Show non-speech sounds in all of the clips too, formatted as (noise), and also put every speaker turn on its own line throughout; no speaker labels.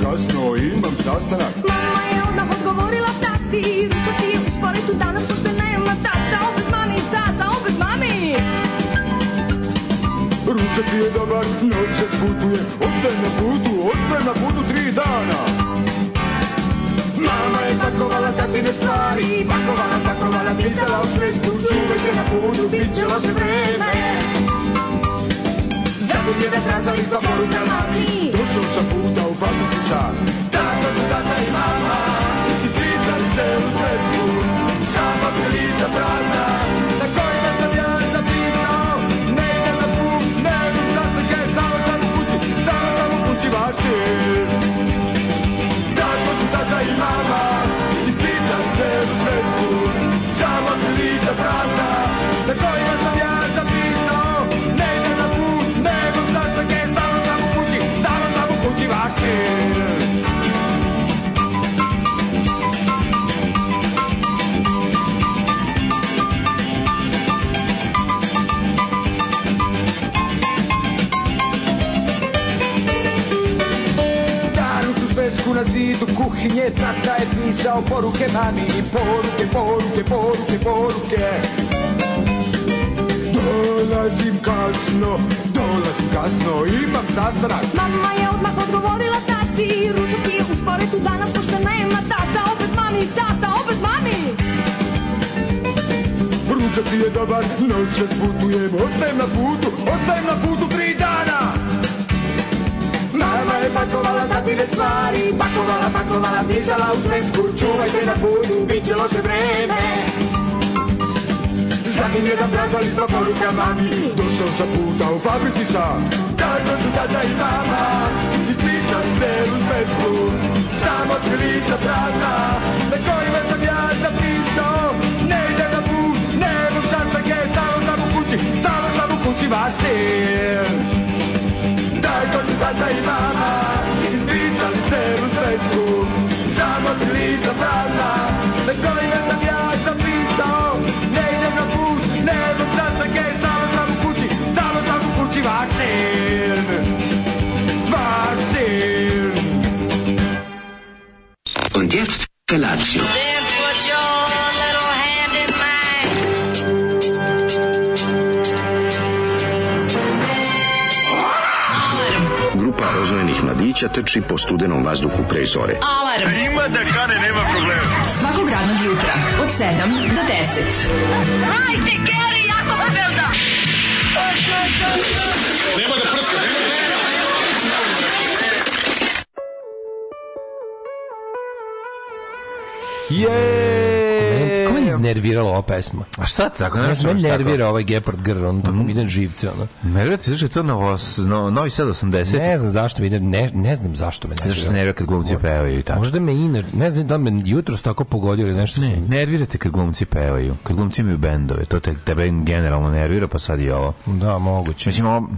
kasno, imam sastanak
Mama je odmah odgovorila tati Ručak ti je u šporetu danas pošto nema tata Opet mami, tata, opet mami
Ručak ti je dobar, noće sputuje Ostaj na putu, ostaj na putu tri dana Mama je pakovala tatine stvari Pakovala, pakovala, pisala u svesku Čuvaj se na putu, bit će loše vreme Zaguljena fraza lista poruka mami Došao sam puta u fabriku sam Tako su tata i mama Ispisali se u svesku Sama te lista prazna Na kojima sam ja zapisao Ne idem na put, ne idem sastanke Stao sam u kući, stao sam u kući vaši Tako su tata i mama Ispisali se u svesku Samo te lista prazna Na kojima sam ja zapisao Ne idem na put, ne idem sastanke Stao sam u kući, stao sam u kući vaši Daruš u svesku na zidu kuhinje Tata je pisao poruke mami Poruke, poruke, poruke, poruke Dolazim kasno, dolazim kasno Imam sastanak
Mama je odmah odgovorila tati Ručak ti je u šporetu danas pošto nema tata Opet mami, tata, opet mami
Ručak ti je dobar, noćas putujem Ostajem na putu, ostajem na putu tri dana Mama je pakovala tatine stvari Pakovala, pakovala, pisala u svesku Čuvaj se na putu, bit će loše vreme Zatim jedan prazvali smo poruka mami Došao sam puta u fabrici sam Tako su tata i mama Ispisali celu svesku Samo tri lista prazna Na kojima sam ja zapisao Ne idem na put, ne imam sastanke Stalo sam u kući, stalo sam u kući vaši Tako su tata i mama Ispisali celu svesku Samo tri lista prazna Na kojima sam ja zapisao Ne idem na put, ne idem sastanke Stalo sam u kući, stalo sam u kući Vasin Vasin
Und jetzt Felatio.
Then put your little hand in mine.
Grupa roznojenih mladića teči po studenom vazduhu pre zore.
Alarm. A ima da kane, nema problema. Svakog radnog jutra, od 7 do 10.
Hajde, Geri, jako se velda.
Je
Kome je iznervirala ova pesma?
A šta Mhm. ti tako?
Ne,
Nešto
me
baš tako?
nervira ovaj Gepard Grl, on tako mi ide na živce, ono.
Nervira ti zašto je to novos, no, Novi Sad 80?
Ne znam zašto mi ide, ne, ne znam zašto me nervira.
Zašto se nervira kad glumci pevaju i tako?
Možda me inače, ne znam da li me jutro tako pogodio ili nešto. Ne.
Nervira te kad glumci pevaju, kad glumci imaju bendove, to te, tebe generalno nervira, pa sad i ovo.
Da, moguće.
Mislim, ovo,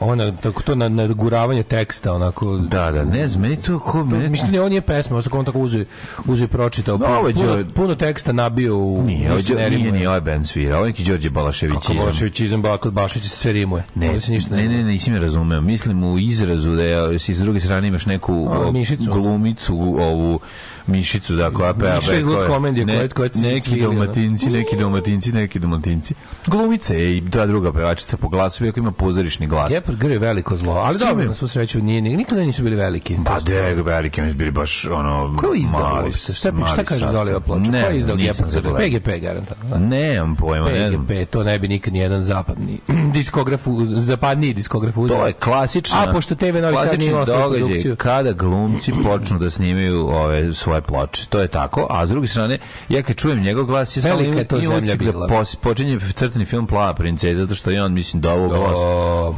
Ovo na, tako to na, na guravanje teksta, onako...
da, da, ne znam, meni to ko...
To,
Meni,
Mislim, ne, on je pesma, on tako uzeo uze i pročitao.
No,
puno-
ovo je
puno,
Đor-
puno teksta nabio u...
nije, ovo,
mislim,
nije,
ne
nije,
rimuje.
ni ovaj band svira, ovo je neki Đorđe
Kako
Balaševićizam.
Balaševićizam, ba, kod Bašića se sve rimuje.
Ne,
Ovdje se ništa
ne, ne, nisi me razumeo. Mislim u izrazu da je, s s druge strane imaš neku
A,
o,
mišicu.
glumicu, ovu mišicu dakle, da koja peva.
Miša
koja-
iz Lud komedije,
ne,
koja- koja cvili,
neki
ono.
dalmatinci, neki dalmatinci, neki dalmatinci. Glumica je i ta druga pevačica po glasu, iako ima pozorišni glas.
Gepard Grl je veliko zlo, ali dobro,
Sigurno.
na svu sreću, nije, nije- nikada nisu bili veliki.
Pa da je veliki, oni su bili baš ono
Ko je izdao
mali,
uopšte? Šta,
mali
šta kaže
sastav.
Zoliva ploča?
Ne
Ko je
znam,
izdao
nisam
Gepard Grl?
zagledao.
PGP garantan. da.
Nemam pojma, ne znam.
PGP, to ne bi nikad nijedan zapadni (clears throat) diskograf, u- zapadniji diskograf uzeo.
To je klasična.
A, pošto TV Novi Sad
klasični
nije imao svoju
događaj
produkciju.
Kada glumci počnu da snimaju ove svoje ploče. To je tako. A s druge strane, ja kad čujem njegov glas, ja stalno
Velika
imam
je to
imam
zemlja
utisak da
bila.
pos- počinje crtani film Plava princeza, zato što je on, mislim, dovao glas.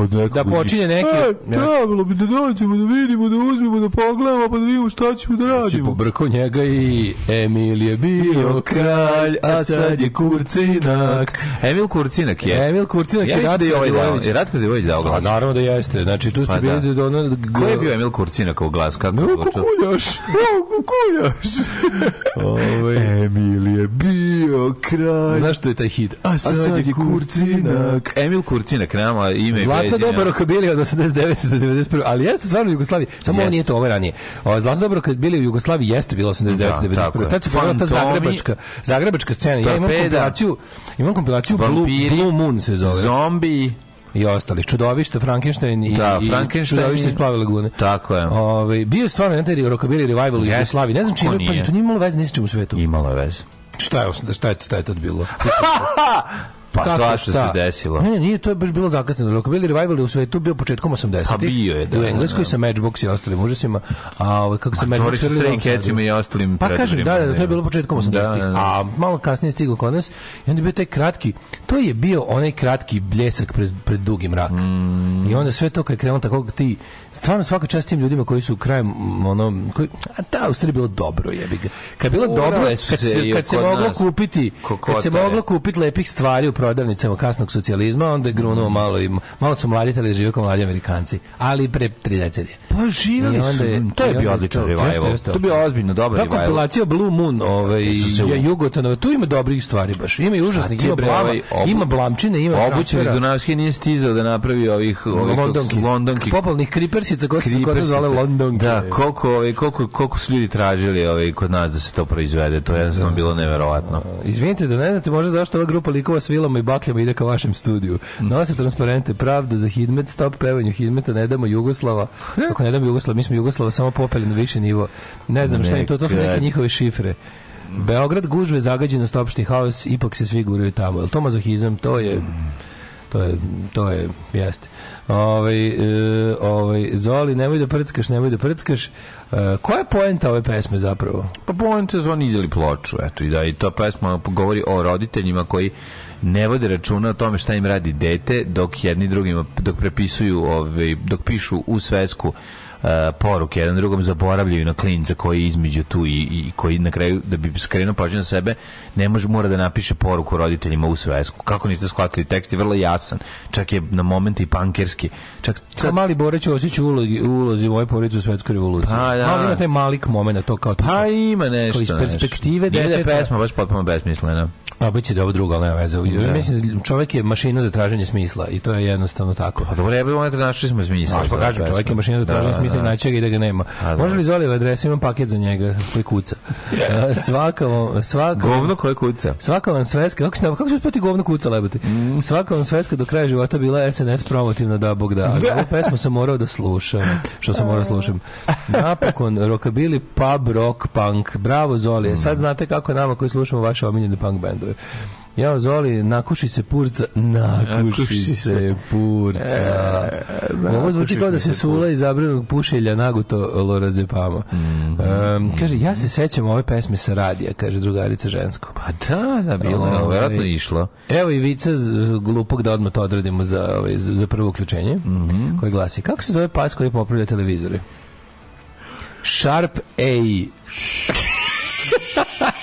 od nekog
da počinje
iz-
neki-
E, trebalo bi da dođemo, da vidimo, da uzmemo, da pogledamo, pa da vidimo šta ćemo da
Si
radimo.
pobrkao njega i Emil je bio kralj, a sad je kurcinak.
Emil Kurcinak je.
Emil Kurcinak
Ja
je
mislim da je
Ratko
ovaj dao,
Milivojević.
je Ratko Pa Milivojević dao
A
glas.
naravno da jeste. Znači, tu ste
Pa
bili
da.
do ono...
Ko je bio Emil Kurcinak u glas? Kako je
No,
zvučao?
kukuljaš. (laughs)
Kukuljaš.
još. Ove,
Emil je bio kralj.
znaš što je taj hit? A sad, je kurcinak.
Emil Kurcinak, nema ime i
Zlatno
prezime.
dobro rokabili od 89. do 91. Ali jeste stvarno u Jugoslaviji. Samo ovo
Jeste.
nije to ovo ranije. Ovo, zlatno dobro kad bili u Jugoslaviji jeste bilo 89.
Da,
do
tako
91.
je.
Tad se formirala ta
Fantomi,
zagrebačka, zagrebačka scena. Ja imam
Torpeda.
kompilaciju, imam kompilaciju Blue,
Vampiri.
Blue Moon se zove.
Zombi.
I ostali. Čudovište, Frankenstein i,
Da,
i
Frankenstein
čudovište
i-
iz plave lagune.
Tako je.
Ove, bio je stvarno jedan taj rockabilly revival u
Jeste.
Jugoslaviji. Ne znam
Ko
čime, pazi,
nije?
to nije imalo veze ni s čim u svetu.
Imala je veze.
Šta je, šta je, šta je tad bilo?
(laughs) Pa
Kako,
svašta se
šta?
desilo.
Ne, ne, nije, to je baš bilo zakasneno. Rockabilly Revival je u svetu bio početkom 80-ih.
Pa bio je, da,
U Engleskoj
da, da.
sa Matchbox i ostalim užasima. A ovaj, kako se Matchbox...
Toriš
svirali u Novom
Stray Catsima
Sadu.
i ostalim
Pa kažem, da, da, da, to je bilo početkom 80-ih.
Da, da, da.
A malo kasnije je stiglo kod nas i onda je bio taj kratki, to je bio onaj kratki bljesak pred, pred dugi mrak. I onda sve to kad je krenulo tako ti, stvarno svaka čast tim ljudima koji su krajem, m, ono, koji, a da, u Srbiji bilo dobro, jebi ga. Kad je bilo
Furale
dobro,
su
kad
se
se,
i
kad se
kod
moglo
nas
kupiti, kad se
kokotare.
moglo kupiti lepih stvari u prodavnicama kasnog socijalizma, onda je
Mm.
grunuo malo i malo su mladitali žive kao mladi Amerikanci, ali pre 30 je.
Pa živjeli
I onda je-
su. To je
i onda
bio
je
odličan
to- jeste,
revival.
jeste,
To je bio ozbiljno dobar
Ta
revival.
kompilacija Blue Moon, ovaj
su se u-
je Jugotanova, tu ima dobrih stvari baš. Ima i užasnih,
ti,
ima
bre,
blama,
ovaj obu-
ima blamčine, ima
Obućev iz
transfera.
Dunavske nije stizao da napravi ovih, ovih
Londonki.
Londonki Pa
Popolnih kripersica koje su se kod nas
kripersica.
zvale Londonke.
Da, koliko, ovaj, koliko, koliko su ljudi tražili ovaj, kod nas da se to proizvede. To je jednostavno bilo neverovatno.
Uh, Izvinite da ne znate možda zašto ova grupa likova s vilama i bakljama ide ka vašem studiju. Nose transparente, pravda za hidmet, stop pevanju hidmeta, ne damo Jugoslava. Ako ne damo Jugoslava, mi smo Jugoslava samo popeli na više nivo. Ne znam šta je to, to su neke
Nekad.
njihove šifre. Beograd gužve, zagađenost, opšti haos, ipak se svi guraju tamo. Jel to mazohizam? To je... To je, to je, jeste. Ovaj, e, ovaj, Zoli, nemoj da prckaš, nemoj da prckaš. E, koja je poenta ove pesme zapravo?
Pa poenta su oni izdali ploču, eto, i da i ta pesma govori o roditeljima koji ne vode računa o tome šta im radi dete dok jedni drugima dok prepisuju ovaj dok pišu u svesku e, poruke jedan drugom zaboravljaju na klinca koji je između tu i, i koji na kraju da bi skrenuo pažnju na sebe ne može mora da napiše poruku roditeljima u svesku kako niste shvatili tekst je vrlo jasan čak je na momente i pankerski čak
Sad mali Boreć osjeća u ulozi, u ulozi moje porodice u svetskoj revoluciji.
Pa, da.
Ali ima taj malik moment, to kao...
pa ima nešto
Kao iz
znaš.
perspektive
Nije da je
deteta.
pesma baš potpuno besmislena
A bit će da ovo drugo, ali nema veze.
Da.
Mislim, čovjek je mašina za traženje smisla i to je jednostavno tako.
Pa dobro, ja bih ono našli smo smisla.
Znaš, pa kažem, čovjek je mašina za traženje smisla i naći ga i da ga nema.
A, da.
Može li Zoli adres, imam paket za njega koji
(laughs)
kuca. A, Svaka vam, svaka vam-
Govno koje kuca.
Svaka vam sveska, kako se kako se uspeti govno kuca lebati? Svaka vam sveska do kraja života bila SNS promotivna da bog da. Ali ovu pesmu sam morao da slušam, što sam morao da slušam. Napokon rockabilly pub rock punk. Bravo Zoli. Sad znate kako je nama koji slušamo vaše omiljene punk bendove. Ja, Zoli, nakuši se purca, nakuši,
Nakuši
se
E,
purca. Ovo zvuči kao da se Sula iz zabranog pušilja naguto lorazepama. Mm. Em, kaže, ja se sećam ove pesme sa radija, kaže drugarica žensko.
Pa da, da, bilo je,
Ovaj.
verovatno je išlo.
Evo i vica z- glupog da odmah to odradimo za, ovaj, za za prvo uključenje, koji glasi, kako se zove pas koji popravlja televizore? Sharp A.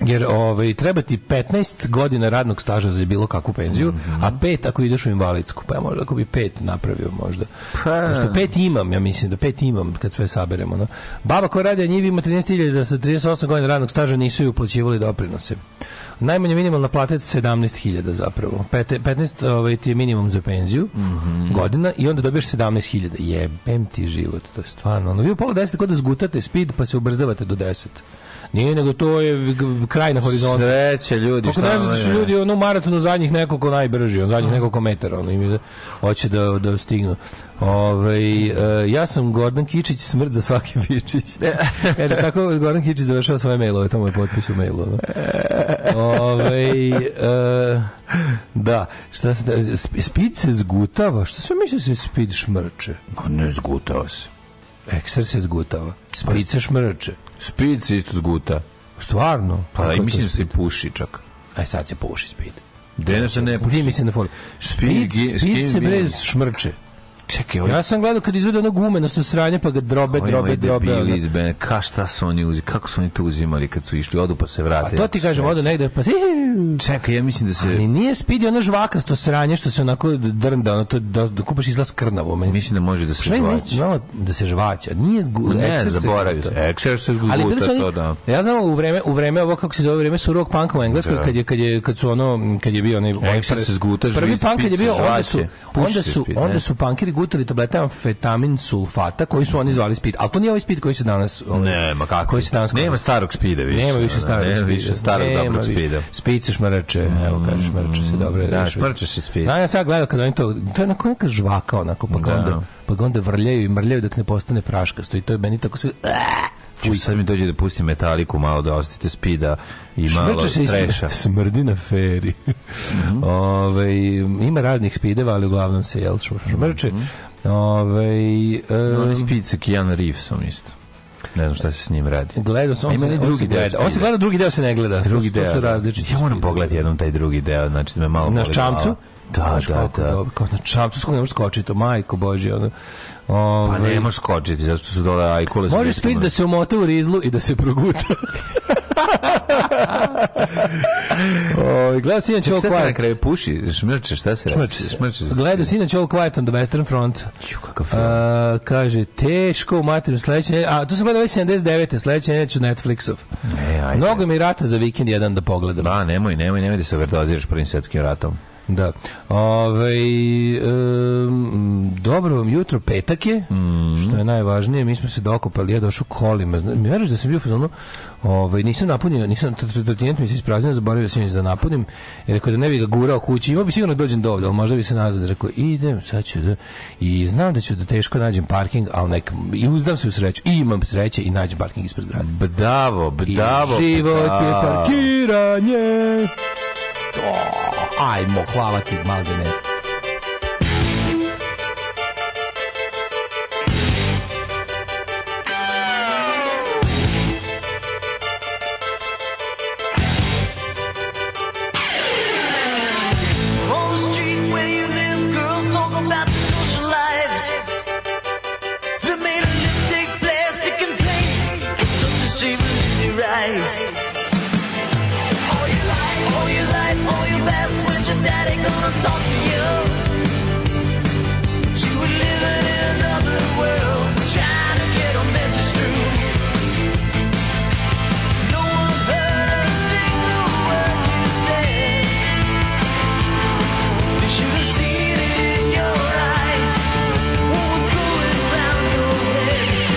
Jer ovaj, treba ti 15 godina radnog staža za bilo kakvu penziju,
Mhm.
a pet ako ideš u invalidsku. Pa ja možda ako bi pet napravio možda.
Pa.
Pošto pet imam, ja mislim da pet imam kad sve saberemo. No. Baba koja radi, a njivi ima 13.000 da sa 38 godina radnog staža nisu ju uplaćivali doprinose. Najmanja minimalna plata je 17.000 zapravo. Pete- 15 ovaj, ti je minimum za penziju godina i onda dobiješ 17.000. Jebem ti život, to je stvarno. Ono, vi u pola deset kod da zgutate speed pa se ubrzavate do 10. Nije nego to je g- g- kraj na horizontu.
Sreće, ljudi,
Kako
šta
ne znam da su
ono je.
ljudi ono, u maratonu zadnjih nekoliko najbrži, on zadnjih nekoliko metara, ono im je, hoće da, da stignu. Ove, ja sam Gordon Kičić, smrt za svaki bičić.
(laughs)
Kaže, tako Gordon Kičić završava svoje mailove, to mu je potpis u mailu. ono. Ovaj, e, da, šta se, da- sp- spid se zgutava, što se misli da se spid šmrče?
Ma, Ne, zgutao se.
Ekser se zgutava, spid se šmrče.
Spid se isto zguta.
Stvarno?
Pa,
Kako
i
to
mislim da
spid?
E, se i puši Znači, čak.
Aj sad se puši speed.
Dena se ne
Gdje
puši.
mi se na foru?
Speed,
Speed,
gi-
speed se
skin
bre
billing.
šmrče.
Čekaj, ovo
Ja sam gledao kad izvede ono gumenasto sranje pa ga drobe,
Ovi
drobe,
moji
drobe.
debili
ono.
iz bene, ka šta su oni uzimali, kako su oni to uzimali kad su išli, odu pa se vrate.
A to ti kažem, odo negde, pa
Čekaj, ja mislim da se...
Ali nije speed je ono žvakasto sranje što se onako drnda, ono to da, da kupaš izlaz krnavo. Meni
Mislim da može da se
Šta je
žvaća.
mislim, malo da se žvaća. Nije gu,
Ne,
ekser se
zaboravio
guta.
sam. Ekser se
Ali bili su
zguta,
oni,
to da.
ja znam u vreme, u vreme ovo kako se zove, u vreme su rock punka u Engleskoj,
Da.
kad je, kad je, kad su ono, kad je bio onaj, onaj
Ekser
prvi-
se zgutaš,
prvi
vid,
punk kad je
spit se
bio, onda su,
žvaće, puši
onda
se
su,
spit, ne?
onda su punkiri gutali tablete amfetamin sulfata, koji su oni zvali speed, ali to nije ovaj speed koji se danas, ovaj,
Ne, ma kako?
koji se danas
Nema
koristi.
starog spida više. ono,
Nema više starog
Nema
spida.
više starog
Nema
dobrog
više.
spida. Mm.
Spid se šmrče, evo kaže šmrče se dobro.
Da, šmrče se spid.
Da, ja sad gledam kad oni to, to je onako neka žvaka onako, pa ga
Da.
onda, pa ga onda vrljaju i mrljaju dok ne postane fraškasto i to je meni tako sve, "Eh, Znači,
Fuj, sad mi dođe da pusti metaliku malo da ostite spida i malo
Šmrče se i
treša. Mhm.
sm- (laughs) smrdi na feri. Ovaj, ima raznih spideva, ali uglavnom se jel
Mhm.
šmr- šmrče. Ovaj, e,
Onaj Ono spid sa Keanu Reevesom isto. Ne znam šta se s njim radi.
Gledao sam,
A
on
ima
se-
i
on se
drugi deo
gleda. On se
spida.
gleda, drugi deo se ne gleda.
drugi
To su-
deo.
To su različiti.
Ja moram
spidovi.
pogledati jednom taj drugi deo, znači da me malo
Na
boli
čamcu?
glava. Da,
Znaš
da,
kako je
da.
dobro, kao na čamcu, skoro ne možeš skočiti, to, majko božje. Ono. Ove,
Pa ne možeš skočiti, zato što su dole ajkule. sa
Ovaj- Može
desnom
spit da se umota u rizlu i da se proguta. Oj, Ovaj, gledao si inače
Čekaj,
All
šta se na
Quiet.
kraju puši? Šmrče, šta se radi?
Šmrče se.
Šmrče se.
Gledao si inače All Quiet on the Western Front.
Ću, kakav film.
A, kaže, teško u materiju sledeće, a tu sam gledao ovaj 79. sledeće neću Netflixov.
E, ajde.
Mnogo mi rata za vikend jedan da pogledam.
Ba, nemoj, nemoj, nemoj da se overdoziraš prvim svetskim ratom.
Da. Ovaj em, dobro vam jutro, petak je, što je najvažnije, mi smo se dokopali, ja došao kolima. Zna- Mi veruješ da sam bio u fazonu, ovaj, nisam napunio, nisam, tr- tr- trotinet mi se ispraznio, zaboravio sam je da napunim, jer rekao da ne bi ga gurao kući, imao bi sigurno da dođem do ovde, ali možda bi se nazad, rekao, idem, sad ću da, i znam da ću da teško nađem parking, ali nek, i uzdam se u sreću, i imam sreće i nađem parking ispred grada.
Bravo,
I
bravo.
život je
bravo.
parkiranje. O, ajmo, hvala ti, malde ne.
On the street where you live, girls talk about their social lives. They made a lipstick plastic and paint, just to see when they rise. All your life, all your life, all your past, when's your daddy gonna talk to you? But you were living in another world, trying to get a message through. No one heard a single word you said. You should have seen it in your eyes. What was going round your head?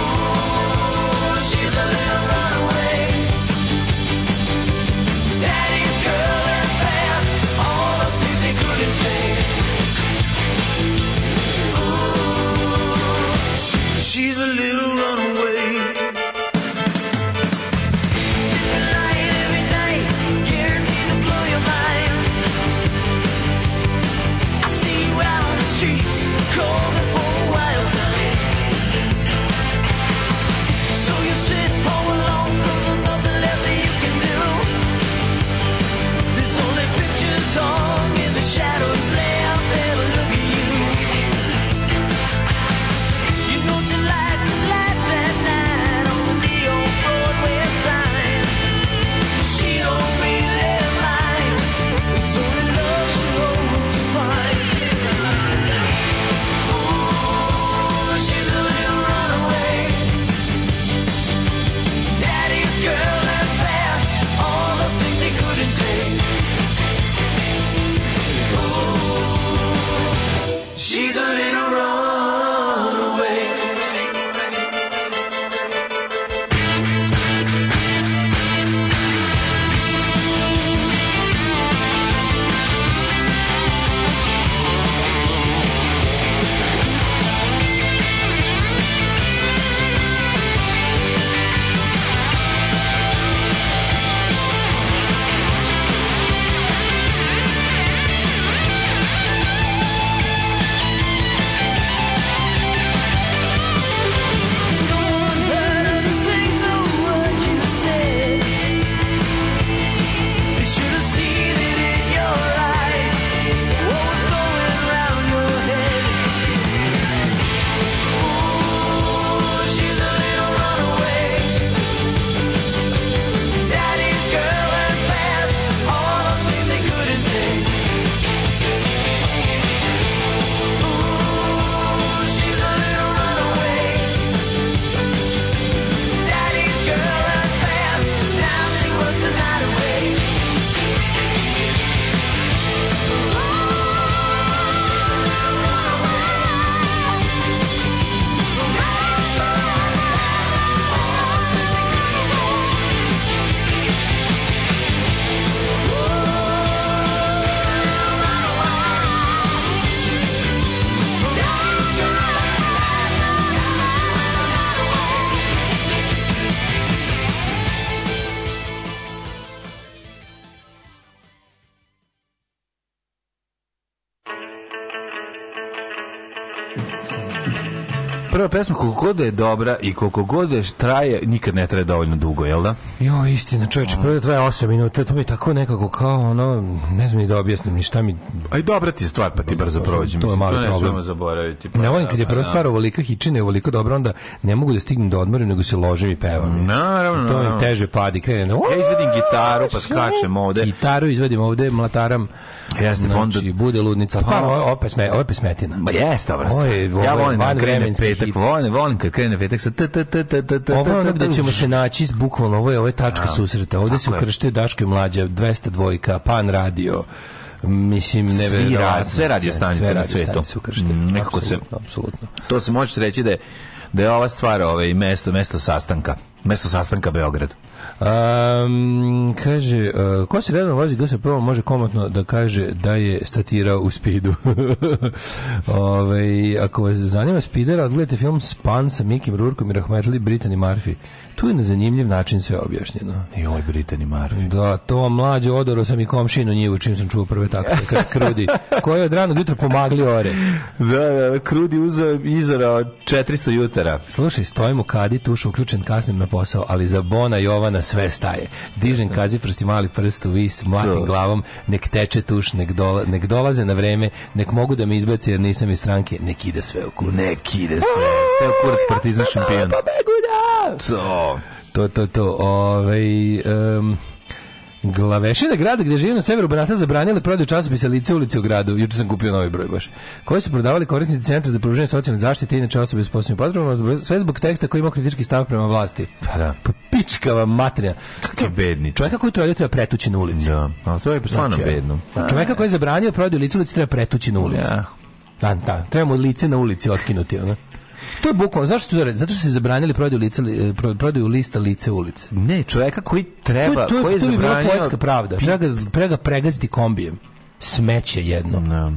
Oh, she's a little runaway. Daddy's girl and fast. Oh,
prva pesma koliko god da je dobra i koliko god da je traje, nikad ne traje dovoljno dugo, jel da?
Jo, istina,
Mm.
čovječe, prvo traje 8 minuta, to mi je tako nekako kao ono, ne znam ni da objasnim ni šta mi...
A i dobra ti je stvar, pa ti brzo
to sam-
prođe.
to je
mislim,
mali
ne
problem.
smemo zaboraviti. pa
Ne volim
da,
kad je
pa
prva
da.
stvar ovolika hičina i ovolika dobro, onda ne mogu da stignem da odmorim, nego se ložem i pevam.
Naravno,
To Znači- mi
naravno.
teže padi, krenem. "O,
Mm. Ja izvedim gitaru, pa skačem ovde.
Gitaru izvedim ovde, mlataram.
Jeste, pa onda-
znači, bude ludnica. Stvarno, ovo, ovo, pesme, ovo je pesmetina.
Ma jeste, dobra
Ovo
stvar.
je- ovo je
Ja volim da krene
vanvremenski
petak,
hit.
volim, volim kad krene petak sa t t t t t t
Ovo je ono
t,
gde
t,
ćemo se naći, bukvalno, ovo je, ovo je tačka susreta. Ovde se
Tako je.
ukrštaju Daško i Mlađa, 200 dvojka, Pan Radio, mislim, nevjerovatno.
rad- sve radio stanice
sve
na
radio
svetu.
stanice ukrštaju.
Mm, nekako se-
Apsolutno, apsolutno.
To se može reći da je da je ova stvar ovaj mesto mesto sastanka. Mesto sastanka Beograd.
Um, kaže, uh, ko se redno vozi GSP može komotno da kaže da je statirao u spidu. (laughs) Ove, ako vas zanima spidera, odgledajte film Span sa Mikim Rurkom i Rahmetli Brittany Murphy. Tu je na zanimljiv način sve objašnjeno.
Joj, Britani Marfi.
Da, to mlađe odoro sam i komšinu njivu čim sam čuo prve takve kr- krudi, koje od ranog jutra pomagli ore.
Da, da, Krudi uzeo izora 400 jutara.
Slušaj, stojim u kadi, tuš uključen, kasnim na posao, ali za Bona Jovana sve staje. Dižem kazi prsti mali prst u vis, mlatim
To.
glavom, nek teče tuš, nek, dola, nek dolaze na vreme, nek mogu da me izbaci jer nisam iz stranke, nek ide sve u kurac.
Nek ide sve, sve u kurac partizan šampion. Pa To.
To, to, to. Ovaj, em, Glavešina grada gdje živim na severu Banata zabranili prodaju časopisa lice ulice u gradu. Juče sam kupio novi broj baš. Koji su prodavali korisnici centra za pružanje socijalne zaštite i inače osobe s posebnim potrebama, zbog- sve zbog teksta koji ima kritički stav prema vlasti.
Pa da.
Pa pičkava materina.
Kakvi bedni.
Čovjeka koji trojde treba pretući na ulici.
Da, ali to je stvarno
Znači,
bedno.
Čovjeka koji je zabranio prodaju lice ulici treba pretući na ulici.
Pa, Ja.
Da, da, trebamo lice na ulici otkinuti, ono. To je bukvalno, zašto to radi? Zato što se zabranili prodaju, lice, li- eh, pro- prodaju lista lice ulice.
Ne, čoveka koji treba,
to, je- to,
koji
je-
je
to bi bila
zabranio...
poetska pravda. Treba ga, z- treba ga pregaziti kombijem. Smeće jedno.
Da.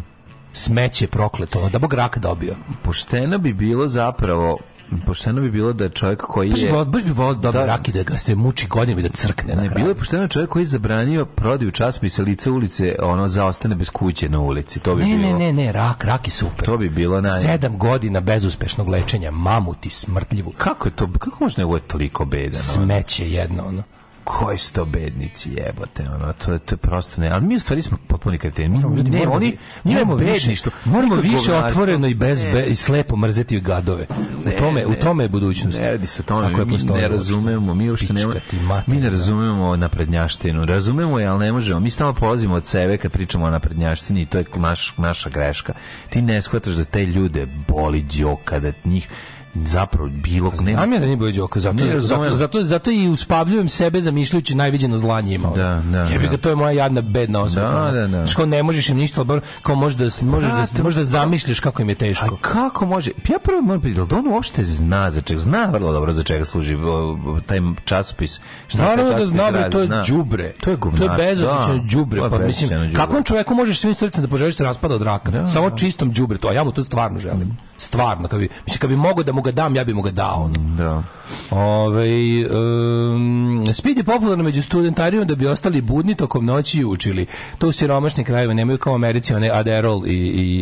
Smeće prokleto. ono, Da bog rak dobio.
Pošteno bi bilo zapravo, pošteno bi bilo da je čovjek koji
Baš bi
je...
volao- baš bi volao da dobio
Da.
rak i da ga se muči godinama i da crkne na
Ne,
kraju.
bilo je pošteno čovjek koji je zabranio prodaju časopisa lice ulice, ono zaostane bez kuće na ulici. To bi
Ne,
bilo.
ne, ne, ne, rak, rak je super.
To bi bilo naj-
Sedam godina bezuspešnog lečenja, mamuti smrtljivu.
Kako je to, kako može nego je toliko bedan? ono?
Smeće jedno, ono.
koji su to bednici jebote ono to je to je prosto ne ali mi u stvari smo potpuni kreteni mi
Ljudi,
ne
moramo-
E, oni
moramo
njima
više,
bedništvo
moramo
nikakvo
više
govnarstvo.
otvoreno i bez
Ne,
be, i slepo mrzeti gadove. U tome, u tome je budućnost.
ne radi se o tome,
Ako je
mi
postoji
ne
uopšte.
razumemo, mi uopšte ne,
Pička ti mater,
mi
da.
ne razumemo naprednjaštinu, razumemo je, ali ne možemo, mi stalno polazimo od sebe kad pričamo o naprednjaštini i to je naš, naša greška. Ti ne shvataš da te ljude boli djoka, da njih zapravo bilo, nema
Znam ja da nije bio đoka, zato,
Ne,
zato, zato,
razumem.
zato, zato i uspavljujem sebe zamišljajući najviđeno zla njima.
Da, da,
Jebi
da.
ga, to je moja jadna bedna osoba. Ono,
Da, da, da.
Znaš, kao ne možeš im ništa, ali bar kao možeš da, možeš da,
Brate,
možeš da zamišljaš kako im je
A
teško.
kako može? Ja prvo moram pitati, da li on uopšte zna za čega? Zna vrlo dobro za čega služi o, o, taj časopis. Šta taj
Naravno da
časopis
znam, bre,
pa radi,
to je
zna.
đubre.
To je govnar.
To je bezosećno
da.
đubre.
To je
Pa mislim,
bezosećno đubre.
kakvom čoveku možeš svim srcem da poželiš da raspada od raka? Samo čistom đubretu, a ja mu to stvarno želim. Stvarno, kad bi, mislim, kad bi mogao da mu ga dam, ja bi mu ga dao. ono.
Da.
Ove, um, speed je popularno među studentarijom da bi ostali budni tokom noći i učili. To u siromašnim krajevima nemaju kao u Americi one Adderall i,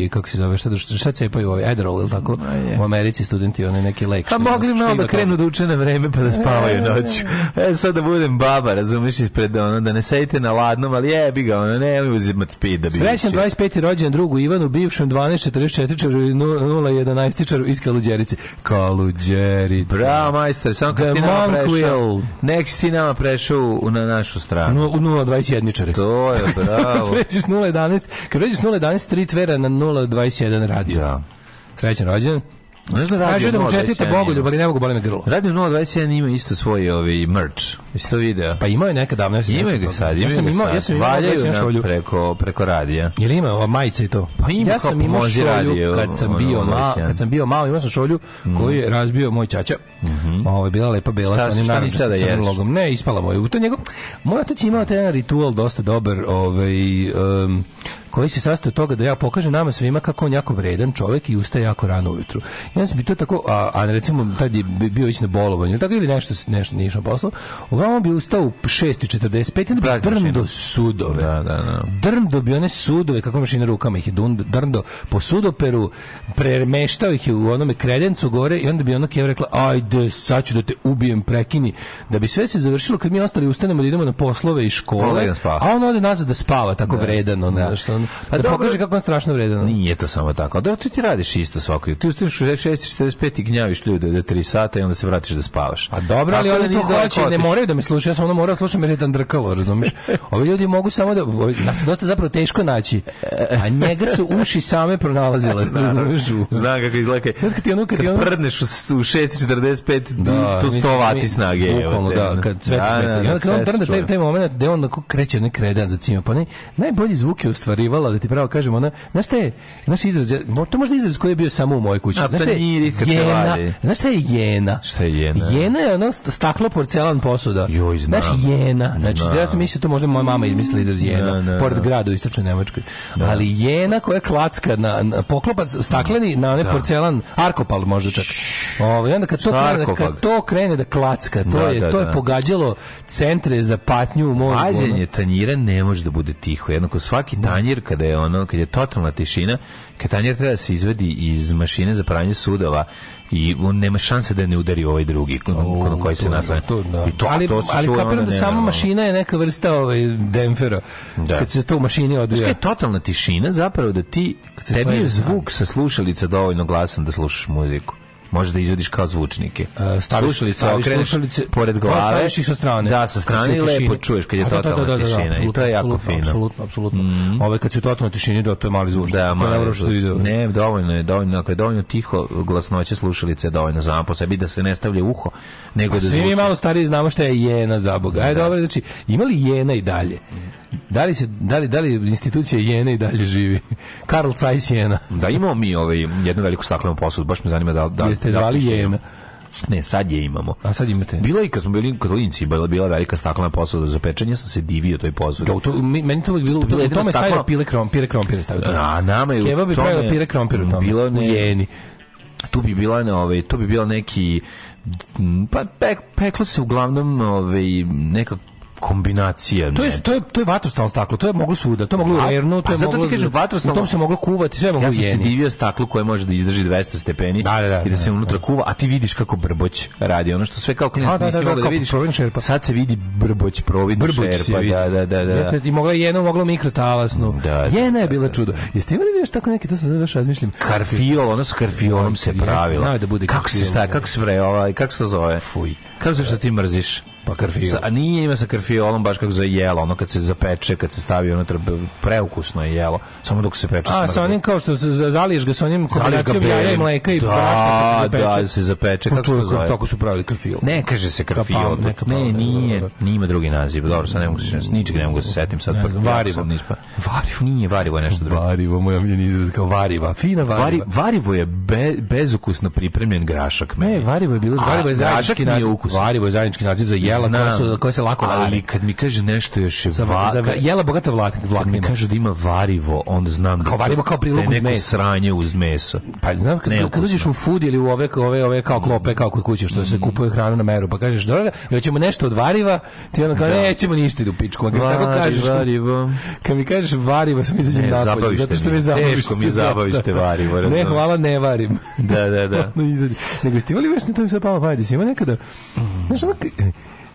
i kako se zove, šta, šta, šta cepaju ove Adderall, ili tako? U Americi studenti one neke lek.
A
što-
Pa mogli
što
malo
ima
da krenu da uče na vreme pa da spavaju noću. E, sad da budem baba, razumiješ, ispred ono, da ne sedite na ladnom, ali jebi ga, ono, ne, mi uzimati speed da bi
Srećan 25. rođen drugu Ivanu, bivšem 1244 i 011 čaru iz Kaluđerice. Kaluđerice.
Bravo, majster, samo
The
kad ti nama
monk
prešao.
will.
Nek si ti nama prešao u- na našu stranu.
Nu- 021 čare. (laughs)
To je bravo.
pređeš 011, kad pređeš 011, tri tvera na 021 radio.
Da.
Srećan rođen.
Znaš da
Kažu
radio
da mu
021
čestite
ima?
Bogoljub, ali ne mogu boli me grlo.
Radio 021 ima isto svoj ovi merch. Jesi to video?
Pa imao je neka davno. Ja se
Ima
sećam
ga
toga.
sad,
ja
ima
sam
ga
imao,
sad.
ja sam imao,
Valjaju
ja sam imao
nam
šolju.
preko, preko radija.
Jel ima ova majica i to?
Pa ima
ja sam
kao
imao
pomozi
šolju
radio,
kad sam
ono,
bio
ono,
malo,
sjajno.
kad sam bio malo, imao sam šolju koju je razbio moj ćaća. Ovo je bila lepa bela
Mhm. Šta
sa
si-
onim
šta nisi tada
narančastim crnim
jedeš?
logom. Ne, ispala mu je. U to njegov moj otac je imao taj jedan ritual dosta dobar, ovaj em, koji se sastoji od toga da ja pokažem nama svima kako on jako vredan čovjek i ustaje jako rano ujutru. I onda sam bi to tako, a, a recimo tad je bi- bio već na bolovanju, ili tako ili nešto, nešto nije išao posla, uglavnom bi ustao u 6.45 i onda bi
Prazna
drn
mašina.
do sudove.
Da, da, da.
Drndo bi one sudove, kako mašina rukama ih je dund- drndo, po sudoperu, premeštao ih je u onome kredencu gore i onda bi ono Keva rekla, ajde, sad ću da te ubijem, prekini. Da bi sve se završilo kad mi ostali ustanemo da idemo na poslove i
Ode
škole,
da spava.
a on ode nazad da spava, tako vredan, ono,
Da.
što on,
Pa
da
dobro.
pokaže kako on strašno vredan. ono.
Nije to samo tako. Da, ti ti radiš isto svako. jutro. Ti ustaneš u 6.45 i gnjaviš ljude do 3 sata i onda se vratiš da spavaš.
A Pa dobro, ali
Tako da
oni to
nisi daleko
hoće i ne
otišao.
moraju da me slušaju, ja sam ono morao slušati jer je dan drkalo,
(laughs)
razumiješ? Ovi ljudi mogu samo da, ovi, nas je dosta zapravo teško naći, a njega su uši same
(laughs)
pronalazile, razumiješ? U-
Znam kako izgleda.
Znaš kad ti ono- kad ti ono-
prdneš u, s- u 6.45, da, to 100 vati snage. evo te. ono.
Bukvalno, da, kad sve
Da, da, da,
I onda kad
sve
on trne
se čuje.
taj, taj moment gde on onako kreće onaj kredan za cima, pa onaj najbolji zvuk je ostvarivala, da ti pravo kažem, ona, znaš šta je, naš izraz, je- mo- to možda izraz koji je bio samo u mojoj kući.
A,
Znaš šta je
tanjiri kad se
jena,
vadi.
znaš šta je jena?
Šta je jena?
Jena je ono st- staklo porcelan posuda.
Joj, znam.
Znaš, jena. Znači,
Znam.
ja sam mislio, to možda moja mama izmislila izraz jena,
Da, da,
pored
da.
grada u istočnoj Nemačkoj. Ali jena koja je klacka na, na poklopac stakleni, na onaj porcelan, arkopal možda čak. Ovaj, onda kad to, krene,
Sarkofag.
kad to krene da klacka, to,
Da,
je,
da,
to je
da.
pogađalo centre za patnju u mozgu. ono.
Vađenje tanjira ne može da bude tiho. Jednako svaki tanjir kada je ono, kad je totalna tišina, kad tanjir treba da se izvadi iz mašine za pranje sudova i on nema šanse da ne udari ovaj drugi
O,
na koji
to
se
je-
naslanja.
to, da.
I to,
ali,
to se
ali
čuje,
kapiram
ono,
da
ne,
sama
ono.
mašina je neka vrsta ovaj, demfera.
Da.
Kad se to u mašini
Znaš
odvija.
kaj je totalna tišina zapravo da ti,
se
tebi je
sleže sam.
zvuk sa slušalica dovoljno glasan da slušaš muziku. Možeš da izvadiš kao zvučnike.
E, staviš-
slušalice
staviš
okreneš
slušalice-
pored
Da,
glave.
staviš ih sa strane.
Da, sa
Kad
strane
su
i
u tišini.
lepo čuješ kad je
A da, da,
totalna
da, da, da,
tišina. I to je jako
apsolutno,
fino. Mhm.
Apsolutno, apsolutno. Ove kad su u totalnoj tišini, da, to je mali zvuč.
Da,
to je
malo
najbolje
je
što
zvuč.
ide.
Ne, dovoljno je, dovoljno. Ako je dovoljno tiho, glasnoće slušalice je dovoljno sama po sebi da se ne stavlja u uho, nego da
Svi mi
zvuči.
malo stariji znamo šta je jena za Boga. Ajde, dobro, znači, ima li jena i dalje? Da li, se, da li, da li institucija jena i dalje živi? (laughs) Karl Zeiss jena.
Da imamo mi ovaj jednu veliku staklenu posudu, baš me zanima da da
Jeste
da-
zvali jena.
Ne, sad je imamo.
A sad imate.
Bila je i kad smo bili katolinci, bila, bila je velika staklena posuda za pečenje, sam se divio toj posudi.
Jo, to, mi- meni to uvijek bilo,
bilo
u
jedino
tome
staklo.
stavio pile krompire, krompire stavio. u tome.
A nama je u
Keva bi
tome-
pravila pire krompire u tome,
Bilo
u
ne-
jeni.
tu bi bila ne, ovaj to bi bilo neki m, pa pek, peklo se uglavnom ovaj neka kombinacija
To je,
ne.
to je, to je vatrostalno staklo, to je moglo svuda, to je moglo u
Va-
Lernu, to
a
je
zato ti
moglo...
kažem, vatrostalno-
U tom se moglo kuvati, sve je moglo
ja
u
sam se
jeni.
divio staklu koje može da izdrži 200 stepeni
Da, da, da,
i da se
da,
unutra kuva, a ti vidiš kako brboć radi. Ono što sve kao
A,
klinac
da,
nisi
da, da,
mogao da
kao
vidiš.
providni šerpa.
Sad se vidi brboć, providni
Brbuć se
šerpa.
vidi.
Da, da, da, da.
Jeste, I mogla je jeno, mogla u mikrotalasnu.
Da, da,
Jena je bila čudo. Jeste imali vi još tako neke, to sam sad još razmišljam.
Karfiol, ono s karfiolom se
Jeste,
pravilo.
znao je da bude
kako se
karfiol.
šta, kako se bre, ovaj, kako se to zove?
Fuj.
Kako se što ti mrziš?
Pa karfiol.
Sa- a nije ima sa karfiolom baš kako se zove jelo, ono kad se zapeče, kad se stavi unutra, b- preukusno je jelo, samo dok se peče.
A,
smrdi.
sa onim kao što se za- zaliješ ga, sa onim
Zališ ga
kombinacijom jaja i
belim.
mleka i
Da,
brašna kad se zapeče.
da, se zapeče,
Pa
kako
to je
se zove?
Tako su pravili krfil.
Ne kaže se
Kapal,
karfiol.
ne kapal,
Ne,
ne,
nije,
dobro, dobro.
nije ima drugi naziv. Dobro, sad ne mogu se ničeg ne mogu se setim sad.
Ne
pa
znam,
jako
varivo.
sam nispa- Varivo nije varivo je nešto drugo.
Varivo, moj omiljeni izraz, kao variva, fina variva.
Vari, varivo je be, bezukusno pripremljen grašak. meni.
Ne, varivo je bilo,
A,
varivo je
grašak
zajednički
nije
naziv.
ukusan.
Varivo je zajednički naziv za jela koja,
Znam,
su, koja se lako
Ali
vari.
kad mi kaže nešto još je
Za,
va,
za,
kad-
jela bogata vlak,
kad mi
vlaknima.
kažu da ima varivo, onda znam da,
Kao varivo kao prilog
da je
uz
neko
meso.
sranje uz meso.
Pa znam kad, kad
Neukusno.
uđeš u food ili u ove ove ove kao klope kao kod kuće što se kupuje hrana na meru pa kažeš dobro hoćemo nešto od variva ti onda kao nećemo ništa idu u pičku a kad mi tako kažeš
varivo.
kad mi kažeš variva sam izađem
Ne,
napolje
zabavište
zato što
mi
me
je.
zabaviš
Teško mi je zabavište varivo,
ne
razumem.
hvala ne varim
Da,
(laughs)
da, da.
Ono izađe. nego ste imali baš na to mi sad palo pamet jesi imao nekada znaš ono k-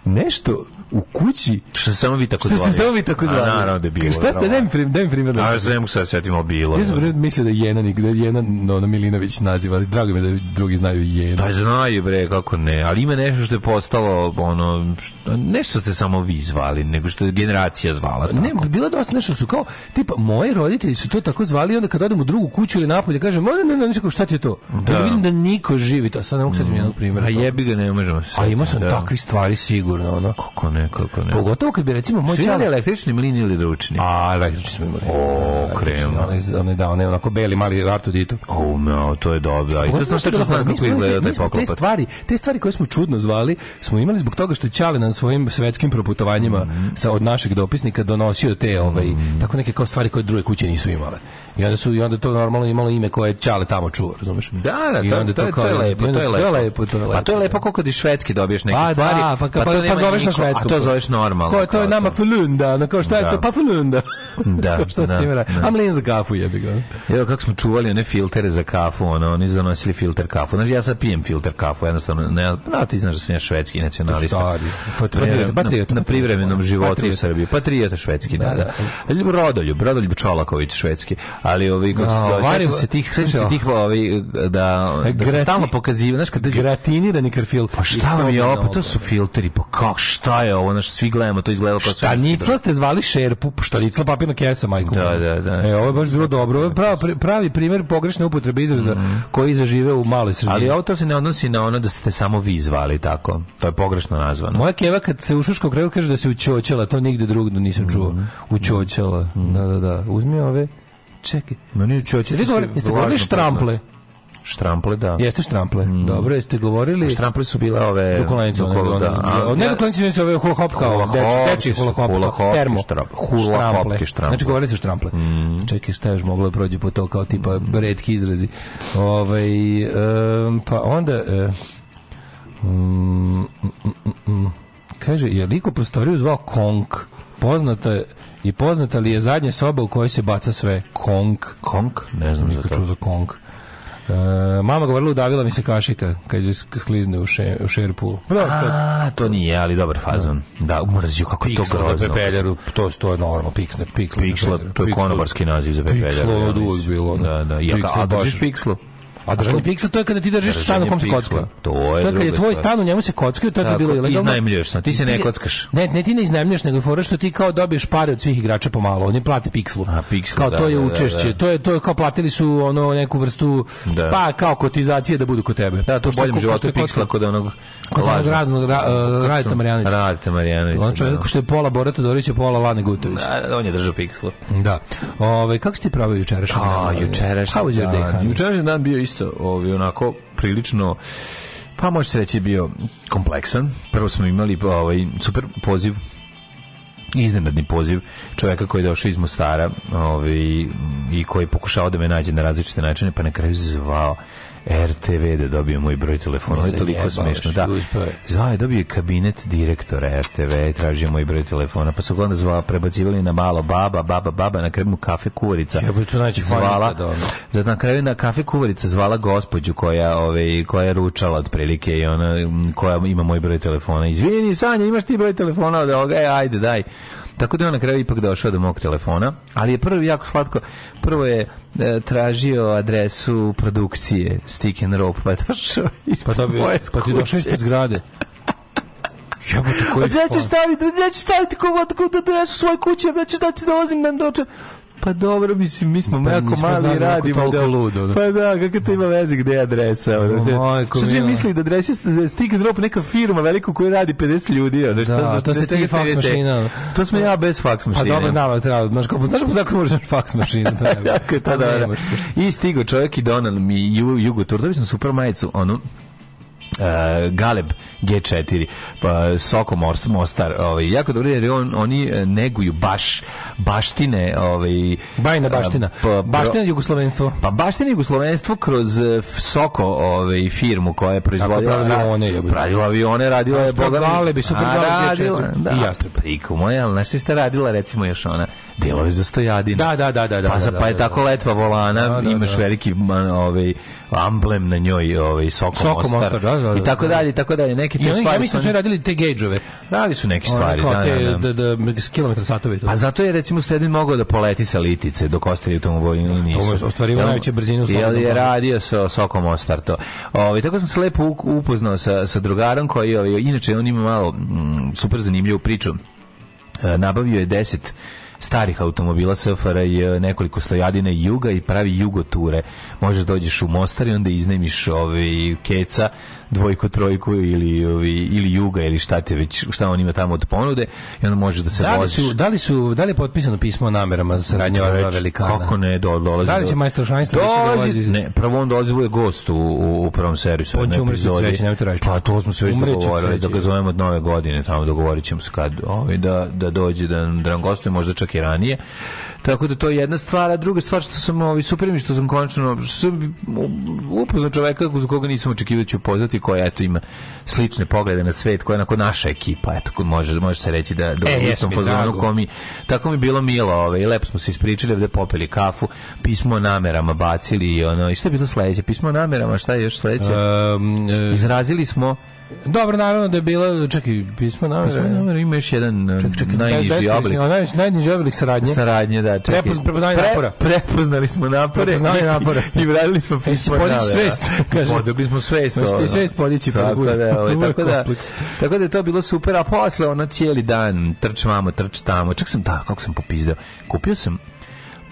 nešto u kući
Što samo vi tako
što ste
zvali.
samo vi tako zvali
A naravno da je bilo.
šta ste daj mi prim- daj mi primjer
A ja ne mogu sad setim, ali bilo.
ja
je.
sam prvo mislio da je Jena, nik- da je Jena no, na Milinović naziv, ali drago mi je da drugi znaju Jena.
Pa znaju bre, kako ne, ali ima nešto što je postalo, ono, što, ne što ste samo vi zvali, nego što je generacija zvala. Tako.
Ne, bilo je dosta nešto su kao, tipa, moji roditelji su to tako zvali, i onda kad odem u drugu kuću ili napolje, kažem, ne, ne, ne, ne, šta ti je to? Da. vidim da
Mm.
niko živi to, sad ne mogu sad mi jednog primjera.
a jebi ga, ne možemo se.
A imao sam takvih stvari sigurno, ono.
Kako ne? nekako, ne.
Pogotovo kad bi recimo moj
Svi imali
čale...
električnim linijom ili ručnim?
A, električni smo imali.
O, krem.
Onaj, onaj, da, onaj onako beli mali Artu Ditu.
O, no, to je dobro. A I to sam što
Pogotovo mi
znam kako
smo imali-
izgleda
mi
taj
smo Te
poklopac.
stvari, te stvari koje smo čudno zvali, smo imali zbog toga što je Čale na svojim svetskim proputovanjima
Mhm.
sa, od našeg dopisnika donosio te ovaj, tako neke kao stvari koje druge kuće nisu imale. I onda su i onda to normalno imalo ime koje je Čale tamo čuo, razumeš?
Da, da,
I
to,
onda
to, je- to
kao-
je lepo,
i onda-
to je lepo.
To je lepo, to je lepo.
A to je lepo kako ti švedski dobiješ neke
Pa
stvari.
da, pa, ka- pa,
to
pa,
nema
zoveš na
niko,
švedsku.
A to zoveš normalno.
Ko je, to je
kao
nama Fulunda, ono kao šta je
Da.
to? Pa Fulunda. (laughs)
Da,
Kao šta
da,
s tim radi?
da.
A mlin za kafu jebi ga.
Evo kako smo čuvali one filtere za kafu, ono, oni su donosili filter kafu. Znači, ja sad pijem filter kafu, jednostavno, ne, da, ti znaš da sam ja švedski nacionalista.
Stari, Pa patriota,
Na-
patriota,
na, privremenom
patriota.
životu u
Patriota.
Srbiji. Patriota švedski, da, da. Rodoljub, Rodoljub Čolaković švedski. Ali ovi, kako
Da,
se zove,
Varivo-
sećam se tih, sećam se
Slušaj,
tih, ovi, da, da se
Grati-
stalno pokazivaju, znaš, kad dođu-
Gratinirani karfil.
pa šta vam je ovo, pa to su filteri, pa kako, šta je ovo, znaš, svi gledamo, to izgledalo kao
Šta
švedski.
nicla ste zvali šerpu, Pa šta nicla papirna kesa, majko.
Da, da, da.
E, ovo je baš bilo dobro. Ovo je pravi, pravi primjer pogrešne upotrebe izraza koji zažive u maloj Srbiji.
Mhm. Ali ovo to se ne odnosi na ono da ste samo vi zvali tako. To je pogrešno nazvano.
Moja keva kad se u šuškom kraju kaže da se učoćala, to nigde drugdje nisam
Mhm.
čuo. Učoćala, da, da, da. Uzmi ove, čekaj.
Meni ćoće.
Jeste vi govorili, jeste govorili štrample?
Štrample, da.
Jeste štrample.
Mhm.
Dobro, jeste govorili...
Štrample su bile ove...
Dukolanice, one,
dukolo-
one,
da. A,
one, ne
ja-
dukolanice, nego su ove hula hop kao,
Hula
deči,
hop,
deči hula hop,
hula
kao
hop,
termo,
štra- hula hopke, Mhm. štrample.
Znači, govorili su štrample. Čekaj, šta još moglo da prođe po to, kao tipa
Mhm.
redki izrazi. Ovaj, em, pa onda... e, mm, mm, mm, mm. kaže, je liko prostoriju zvao Kong? Poznata je- i poznata li je zadnja soba u kojoj se baca sve? Kong.
Kong? Ne znam za
Nikad čuo
to.
za Kong. E, mama govorila udavila mi se kašika kad ju sk- sklizne u, še, u šerpu. Bro, to
A, to nije, ali dobar fazon. Da, mrzio kako je to
piksla za
grozno.
pepeljaru, to, to je normalno, piksne, piksla,
Piksla, to je konobarski naziv za pepeljaru.
Pikslo
ja
od
mislim.
uvijek bilo. ono.
Da, da. I ako-
Piksla
a držiš
baš-
pikslu?
A držanje piksla, to je kada ti držiš
Držanje
stan u kom se
piksla,
kocka.
to je
kad je
druga
tvoj
stvar.
stan, u njemu se kockaju, to je tad
Tako,
bilo ilegalno.
iznajmljuješ stan, ti se ne kockaš.
Ne, ne ti ne iznajmljuješ, nego je fora što ti kao dobiješ pare od svih igrača pomalo, oni plate pikslu.
A, pikslu,
kao
da,
to je
da, da,
učešće,
da.
to je to je kao platili su ono neku vrstu
Da.
pa kao kotizacije da budu kod tebe.
Da, to u
što je
boljem
ko-
životu
što
je
kocka.
piksla kod onog...
Kod onog
lažnog.
radnog ra, uh, Radita Marjanovića.
Radite Marjanović.
On čovjek Znači, ono, što je pola Borata Dorića, pola Lane Gutović.
on je držao pikslu.
Da. Ove, kako si ti pravio jučerašnji
A, pa, jučerašnji
How was your day,
dan.
honey?
Jučerašnji dan bio isto ovi, onako prilično pa može se reći bio kompleksan. Prvo smo imali pa, ovaj, super poziv iznenadni poziv čovjeka koji je došao iz Mostara ovaj, i koji je pokušao da me nađe na različite načine, pa na kraju zvao RTV da dobije moj broj telefona. Ovo je toliko
Zajebavaš,
smešno. Da.
uspeo je.
Zvao je, dobio je kabinet direktora RTV i tražio moj broj telefona, pa su ga onda zvao, prebacivali na malo baba, baba, baba, na kremu kafe kuvarica.
Jebote, to najveći fajn
zvala,
ikada, ono.
zato na kraju na kafe kuvarica zvala gospođu koja, ovaj, koja je ručala otprilike i ona m, koja ima moj broj telefona. Izvini, Sanja, imaš ti broj telefona od ovoga? E, ajde, daj. Tako da je on na kraju ipak došao do mog telefona, ali je prvo jako slatko, prvo je e, tražio adresu produkcije Stick and Rope, pa je došao
Pa
ispod
to bi,
moje
pa ti došao
kuće.
ispod zgrade. Jebote, koji
Pa gde ćeš
fun.
staviti, gde ćeš staviti kovo tako da donesu svoje kuće, gde ćeš da ti dolazim na doče. Pa dobro, mislim, mi smo
Pa
jako
nismo
mali
znali
i radimo.
kako toliko ludo, da.
Pa da, kakve to ima veze gde je adresa. ono,
O,
sve-
majko
što svi
mila.
misli da adresa da stick and drop neka firma velika koja radi 50 ljudi. Ono, što-
Da,
što-
to ste
da-
ti
da-
fax
da-
mašina.
To smo ja bez fax
Pa
mašine.
dobro znam, ali treba, znaš, kao, znaš, po zakonu moraš imati faks mašinu.
(laughs)
to ne bi-
Jako je to
to Pa ne
dobro.
imaš, pošto-
I stigao čovjek i donal mi ju, jugotur. Dobio sam super majicu, onu e, Galeb G4 pa Soko Mors, Mostar ovaj, jako dobro jer je on, oni e, neguju baš baštine ovaj,
Bajna baština.
e, pa-
Baština jugoslovenstvo.
Pa baštine Jugoslovenstvo kroz e, f- Soko ovaj, firmu koja je proizvodila
pravila avione, jebote.
Pravila avione, radila je
super
Boga. mi-
galebi, super
A,
galebi
radila,
G4
Da,
i jastreb.
Priku moja, ali znaš šta ste radila recimo još ona delove za stojadine.
Da, da, da, da, da,
Pa, za-
da,
pa je
da, da.
tako letva volana,
Da, da,
imaš
da.
veliki man, ovaj, amblem na njoj, ovaj, Soko,
Soko Mostar, da, da, da,
I tako
da.
dalje, i tako dalje. Neke te
I oni, ja
stvari
mislim da
su
su
oni-
radili te gejđove.
radili su neke stvari,
Ono kao
da,
te-
da, da.
da, da, s kilometra satovi. to.
Pa zato je recimo Sledin mogao da poleti sa litice dok ostali automobili nisu.
Ovo je ostvarivo
Jel-
najveće brzine u
Jel
slobodnom
je
vremenu.
radio sa Sokom Ostar to. Ovaj, tako sam se lepo u- upoznao sa, sa drugarom koji, ovaj, inače on ima malo mm, super zanimljivu priču. E, nabavio je 10 starih automobila SFRJ, nekoliko stojadine Juga i pravi Jugo ture. Možeš dođeš u Mostar i onda iznajmiš ovaj keca dvojku, trojku ili, ovi, ili juga ili šta te već, šta on ima tamo od ponude i onda možeš da se
Da li,
voziš.
su, da li su da li je potpisano pismo o namerama za saradnju ova dva
Reč,
velikana?
Kako ne, do, dolazi.
Da li će
do-
majstor Heinz Lević da
dolazi,
dolazi? Pa
Ne, prvo on dolazi bude gost u, u, u prvom servisu.
On će
na
umreti od
epizodi.
sreće, nemojte reći.
Pa to smo se već
Umreće od
dogovorili, da
sreće.
ga zovemo od nove godine, tamo dogovorit ćemo se kad ovaj, da, da dođe, da, da nam gostuje, možda čak i ranije. Tako da to je jedna stvar, a druga stvar što sam ovaj, super mi je što sam končno što sam upoznao čoveka za koga nisam očekivao da ću upoznati, koja eto ima slične poglede na svet, koja je onako naša ekipa, eto, ko- može, može se reći da, da
E,
u
jes
istom
mi
fazonu
drago.
ko mi, tako mi je bilo milo, ovaj, lepo smo se ispričali, ovde popili kafu, pismo o namerama bacili i ono, i šta je bilo sledeće? Pismo o namerama, šta je još sledeće?
Um, e,
Izrazili smo
dobro, naravno da je bilo, čekaj, pismo o
Sve
namerama.
namere ima još jedan um, najniži
Beskrišni,
oblik
a Najniži, najniži oblik saradnje.
saradnje, da, čekaj.
Prepoz- prepoznavanje napora.
Prepoznali smo napore.
Prepoznavanje napora.
(laughs) I vratili smo pismo
podići
namera.
svest,
(laughs)
kaže.
Podigli smo svest.
Hoćete
ono.
svest podići, pa da
tako
bude. (laughs)
da, ovaj,
Ovo je
tako, da,
kompleks.
tako da je to bilo super, a posle ono cijeli dan trč vamo, trč tamo. Čak sam, da, kako sam popizdeo. Kupio sam,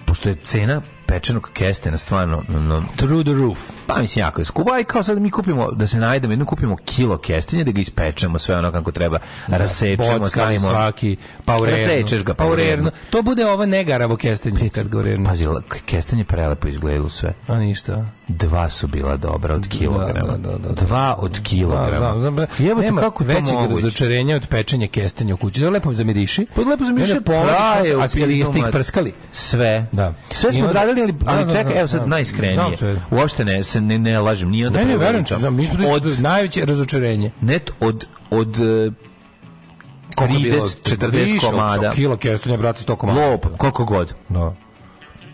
pošto je cena pečenog kestena stvarno no,
Through the roof.
pa mislim jako je skupo, aj kao sad mi kupimo, da se najdemo, jedno kupimo kilo kestenja, da ga ispečemo sve ono kako treba, rasečemo,
Bockan
stavimo.
svaki, pa u rernu.
Rasečeš ga, pa u rernu.
To bude ovo negaravo kestenje, kad ga u rernu.
Pazi, la- k- kestenje prelepo izgledalo sve.
A ništa.
Dva su bila dobra od kilograma.
da, da, da.
Dva od kilograma.
Pa, Znam, znam, znam.
Jebote,
Nema
kako je to
većeg
moguće?
razočarenja od pečenja kestenja u kući. Da lepo zamiriši.
Pa lepo sam
Mene
išao
povadiš,
traje u
a jel
pizdu
jeste ih
mat-
prskali?
Sve.
Da.
Sve
I
smo
onda-
odradili, ali,
Da,
ali
da,
čekaj,
da,
evo sad
da.
najiskrenije.
Znam sve.
Uopšte ne, se ne, ne lažem, nije da
Ne, ne, verujem ti,
preuveličavam.
znam, mi smo došli do
od,
najveće razočarenje.
net od, od eh,
Koliko je bilo?
30, 40
Više od
komada.
Kilo kestenja, brate, 100 komada.
Lop, koliko god.
Da.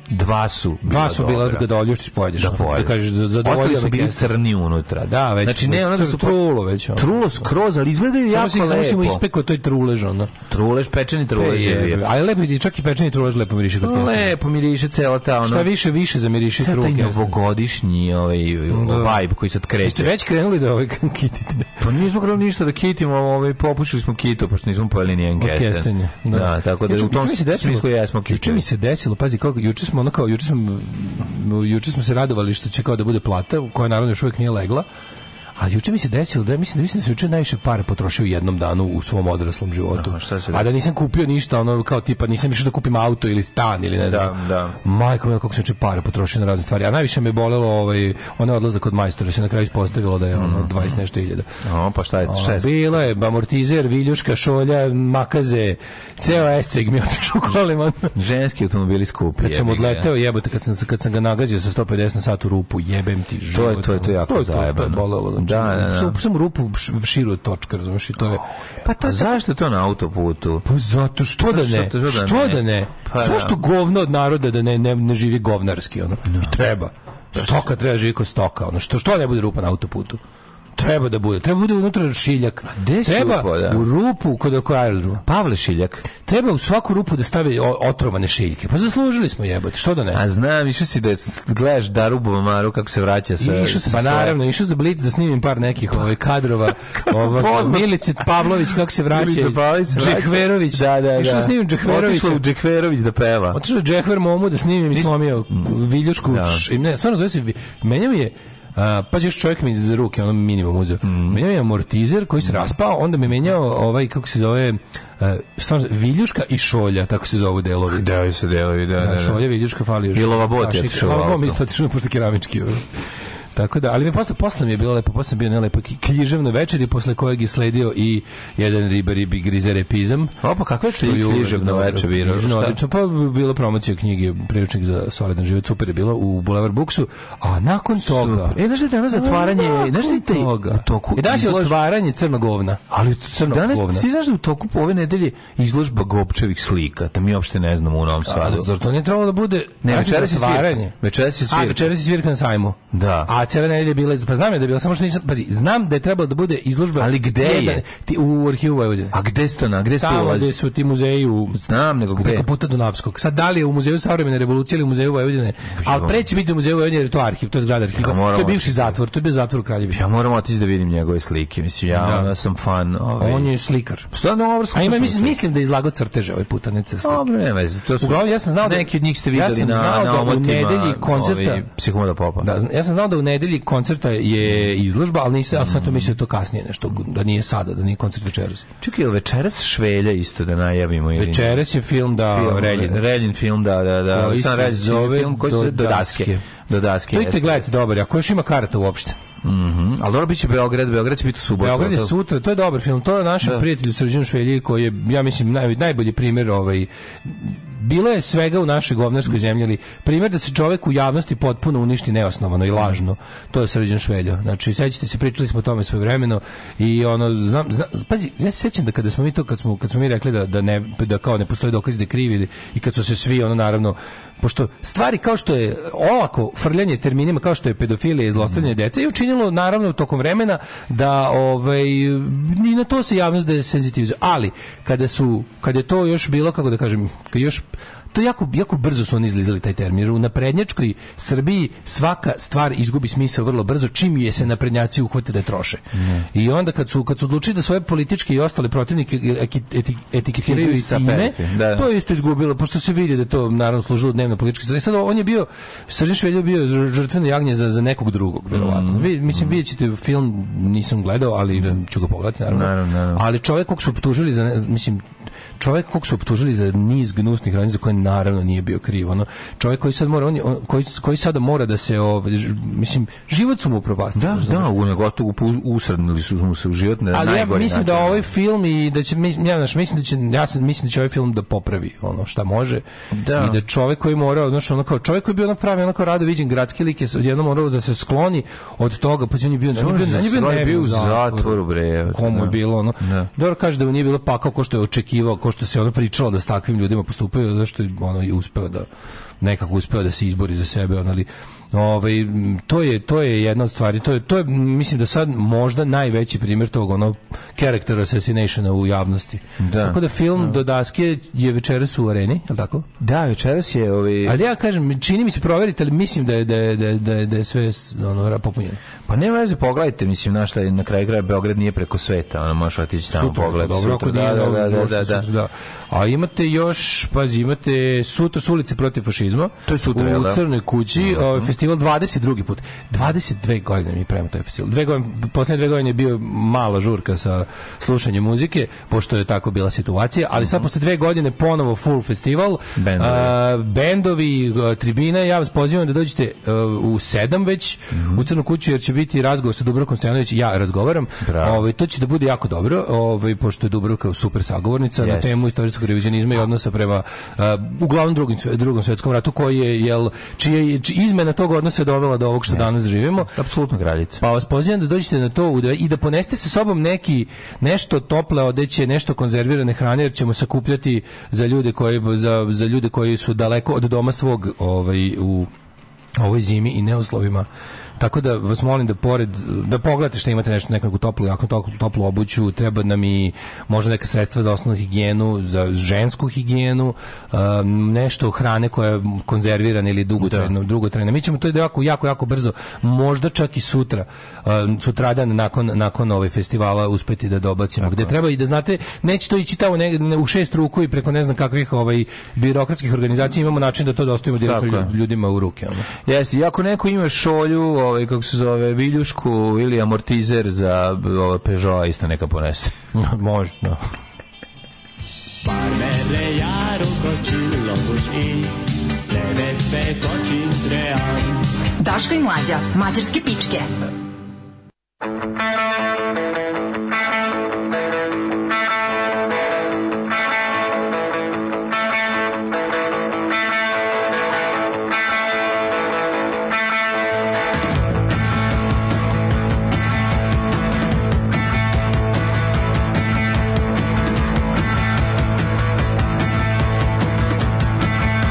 Dva su bila
Dva Pa su bila
dobra.
od da oljuštiš pojedeš.
da
ono,
pojede.
Da kažeš, za-
Ostali
zadovoljava
su bili
kestenje.
crni unutra.
ono Da, već
Znači,
su-
ne, onda
crno-
su...
trulo već, ono.
Trulo skroz, ali izgledaju
Samo
jako
si, samo si mu
lepo.
ispekao toj trulež, ono.
Trulež, pečeni trulež. je, je.
Ali lepo, ide, čak i pečeni trulež lepo miriši kad kestenje.
Lepo miriše cela ta ono...
Šta više, više zamiriši
Cela
trule
taj
kestenje.
novogodišnji ovaj, vibe koji sad
Jeste
kreće.
već krenuli da (laughs) ovaj kitite?
Pa nismo krenuli ništa da kitimo, ovaj, popušili smo kitu, pošto nismo pojeli nijen kesten.
kestenje,
Da.
da.
tako da
Juče-
u tom
juče mi se desilo-
smislu jesmo
Juče mi
kitili.
se desilo, pazi, kako, juče smo ono kao, juče smo, m, juče smo se radovali što će kao da bude plata, koja naravno još uvijek nije legla, a juče mi se desilo da ja mislim da mislim da sam juče najviše pare potrošio u jednom danu u svom odraslom životu.
Aha, šta se
a da
desilo?
nisam kupio ništa, ono kao tipa nisam išao da kupim auto ili stan ili ne znam.
da.
Majko mila, kako sam juče pare potrošio na razne stvari. A najviše me bolelo ovaj onaj odlazak od majstora, se na kraju ispostavilo da je ono
Mhm.
20 nešto hiljada.
O, pa šta je, šta je
A, Bilo je amortizer, viljuška, šolja, makaze, ceo esceg mi je otišao kolima.
Ženski automobili skupi.
Kad sam
jebi ga.
odleteo, jebote, kad sam, se- kad sam ga nagazio sa 150 na sat u rupu, jebem ti život. ono.
to je- to je jako
to, to, to je
zajebano.
bolelo. Znači,
Da, da, da.
Sam, sam rupu š- širu od točka, razumiješ, i to je... Pa to
A
je
zašto je to na autoputu?
Pa zato što da ne,
Zato što da
što
ne.
da ne,
Pa
sve
da.
što govno od naroda da ne, ne, ne živi govnarski, ono, i treba, stoka treba živi kod stoka, ono, što, što ne bude rupa na autoputu, treba da bude, treba da bude unutra šiljak,
gde si
treba
upao, da?
u rupu kod oko aerodroma,
Pavle Šiljak.
treba u svaku rupu da stavi o- otrovane šiljke, pa zaslužili smo jebote, što da ne.
A znam, išao si da gledaš Daru Bubamaru kako se vraća sa...
I išao sam,
sa
pa
svoje-
naravno, išao za Blic da snimim par nekih ovaj, kadrova. Ova,
poznat.
Milice Pavlović, kako se vraća.
Milica Pavlović se vraća.
Džekverović.
Da, Znači, da, da.
Išao da snimim Džekverovića.
Otišla u Džekverović da peva.
Otišao je Džekver momu da snimim i slomio viljušku.
Da.
š- i Ne, stvarno zove se, vi- menjao je a, pa još čovjek mi iz ruke, ono minimum uzeo.
Mhm.
Menjao je amortizer koji se raspao, onda mi menjao ovaj, kako se zove, a, stvarno, viljuška i šolja, tako se zovu delovi.
Deo se delovi, da, da,
Da,
da.
šolja, viljuška, fali još.
I lovabot je
Kašika.
otišao u
Lovabot mi
auto.
isto otišao na pošto keramički. ono. Tako da, ali mi je posle, posle mi je bilo lepo, posle mi je bio nelepo ki- književno večer i posle kojeg je sledio i jedan ribar i bi grizer epizam.
Opa, kakve
Što
ti
je uvek
književno
dobro,
veče biraš,
književno
šta?
odlično. Pa bila promocija knjige Priručnik za solidan život, super je bilo u Boulevard Booksu, a nakon toga...
E, znaš li danas zatvaranje,
Nakon
znaš li taj
toga.
u toku...
E, danas je
izlož-
otvaranje crnog govna.
Ali
crnog
danas,
govna.
ti znaš da u toku ove nedelje izložba Gopčevih slika, da mi uopšte ne znamo u Novom Sadu.
A, Pa, zar to nije trebalo da bude...
Ne,
Danas je
večeras je
zatvaranje.
svirka. Večeras je svirka.
A, večeras je svirka na sajmu.
Da.
A cela nedelja je bila, pa znam ja da je bila, samo što nisam, pazi, znam da je trebalo da bude izložba...
Ali gde
jedan-
je?
Ti, u arhivu Vojvodine.
A gde ste ona, gde ste
Tamo
ulazi?
gde su ti muzeji u...
Znam, nego gde?
Preko puta Dunavskog. Sad, da li je u Muzeju savremene revolucije ili u Muzeju Vojvodine? Ali pre će biti u Muzeju Vojvodine jer je to arhiv, to je zgrada arhiva.
Ja moram
to je bivši
otići.
zatvor, to je bio zatvor u Kraljevi.
Ja moram otići da vidim njegove slike, mislim, ja,
Da.
ja sam fan. Ovaj.
On je slikar.
Stvarno dobro
A ima, mislim,
mislim,
mislim da je izlagao crteže ovaj puta, ne crteže.
Dobro, ne veze, Pa, to su...
Uglavnom, ja sam znao da-
Neki od njih ste
Ja
videli
sam
na,
znao
na
da u
omotima
nedelji koncerta-
ovaj, Psihomoda Popa.
Da, zna- ja sam znao da u nedelji koncerta je izložba, ali nisam, ali sam to mislio da je to kasnije nešto, da nije sada, da nije koncert večeras.
Čekaj, je li večeras Švelja isto da najavimo? Ili ne?
Večeras je film da
Film,
Relje.
Reljin film, da, da, da.
Koji
Aleksandar
se
Reljin
zove
film koji se zove
Do
Do daske.
daske.
Do daske.
To idete
jeste.
gledati dobar, ako još ima karata uopšte.
Mhm. Ali dobro biće Beograd, Beograd će biti u subotu.
Beograd je
jel' to?
sutra, to je dobar film. To je našem prijatelju Srđanu Švelji koji je, ja mislim, naj, najbolji primjer ovaj, bilo je svega u našoj govnarskoj zemlji, ali primjer da se čovjek u javnosti potpuno uništi neosnovano i lažno, to je Srđan Švelja. Znači, sećate se, pričali smo o tome svoje vremeno i ono, znam, znam- pazi, ja se sećam da kada smo mi to, kad smo, kad smo mi rekli da, da, ne, da kao ne postoji dokaz da je krivi ili- i kad su se svi, ono, naravno, pošto stvari kao što je olako frljanje terminima kao što je pedofilija i zlostavljanje
Mhm.
dece je učinilo naravno tokom vremena da ovaj ni na to se javnost da je senzitivizuje. Ali kada su kada je to još bilo kako da kažem, kad je još to jako, jako brzo su oni izlizali taj termin. Jer u naprednjačkoj Srbiji svaka stvar izgubi smisao vrlo brzo čim je se naprednjaci uhvate da je troše.
Mhm.
I onda kad su, kad su odlučili da svoje političke i ostale protivnike eki- eti- etiketiraju i
Sa
time,
periferije, da, da.
to je isto izgubilo, pošto se vidi da je to naravno služilo dnevno politički stvari. Sad on je bio, Srđan Švelja je bio žr- žrtveno jagnje za, za nekog drugog, verovatno.
Mm.
Vi, mislim, vidjet ćete film, nisam gledao, ali ću ga pogledati, naravno.
Naravno, naravno.
Ali čovjek kog su optužili za, ne- mislim, čovjek kog su optužili za niz gnusnih radnji za koje naravno nije bio kriv. Ono, čovjek koji sad mora, on, je- on- koji, koji sada mora da se, ovaj, ž- mislim, život su mu upropastili.
Da,
razumeš?
da, u negotovu usrednili su mu se u život na
ali ja
najgori
mislim da
način.
ovaj film i da će mis- ja znaš, mislim da će ja sam mislim da će ovaj film da popravi ono šta može
Da.
i da čovjek koji mora znači ono kao čovjek koji je bio ono pravi onako rado viđen gradski lik je s- odjednom morao da se skloni od toga pa će on je bio on je bio, on je bio,
on je
nevin
bio u zatvoru, bre. evo,
komu je
da.
bilo ono.
Da.
Dobro kaže da mu nije bilo pakao ko što je očekivao, ko što se ono pričalo da s takvim ljudima postupaju, zato što je ono i uspeo da nekako uspeo da se izbori za sebe, ono, ali ovaj m, to je to je jedna od stvari. To je to je m, mislim da sad možda najveći primjer tog ono character assassinationa u javnosti.
Da.
Tako da film do daske je večeras u areni, je li tako?
Da, večeras je ovaj...
Ali ja kažem, čini mi se proverite, ali mislim da je, da je, da je, da je, da je sve ono, popunjeno.
Pa nema veze, pogledajte, mislim, na šta je na kraju kraja Beograd nije preko sveta, ono, možeš otići tamo
Sutra,
pogledati.
dobro, ako nije,
da,
dobro,
da, da,
možda
da, da.
sutra, A imate još, pazi, imate sutra su ulice protiv fašizma.
To je sutra, jel
U
da? Mhm.
Crnoj kući, ovaj, festival 22. put. 22 godine mi pravimo taj festival. Dve godine, poslednje dve godine je bio mala žurka sa slušanjem muzike, pošto je tako bila situacija, ali sad posle dve godine ponovo full festival.
Mhm. Bendovi.
A, bendovi, a, tribine, ja vas pozivam da dođete a, u sedam već
Mhm.
u Crnu kuću, jer će biti razgovor sa Dubrokom Stojanović, ja razgovaram.
Bravo.
Ovaj, to će da bude jako dobro, ovaj, pošto je Dubrovka super sagovornica na
Jeste.
temu istorijskog revizionizma i odnosa prema uh, uglavnom drugim, sve- drugom svjetskom ratu, koji je, jel, čija je či- izmena tog odnosa je dovela do ovog što danas živimo.
Apsolutno kraljica.
Pa vas pozivam da dođete na to u dve- i da poneste sa sobom neki nešto tople odeće, nešto konzervirane hrane jer ćemo sakupljati za ljude koji za, za ljude koji su daleko od doma svog, ovaj u ovoj zimi i neuslovima. Tako da vas molim da pored da pogledate što imate nešto nekakvu toplu, jako toplu, toplu obuću, treba nam i možda neka sredstva za osnovnu higijenu, za žensku higijenu, um, nešto hrane koja je konzervirana ili dugotrajno, dugotrajna. Mi ćemo to jako, jako, jako brzo, možda čak i sutra, um, sutradan nakon, nakon ove festivala uspeti da dobacimo. Gde treba i da znate, neće to ići tamo neg- ne- u šest ruku i preko ne znam kakvih ovaj, birokratskih organizacija imamo način da to dostavimo direktno
Tako je.
lju- ljudima u ruke. ono.
Jeste, i ako neko ima šolju, ovaj, kako se zove, viljušku ili amortizer za ovaj, Peugeot, isto neka
(laughs)
ponese.
Može, da.
Daška i mlađa, mađarske pičke.
Thank
oh, oh,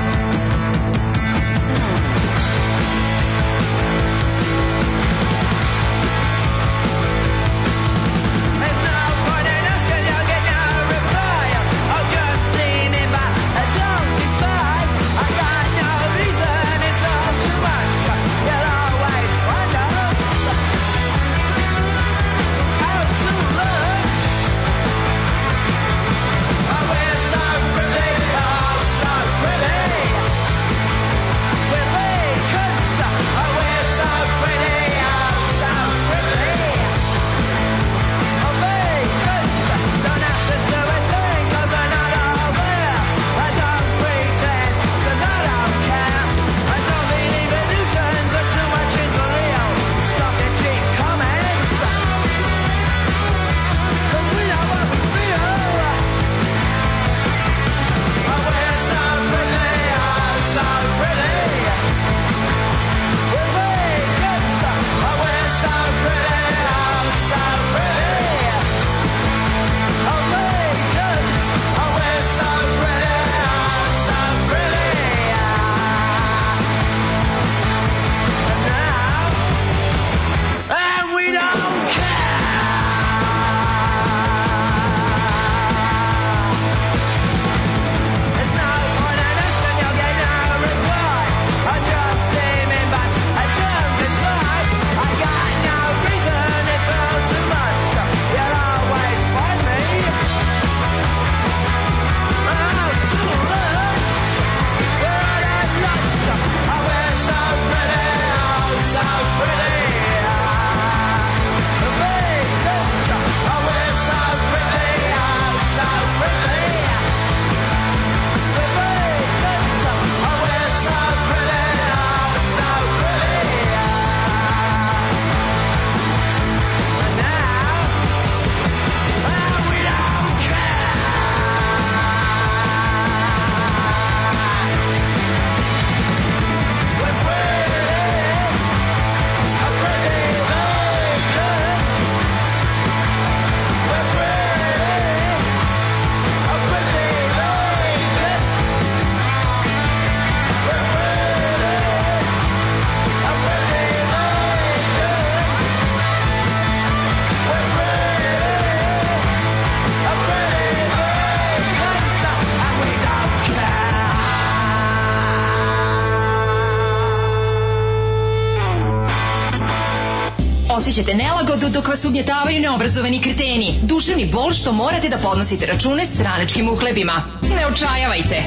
osjećate nelagodu dok vas ugnjetavaju neobrazovani kreteni. Duševni bol što morate da podnosite račune stranačkim uhlebima. Ne očajavajte.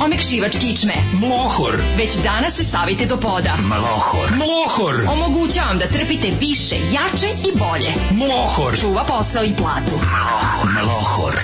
Omekšivač kičme.
Mlohor.
Već danas se savite do poda.
Mlohor. Mlohor.
Omogućavam da trpite više, jače i bolje.
Mlohor.
Čuva posao i platu.
Mlohor. Mlohor.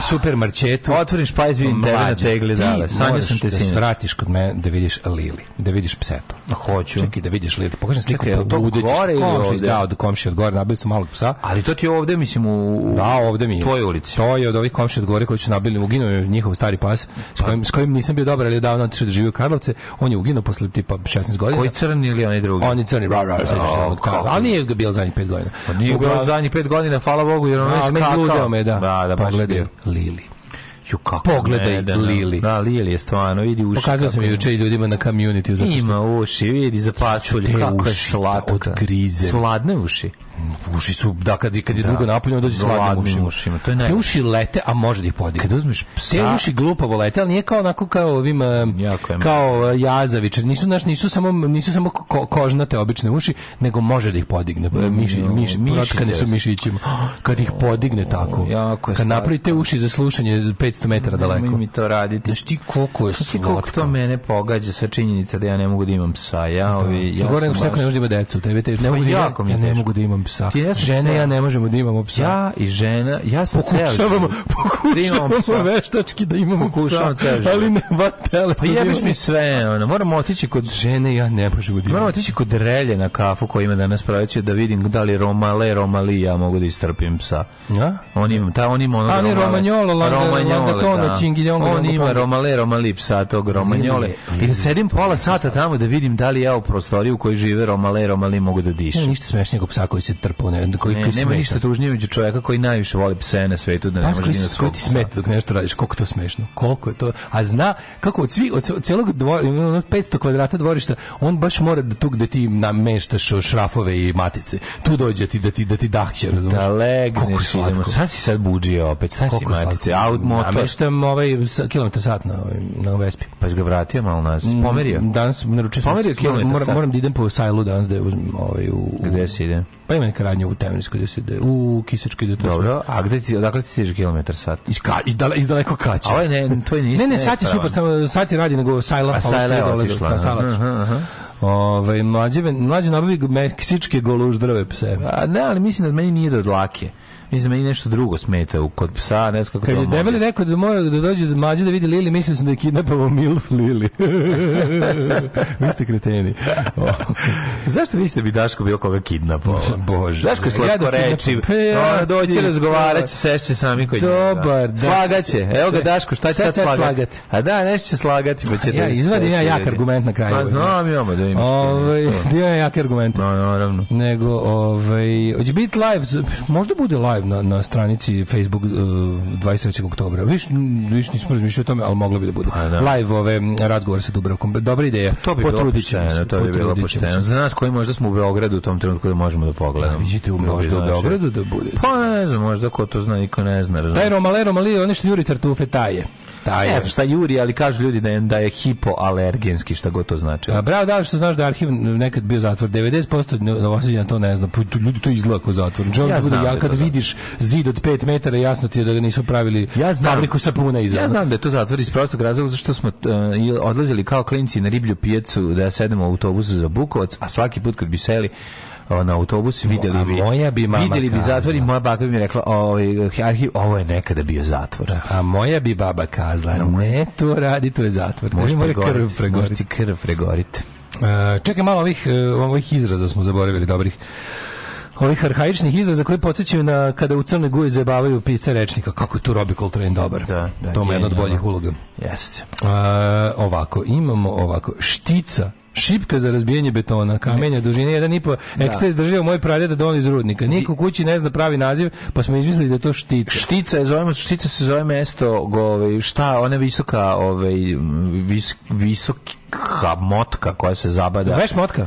supermarketu.
Otvoriš pa izvidim tebe na tegli dale.
Sanio sam te sinoć. Da vratiš kod mene da vidiš Lili, da vidiš pseto.
Hoću.
Čekaj da vidiš Lili. Pokažem sliku
Čekaj,
po
bude gore ili
komšija
ovde?
da od komšije od gore nabili su malog psa.
Ali to ti je ovde, mislim, u...
Da, ovde mi je.
Tvojoj ulici.
To je od ovih komšija od gore koji su nabili, uginuo je njihov stari pas s kojim, s kojim nisam bio dobar, ali je davno otišao da živi u Karlovce. On je uginuo posle tipa 16 godina.
Koji crni ili onaj drugi?
On je crni, ra, ra, ra,
O, kako?
ali nije ga bilo zadnjih 5 godina.
Pa Nije bilo
Uglavnom-
zadnjih pet godina, hvala Bogu, jer ono je
Ali me
skakao.
izludeo me, da.
Da, da, baš je
Pogledaj
bio.
Lili.
Ju, kako
Pogledaj
ne, da,
Lili.
Da, Lili je stvarno, vidi uši.
Pokazao sam
kako
je juče i ljudima na community zato što
Ima uši, vidi za pasulje,
Te
kako je
uši
slatka.
od grize.
Su ladne uši.
uši su da kad kad je
Da.
dugo napunjeno dođe sladnim
Gladnim
ušima.
ušima, to je najgore.
Te uši lete, a može da ih
E,
podigne. Kad uzmeš psa, te uši glupavo lete, ali nije kao onako kao ovim em,
Jako je
kao e, jazavičar. Nisu znaš, nisu samo nisu samo ko, kožnate obične uši, nego može da ih podigne. Miši, miši,
mišice.
protkane su mišićima. (gasps) Kad ih podigne tako.
jako je
Kad
slatko.
napravite uši za slušanje 500 metara
Nemoj
daleko.
mi to raditi.
Znaš ti koliko je
Znači koliko to
slatko.
mene pogađa sa činjenica da ja ne mogu da imam psa. Ja, ovi, ja
to gore
sam
nego što neko
baš-
ne može da ima decu, tebi te, ne
Pa
mogu da, ja,
jako mi je
ja ne
teško.
mogu da imam psa.
Ti ne znaš
Žene
psa.
ja ne možemo da imamo psa.
Ja i žena, ja sam ceo
Pokušavamo,
život- da imamo
pokušavamo
psa.
veštački da imamo
Pokušavam
psa,
ceo život.
ali ne van
Pa
telesno. da
jebiš
imamo
mi
psa.
sve, ono, moram otići kod
Žene ja ne možemo da
Moramo
imamo.
otići kod relje na kafu koji ima danas praveći da vidim da li Romale, Romali ja mogu da istrpim psa.
Ja?
On ima, ta, on ima ono
A, ne, Romagnolo, Langa- Langatono, Čingiljongo,
On
Langopongo.
ima Romale, Romali psa tog Romagnole. I da sedim pola sata tamo da vidim da li ja u prostoriju u kojoj žive Romale, Romali mogu da
Nema
dišem.
ništa smešnijeg od psa koji se trpa, ne, koji,
Ne,
koji
nema
smeta.
ništa tužnije među čovjeka koji najviše voli pse na svetu da ne
Pas
može da
koji,
ima
koji
svog
ti
psa.
smeta dok nešto radiš, koliko je to smešno, koliko je to, a zna kako od, svi, od, ce- od celog dvora, ima ono 500 kvadrata dvorišta, on baš mora da tu gde ti nameštaš šrafove i matice, tu dođe ti da ti, da ti dahće, razumiješ?
Da
Koliko je
legneš,
slatko.
idemo. Sada si sad buđio opet, sada si
Koliko je
matice,
slatko.
aut motor.
Nameštam ovaj sa- kilometar sat na, ovaj, na Vespi.
Pa si ga vratio malo nazad,
Mm,
pomerio.
Danas naručio sam,
Pomerio
s-
kilometar
moram,
sat.
moram da idem po sajlu danas da je uzmem ovaj, u, u-
Gde si ide?
pa ima neka radnja u Temrinskoj, gde se ide, u Kisačkoj, gde to sve.
Dobro, a gde ti, odakle ti stiže kilometar sat?
Iz, ka, iz, dale, iz daleko kaća.
A ovo je ne, e, to je ništa.
Ne, ne, sad je super, samo sad je radi nego Sajla
A
pa
Sajla je otišla.
Pa, Sajla je otišla. Ovaj mlađe mlađe nabavi meksičke goluždrave pse.
A Pa ne, ali mislim da meni nije do dlake. Mislim da meni nešto drugo smeta u kod psa, ne znam kako
Kad
to
je
mogu.
debeli rekao da mora da dođe do mlađe da vidi Lili, mislio sam da je kidnapao Milf
(laughs)
Lili. vi ste kreteni.
(laughs) Zašto mislite bi Daško bilo koga kidnapao?
Bože.
Daško je
Ja
slatko
da
reči.
kidnapam- Pa ja
Ona doći
ti- pa.
razgovarat će, sešće sami kod njega.
Dobar, da.
Slagaće. Evo ga Daško, šta će
Šta
sad
će sad
slagati?
slagat?
A da, nešto će slagati, pa će...
Ja
da-
izvadim ja jak
ljudi.
argument na kraju.
Pa znam, imamo da imaš. ti
Ovaj (laughs)
nešto.
dio je jak argument.
No, naravno.
nego ovaj hoće biti live možda bude live na, na stranici Facebook eh, 23. oktobra viš viš nismo razmišljali o tome ali moglo bi da bude
Pa da.
live ove m, razgovor sa Dubravkom dobra ideja
To bi bilo
Potrudit ćemo
pošteno,
se,
to bi bilo
potrudit ćemo
pošteno.
se. Pa
Za nas koji možda smo u Beogradu u tom trenutku da možemo da pogledamo.
Vidite, u-
Bilo bi
možda u
značajno.
Beogradu da bude.
Pa ne znam, možda ko to zna, niko ne zna. razumeš?
taj Romale Romali oni što juri tartufe taje taje
Ne znam šta juri, ali kažu ljudi da je, da je hipoalergenski, šta god to znači.
A bravo, da li što znaš da je arhiv nekad bio zatvor? 90% no- novosađena to ne zna. Pa tu- Ljudi to izgleda kao zatvor. Džon,
Ja
ja,
znam da
ja
je
kad
to zatvor.
vidiš zid od 5 metara, jasno ti je da ga nisu pravili
Ja znam.
fabriku sapuna iza.
Ja znam da je to zatvor iz prostog razloga zašto smo t- e, odlazili kao klinci na riblju pijacu da sedemo u autobusu za Bukovac, a svaki put kad bi seli o, na autobus videli
a
bi
moja bi mama
videli bi zatvor i
kazala.
moja baka bi mi rekla ovaj arhiv ovo je nekada bio zatvor
A moja bi baba kazala, ne to radi, to je zatvor. Možeš mora krv
može
pregoriti.
ti krv pregoriti
E, čekaj malo ovih, e, ovih izraza smo zaboravili, dobrih. Ovih arhaičnih izraza koji podsjećaju na kada u Crnoj Guji zabavaju pisca rečnika. Kako je tu Robbie Coltrane dobar.
Da, da,
to mu je jedna od
genijalno.
boljih uloga.
jeste
E, ovako, imamo ovako, štica, šipka za razbijanje betona, kamenja, dužine 1,5, ekstra je izdržio moj pradeda da on iz rudnika. Niko u kući ne zna pravi naziv, pa smo izmislili da je to štica.
Štica je zovemo, štica se zove mesto, go- ovaj šta, ona visoka, ovaj vis, visoka motka koja se zabada.
Veš motka?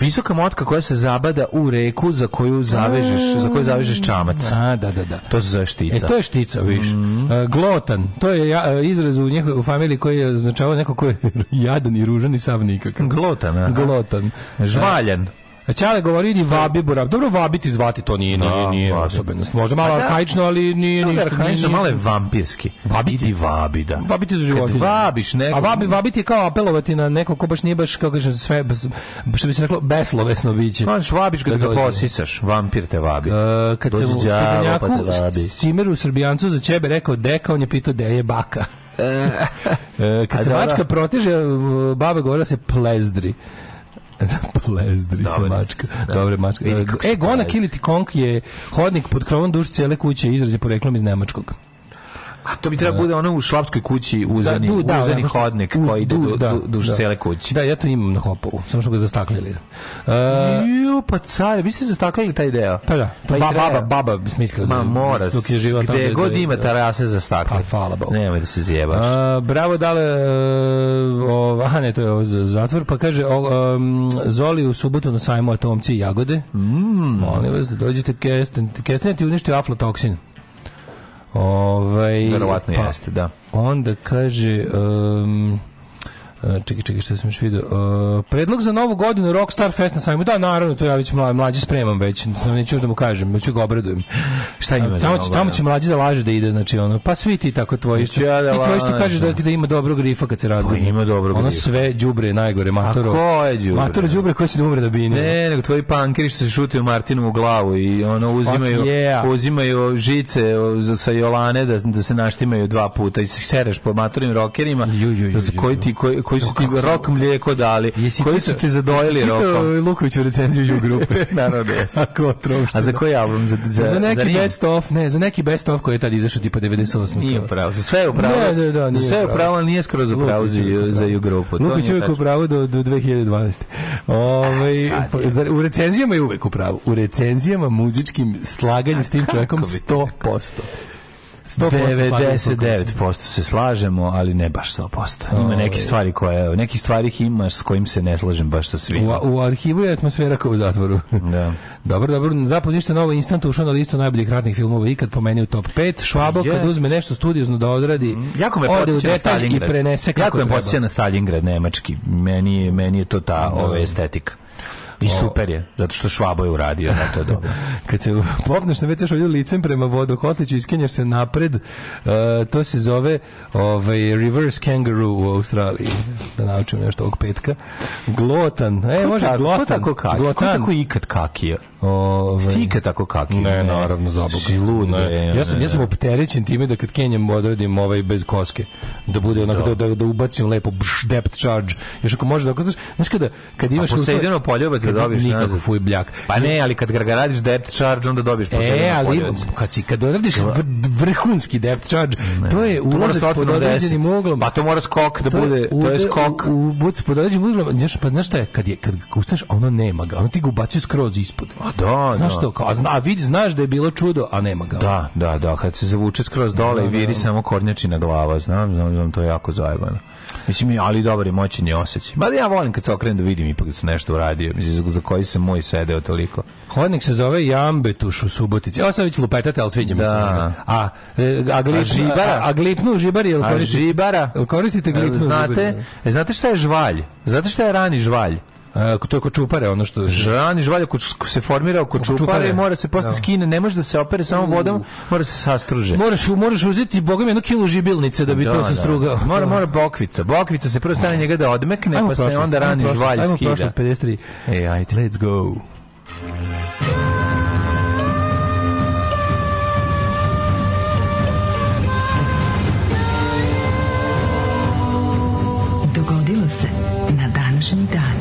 Visoka motka koja se zabada u reku za koju zavežeš, za koju zavežeš čamac.
A, da, da, da.
To se zove štica.
E, to je štica,
Mhm.
viš. E, glotan, to je ja- e, izraz u njihovoj u familiji koji je označavao neko ko je (laughs) jadan i ružan i sav nikakav.
glotan, aha.
Glotan.
Žvaljan.
E, Ćale govori idi vabi burab. Dobro, vabiti zvati to nije, nije,
Da,
nije
vabi.
osobenost. Možda malo
Pa da.
arhaično, ali nije
Samo da
ništa.
je arhaično,
nije-
malo je vampirski.
Vabiti?
Idi vabi, da.
Vabiti za životinje.
Kad vabiš nekog...
A vabi, vabiti je kao apelovati na neko ko baš nije baš, kako kažem, sve, bez- što bi se reklo, beslovesno biće.
Možeš vabiš kad
Da
ga
dođe.
posisaš. Vampir te vabi.
E, kad
Dođe
sam u
đavo, pa te
Studenjaku
vabi.
s- Cimeru Srbijancu za ćebe rekao deka, on je pitao gde je baka. (laughs) E,
A
kad se
da,
mačka
da.
proteže, e, baba govorila se plezdri. (laughs) plezdri se
Dobar
mačka.
izraz, da.
Dobre mačka.
Vidi
E,
kako se
E, gonak
plezdri.
ili ti konk je hodnik pod krovom duš cijele kuće izraz je poreklom iz nemačkog.
A to bi trebalo bude ono u šlapskoj kući uzani,
du- da,
uzani
onako što-
hodnik
uz-
koji ide
du-
du,
da,
du, duž
da.
cele kući.
Da, ja to imam na hopovu, samo što ga zastaklili. Uh,
Jo, pa car, vi ste zastaklili taj deo.
pa da, to
Taj
ba,
kraj.
baba, baba smislila.
Ma
da-
mora,
dok je živa tamo
gde
da-
god
da-
ima
da-
tarase za stakle.
Pa, hvala Bogu.
Nemoj da se zjebaš.
A, bravo, dale, e, o, aha, ne, to je ovo za zatvor, pa kaže, o, em, Zoli u subotu na sajmu atomci i jagode. Mm. Molim vas, da dođete kesten, kesten ti uništio aflatoksin. Ovaj,
Verovatno
pa,
jeste, da.
Onda kaže... em, e, čekaj, čekaj, šta sam još vidio. E, predlog za novu godinu Rockstar Fest na sajmu. Da, naravno, to ja već mla, mlađi spremam već. Samo neću još da mu kažem, već ga obradujem.
Šta ima za
Tamo
novu
će, tamo
godinu?
će mlađi da laže da ide, znači ono. Pa svi ti tako tvoji. Što,
Neću ja da
I tvoji što
lažem. Pa
kažeš da, da ima dobrog grifa kad se razgovara.
ima dobrog
Ono
grifa.
sve đubre je najgore, matoro.
ko je đubre?
Matoro đubre koji će da umre da bini.
Ne, nego tvoji pankeri što se šutaju Martinu u glavu i ono uzimaju,
Fuck yeah.
uzimaju žice o, za- sa Jolane da, da se naštimaju dva puta i se sereš po matorim rokerima
Ju, ju, ju,
da su-
ju,
koji,
ju.
ti, koji, koji su ti
kako sam-
rok mlijeko dali,
Jesi
koji
čitao-
su ti zadojili
jesi čitao
rokom.
Lukovićevu recenziju (laughs) Ju grupe.
(laughs) Naravno da jesam.
Ako
A za koji album? Za, za,
za neki
Rim?
best of, ne, za neki best of koji je tad izašao tipa 98.
Nije
kao.
upravo, za sve je upravo.
Ne, da, da,
za
nije
sve je
upravo.
upravo, ali nije skroz upravo za,
Lukić je
za ju grupu.
upravo. Lukić je uvek u pravu do, do 2012. Ove,
E, sad je.
Ovaj, u recenzijama je uvek u pravu. U recenzijama muzičkim slaganje s tim čovjekom 100%. 100% slaganje s Lukovićem.
99% se slažemo, ali ne baš 100%. Ima neke stvari koje, neki stvari ih imaš s kojim se ne slažem baš sa svim.
U, u arhivu je atmosfera kao u zatvoru.
Da.
dobro, dobro, zapad ništa novo, instant ušao na listu najboljih ratnih filmova ikad po meni u top 5. Švabo kad
Jest. Mm,
uzme nešto studiozno da odradi,
Jako me
ode u
podsjeća na
detalj i
Stalingrad.
prenese kako
jako me
treba.
podsjeća na Stalingrad nemački. Meni je, meni je to ta ove estetika. I super je, zato što Švabo je uradio, na to je dobro.
(laughs) Kad se popneš na WC šolju licem prema vodokotliću i skenjaš se napred, e, to se zove ovaj, reverse kangaroo u Australiji. Da naučim nešto ovog petka. Glotan. E, može
Tako-
glotan.
Ko tako kaki? Ko
Glotan.
tako ikad kakio?
Ovaj.
Ti ikad tako kakio?
Ne, naravno, za Boga.
Si lud,
Ne.
bre,
Ja sam,
ne,
ja sam
ne.
opterećen time da kad Kenjam odradim ovaj bez koske, da bude onako, da, da, da ubacim lepo bš, depth charge. Još ako može da, znaš, znaš kada, kad imaš... uslove-
Poseidonov poljubac da
Kad-
dobiješ
Nikako,
nazad.
fuj bljak.
Pa ne, ali kad ga radiš depth charge, onda dobiješ Poseidonov
E, ali
poljubac.
kad si kad odradiš vr- vrhunski depth charge, to je
To mora sa
ulazak pod
ocenom 10.
određenim uglom.
Pa to mora skok da bude, to je
ude-
skok.
U, u, buc pod određenim uglom, znaš, pa znaš šta je, kad, je, kad ga ustaneš, a ono nema ga, ono ti ga ubacio skroz ispod.
A da,
znaš
da.
to, kao, a, zna, a vidi, znaš da je bilo čudo, a nema ga.
Da, da, da, kad se zavuče skroz dole i viri samo kornjačina glava, znam, znam, znam, to je jako zajebano. Mislim, i- ali dobar je moćan i osjećaj. Mada ja volim kad se okrenem da vidim ipak da sam nešto uradio, mislim, za, za koji sam moj sedeo toliko.
Hodnik se zove Jambetuš u Subotici. Ovo sad već lupetate, ali sviđa mi se.
Da.
A, e, a, glip,
A žibara?
A, a glipnu žibari, jel
A
koristite-
žibara?
jel koristite glipnu
Znate, e, znate šta je žvalj? Znate šta je rani žvalj?
E, to je ko čupare, ono što...
Rani žvalj ako ču- se formira oko
Oko čupare.
čupare, mora se posle
Da.
skine, ne može da se opere samo vodom, mora se sastruže.
Moraš, moraš uzeti, boga mi, jednu kilu žibilnice da bi to se strugao.
Mora, mora bokvica. Bokvica se prvo stane njega da odmekne,
Ajmo
pa se
prošlost,
onda
ajmo
rani
prošlost,
žvalj
Ajmo
skida.
prošlost 53.
Ej, ajde.
Let's go.
Dogodilo se na današnji dan.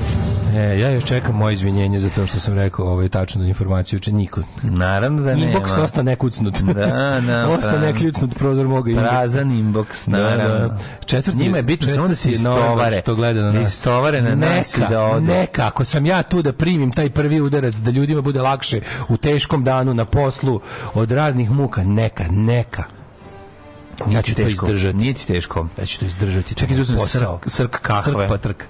E, ja još čekam moje izvinjenje za to što sam rekao ovaj, tačnu informaciju, uče niko.
Naravno da nema.
Inbox osta nekucnut.
Da,
(laughs)
da,
osta
prazan.
nekucnut prozor moga inboxa.
Prazan inbox,
Da, da.
naravno.
Četvrti,
Njima je bitno samo da se
četvrti je novinar
istovare.
Što gleda na
Da
nas.
istovare na nas i
neka,
da odu.
Neka, ako sam ja tu da primim taj prvi udarac, da ljudima bude lakše u teškom danu, na poslu, od raznih muka, neka, neka. Ja ću to
Teško.
izdržati.
Nije ti teško.
Ja ću to izdržati.
Čekaj, tu sam
Posrao.
srk- srk kahve.
Srk pa trk.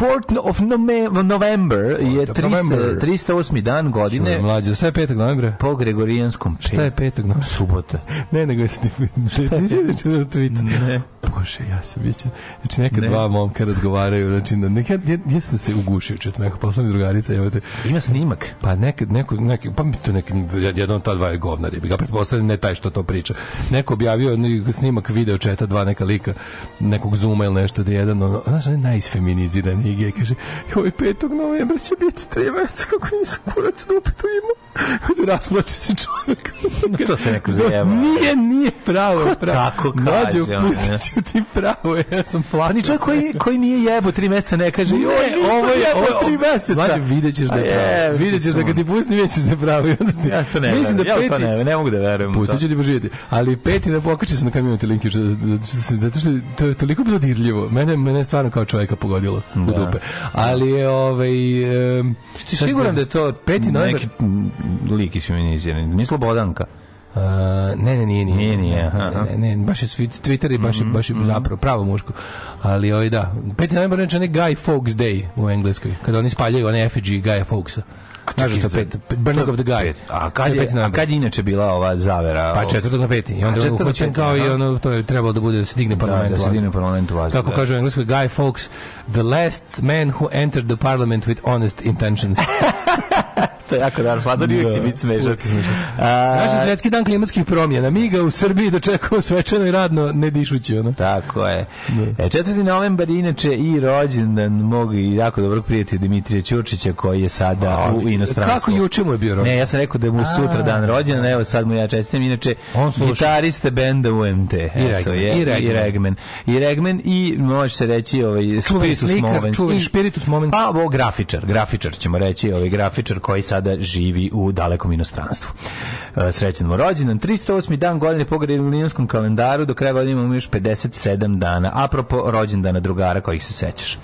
4th of Nome- November je 300,
November.
308. dan
Ne,
godine
mlađe, sve je petak novembra.
po Gregorijanskom.
Šta je petak novembra?
Subota.
Ne, nego jesi ti nisi vidio na tweet.
Ne.
Bože, ja sam biće. Znači, neka
Ne.
dva momka razgovaraju. Znači, na- neka, ja, ja sam se ugušio čet neko, posla mi drugarica, evo te.
Ima snimak.
Pa nekad, neko, neki, pa mi to neki, jedan od ta dva je govnar, bi ga pretpostavljam, ne taj što to priča. Neko objavio jedan snimak video četa, dva neka lika, nekog zuma ili nešto, da je jedan, ono, znaš, onaj najisfeminiziraniji žene i gej, kaže, joj, 5. novembra će biti tri meseca kako nisam kurac u dupetu imao. Rasplače se čovjek.
(laughs) To se neko zajeba.
Nije, nije pravo, pravo.
tako kaže,
Mlađo,
ono,
pustit
ne?
ću ti pravo, ja sam plaćao.
Ni čovjek koji, koji nije jebo tri meseca ne kaže, joj,
Ne,
ovo je, ovo je
tri meseca. Mlađe, vidjet ćeš da
A
je
je,
pravo. Vidjet ćeš da kad ti pustim, vidjet ćeš da je pravo. I onda ti,
Ja to ne
mislim da
verujem, ja
peti,
to ne, ne mogu da verujem. u to.
Pustit ću ti poživjeti. Ali peti ne pokače se na kamionu te linkiš, zato što je to je toliko bilo dirljivo. Mene, mene je stvarno kao čovjeka pogodilo u dupe. Ali je ovaj... em,
Ti
sad
siguran
znam,
da je to
peti novembar?
Neki m, lik isfeminiziran. Ni Slobodanka.
A, ne, ne, nije, nije.
Nije, nije,
Ne,
aha. Mhm,
Ne, ne, ne, baš je svi- Twitter i baš, je- baš je zapravo pravo muško. Ali ovaj da. 5. novembar je onaj Guy Fawkes Day u Engleskoj, kada oni spaljaju onaj effigy Guy Fawkesa. Znaš da je to
čekaj,
pet, Burning of the Guy.
A kad
To
je,
peti novembar.
a kad je inače bila ova zavera?
Pa
Ovo-
četvrtog na peti. I
A,
onda je
četvrtog na
uhvaćen
peti,
kao i
aha.
ono, to je trebalo da bude da se digne parlament.
da se
vlada.
digne parlament vlada,
Kako
da.
kaže u engleskoj Guy Fawkes, the last man who entered the parliament with honest
(laughs)
intentions.
To je jako dar. Fazor uvijek će biti smešan.
Naš je
A,
svetski dan klimatskih promjena. Mi ga u Srbiji dočekamo svečano i radno, ne dišući ono.
Tako je. E, 4. novembar je inače i rođendan mog i jako dobrog prijatelja Dimitrija Ćurčića koji je sada u inostranstvu.
Kako juče mu je bio rođendan?
Ne, ja sam rekao da je mu sutra dan rođendan, evo sad mu ja čestitam. Inače,
On sluša.
gitariste benda UMT. I
Regmen,
Je,
i Regmen.
I Regmen. I Regmen i može se reći ovaj,
Čuveni
Spiritus
slikar,
Movens.
čuveni
I-
Spiritus Movens.
Pa, ovo grafičar, grafičar ćemo reći, ovaj grafičar koji sada živi u dalekom inostranstvu. E, Srećan mu rođendan. 308. dan godine po gregorijanskom kalendaru, do kraja godine imamo još 57 dana. Apropo rođendana drugara kojih se sećaš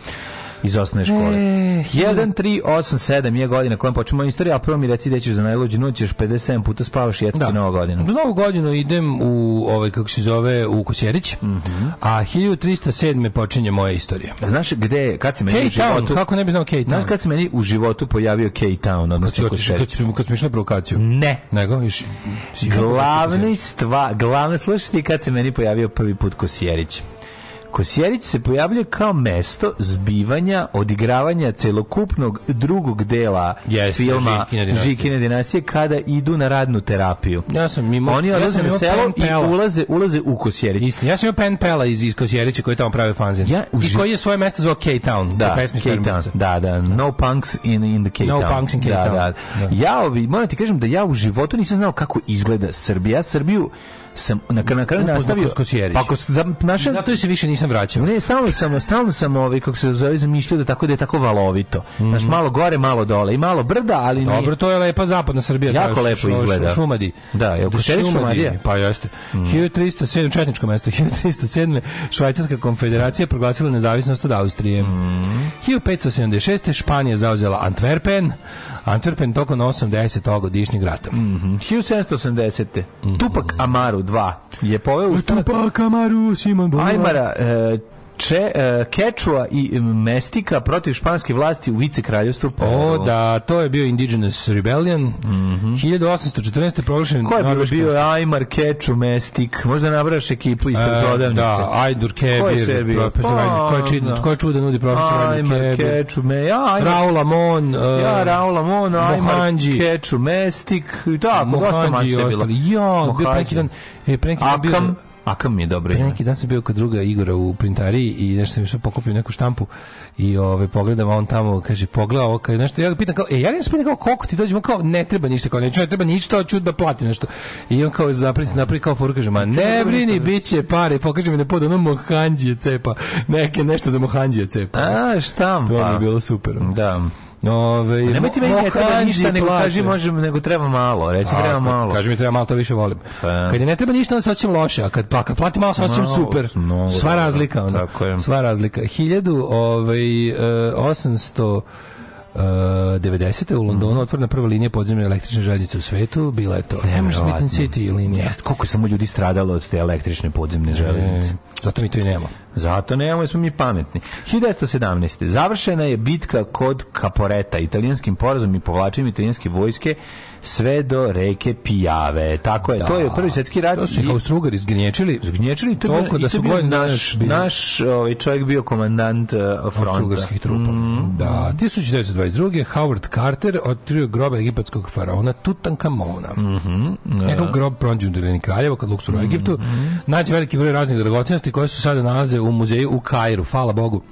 iz osnovne škole.
Eh,
1387 je godina kojom počinemo istoriju, a prvo mi reci da ćeš za najluđu noć, još 57 puta spavaš i eto ti nova godina.
U novu godinu idem u, ovaj, kako se zove, u Kusjerić,
Mhm.
a 1307. počinje moja istorija.
Znaš gde, kad se meni u
K-Town,
životu...
kako ne bi znao
Znaš
K-Town?
kad se meni u životu pojavio K-Town,
Kad si
odnosno
otišao, kad
Košerić?
si- kad si išao na provokaciju?
Ne.
Nego, iš... si išao na
Mm. Glavni stva, glavna slušati kad se meni pojavio prvi put Kosjerić. Kosjerić se pojavljuje kao mesto zbivanja, odigravanja celokupnog drugog dela
Jeste,
filma
Žikine dinastije.
Žikine dinastije kada idu na radnu terapiju.
Ja sam imao-
Oni
ja
odlaze
sam
na
imao
selo i
Penpela.
ulaze, ulaze u Kosjerić.
Istina, ja sam imao Pen Pela iz, iz Kosjerića koji je tamo pravio fanzin.
Ja u
I
živ-
koji je svoje mesto zvao K-Town.
da,
po pesmi
K-Town,
Hermanca.
da, da, no punks in, in the K-Town.
No punks in K-Town.
Da,
Da.
da. Ja ovi, moram ti kažem da ja u životu nisam znao kako izgleda Srbija. Ja Srbiju sam na, na kraju
Upoznao
nastavio.
kroz Kosjerić.
Pa kroz, za, našao-
Zato se više nisam vraćao.
Ne, stalno sam, stalno sam ovaj, kako se zove, zamišljao da tako da je tako valovito. Znaš, malo gore, malo dole i malo brda, ali nije.
Mhm. Dobro, to je lepa zapadna Srbija.
Jako
to je
lepo izgleda.
Šumadi.
Da, je Mm. li Košerić Šumadija?
Pa jeste. 1307, četničko mesto, (laughs) 1307. Švajcarska konfederacija proglasila nezavisnost od Austrije.
Mm.
1576. Španija zauzela Antwerpen. Antwerpen tokom 8-10 godišnjeg rata.
Mm. 1780. Tupak Amaru 2 je poveo ustanak
Mhm. Amaru, Simon
Ajmara, e, Če, e, Kečua i Mestika protiv španske vlasti u vice kraljevstvu.
O, da, to je bio Indigenous Rebellion. 1814. proglašen
Mhm.
E,
Ko je bio,
norveški-
bio Ajmar, Keču, Mestik? Možda nabraš ekipu ispred
E,
prodavnice.
Da, Ajdur
Ko je sve
Kebir,
bio?
profesor
Pa,
Ajdur, ko je čin-
da.
ko je čuda nudi profesor
Ajmar,
Ajdur Kebir.
Keču, me, ja, Ajmar,
Raul Amon, uh,
Ja, Raul Amon, Ajmar,
Mohanđi.
Keču, Mestik, da, pa dosta
Mohanđi
mače
i
je bilo.
ostali. Ja, bio
Mohanđi.
pre neki dan, e, pre neki dan bio-
Akam, Akam mi je dobro
pre
ime.
neki dan sam bio kod druga Igora u printariji i nešto sam išao pokupio neku štampu i ove, pogledam, a on tamo kaže, pogleda ovo, kaže, nešto, ja ga pitam kao, e, ja ga pitam kao, koliko ti dođemo, kao, ne treba ništa, kao, neću, ne treba ništa, hoću da platim nešto. I on kao, napravi se, napravi kao foru, kaže, ma ne brini, bit će pare, pokaže mi na pod, ono mohanđije cepa, neke, nešto za mohanđije cepa.
A,
To mi
štampa.
je bilo super.
Pa.
ono.
Da.
Ove,
Nemoj ti meni ne treba
Mohanđi
ništa, nego
plače.
kaži, možem, nego treba malo, reci
A,
treba
kad-
malo.
Kaži mi treba malo, to više volim.
Pa.
Kad je ne treba ništa, onda se osjećam loše, a kad, pa, kad platim malo, se osjećam
Malo,
super.
mnogo,
Sva
da,
razlika, ono.
tako je.
Sva razlika. 1000, ovaj, e, 800 90. u
Mm.
Londonu otvorena prva linija podzemne električne željeznice u svetu, bila je to Hammersmith
Neverovatno.
and City linija.
Jeste, koliko je samo ljudi stradalo od te električne podzemne železnice.
E, Zato mi to i nema.
Zato nemamo, jer smo mi pametni. 1917. Završena je bitka kod Kaporeta, italijanskim porazom i povlačenjem italijanske vojske sve do reke Pijave. Tako je, to je prvi svjetski rat.
To su ih
i-
Austrugari zgnječili.
Zgnječili, to je
Toliko da
bio, i to je
su
bio
godinu dana
naš,
bili.
naš ovaj, čovjek bio komandant eh, fronta.
Austrugarskih trupa. Da, 1922. Howard Carter otkrio grob egipatskog faraona Tutankamona. Njegov grob pronađen u Dolini Kraljeva kod Luksora u Egiptu. Nađe veliki broj raznih dragocenosti koje su sada nalaze u muzeju u Kairu. Hvala Bogu.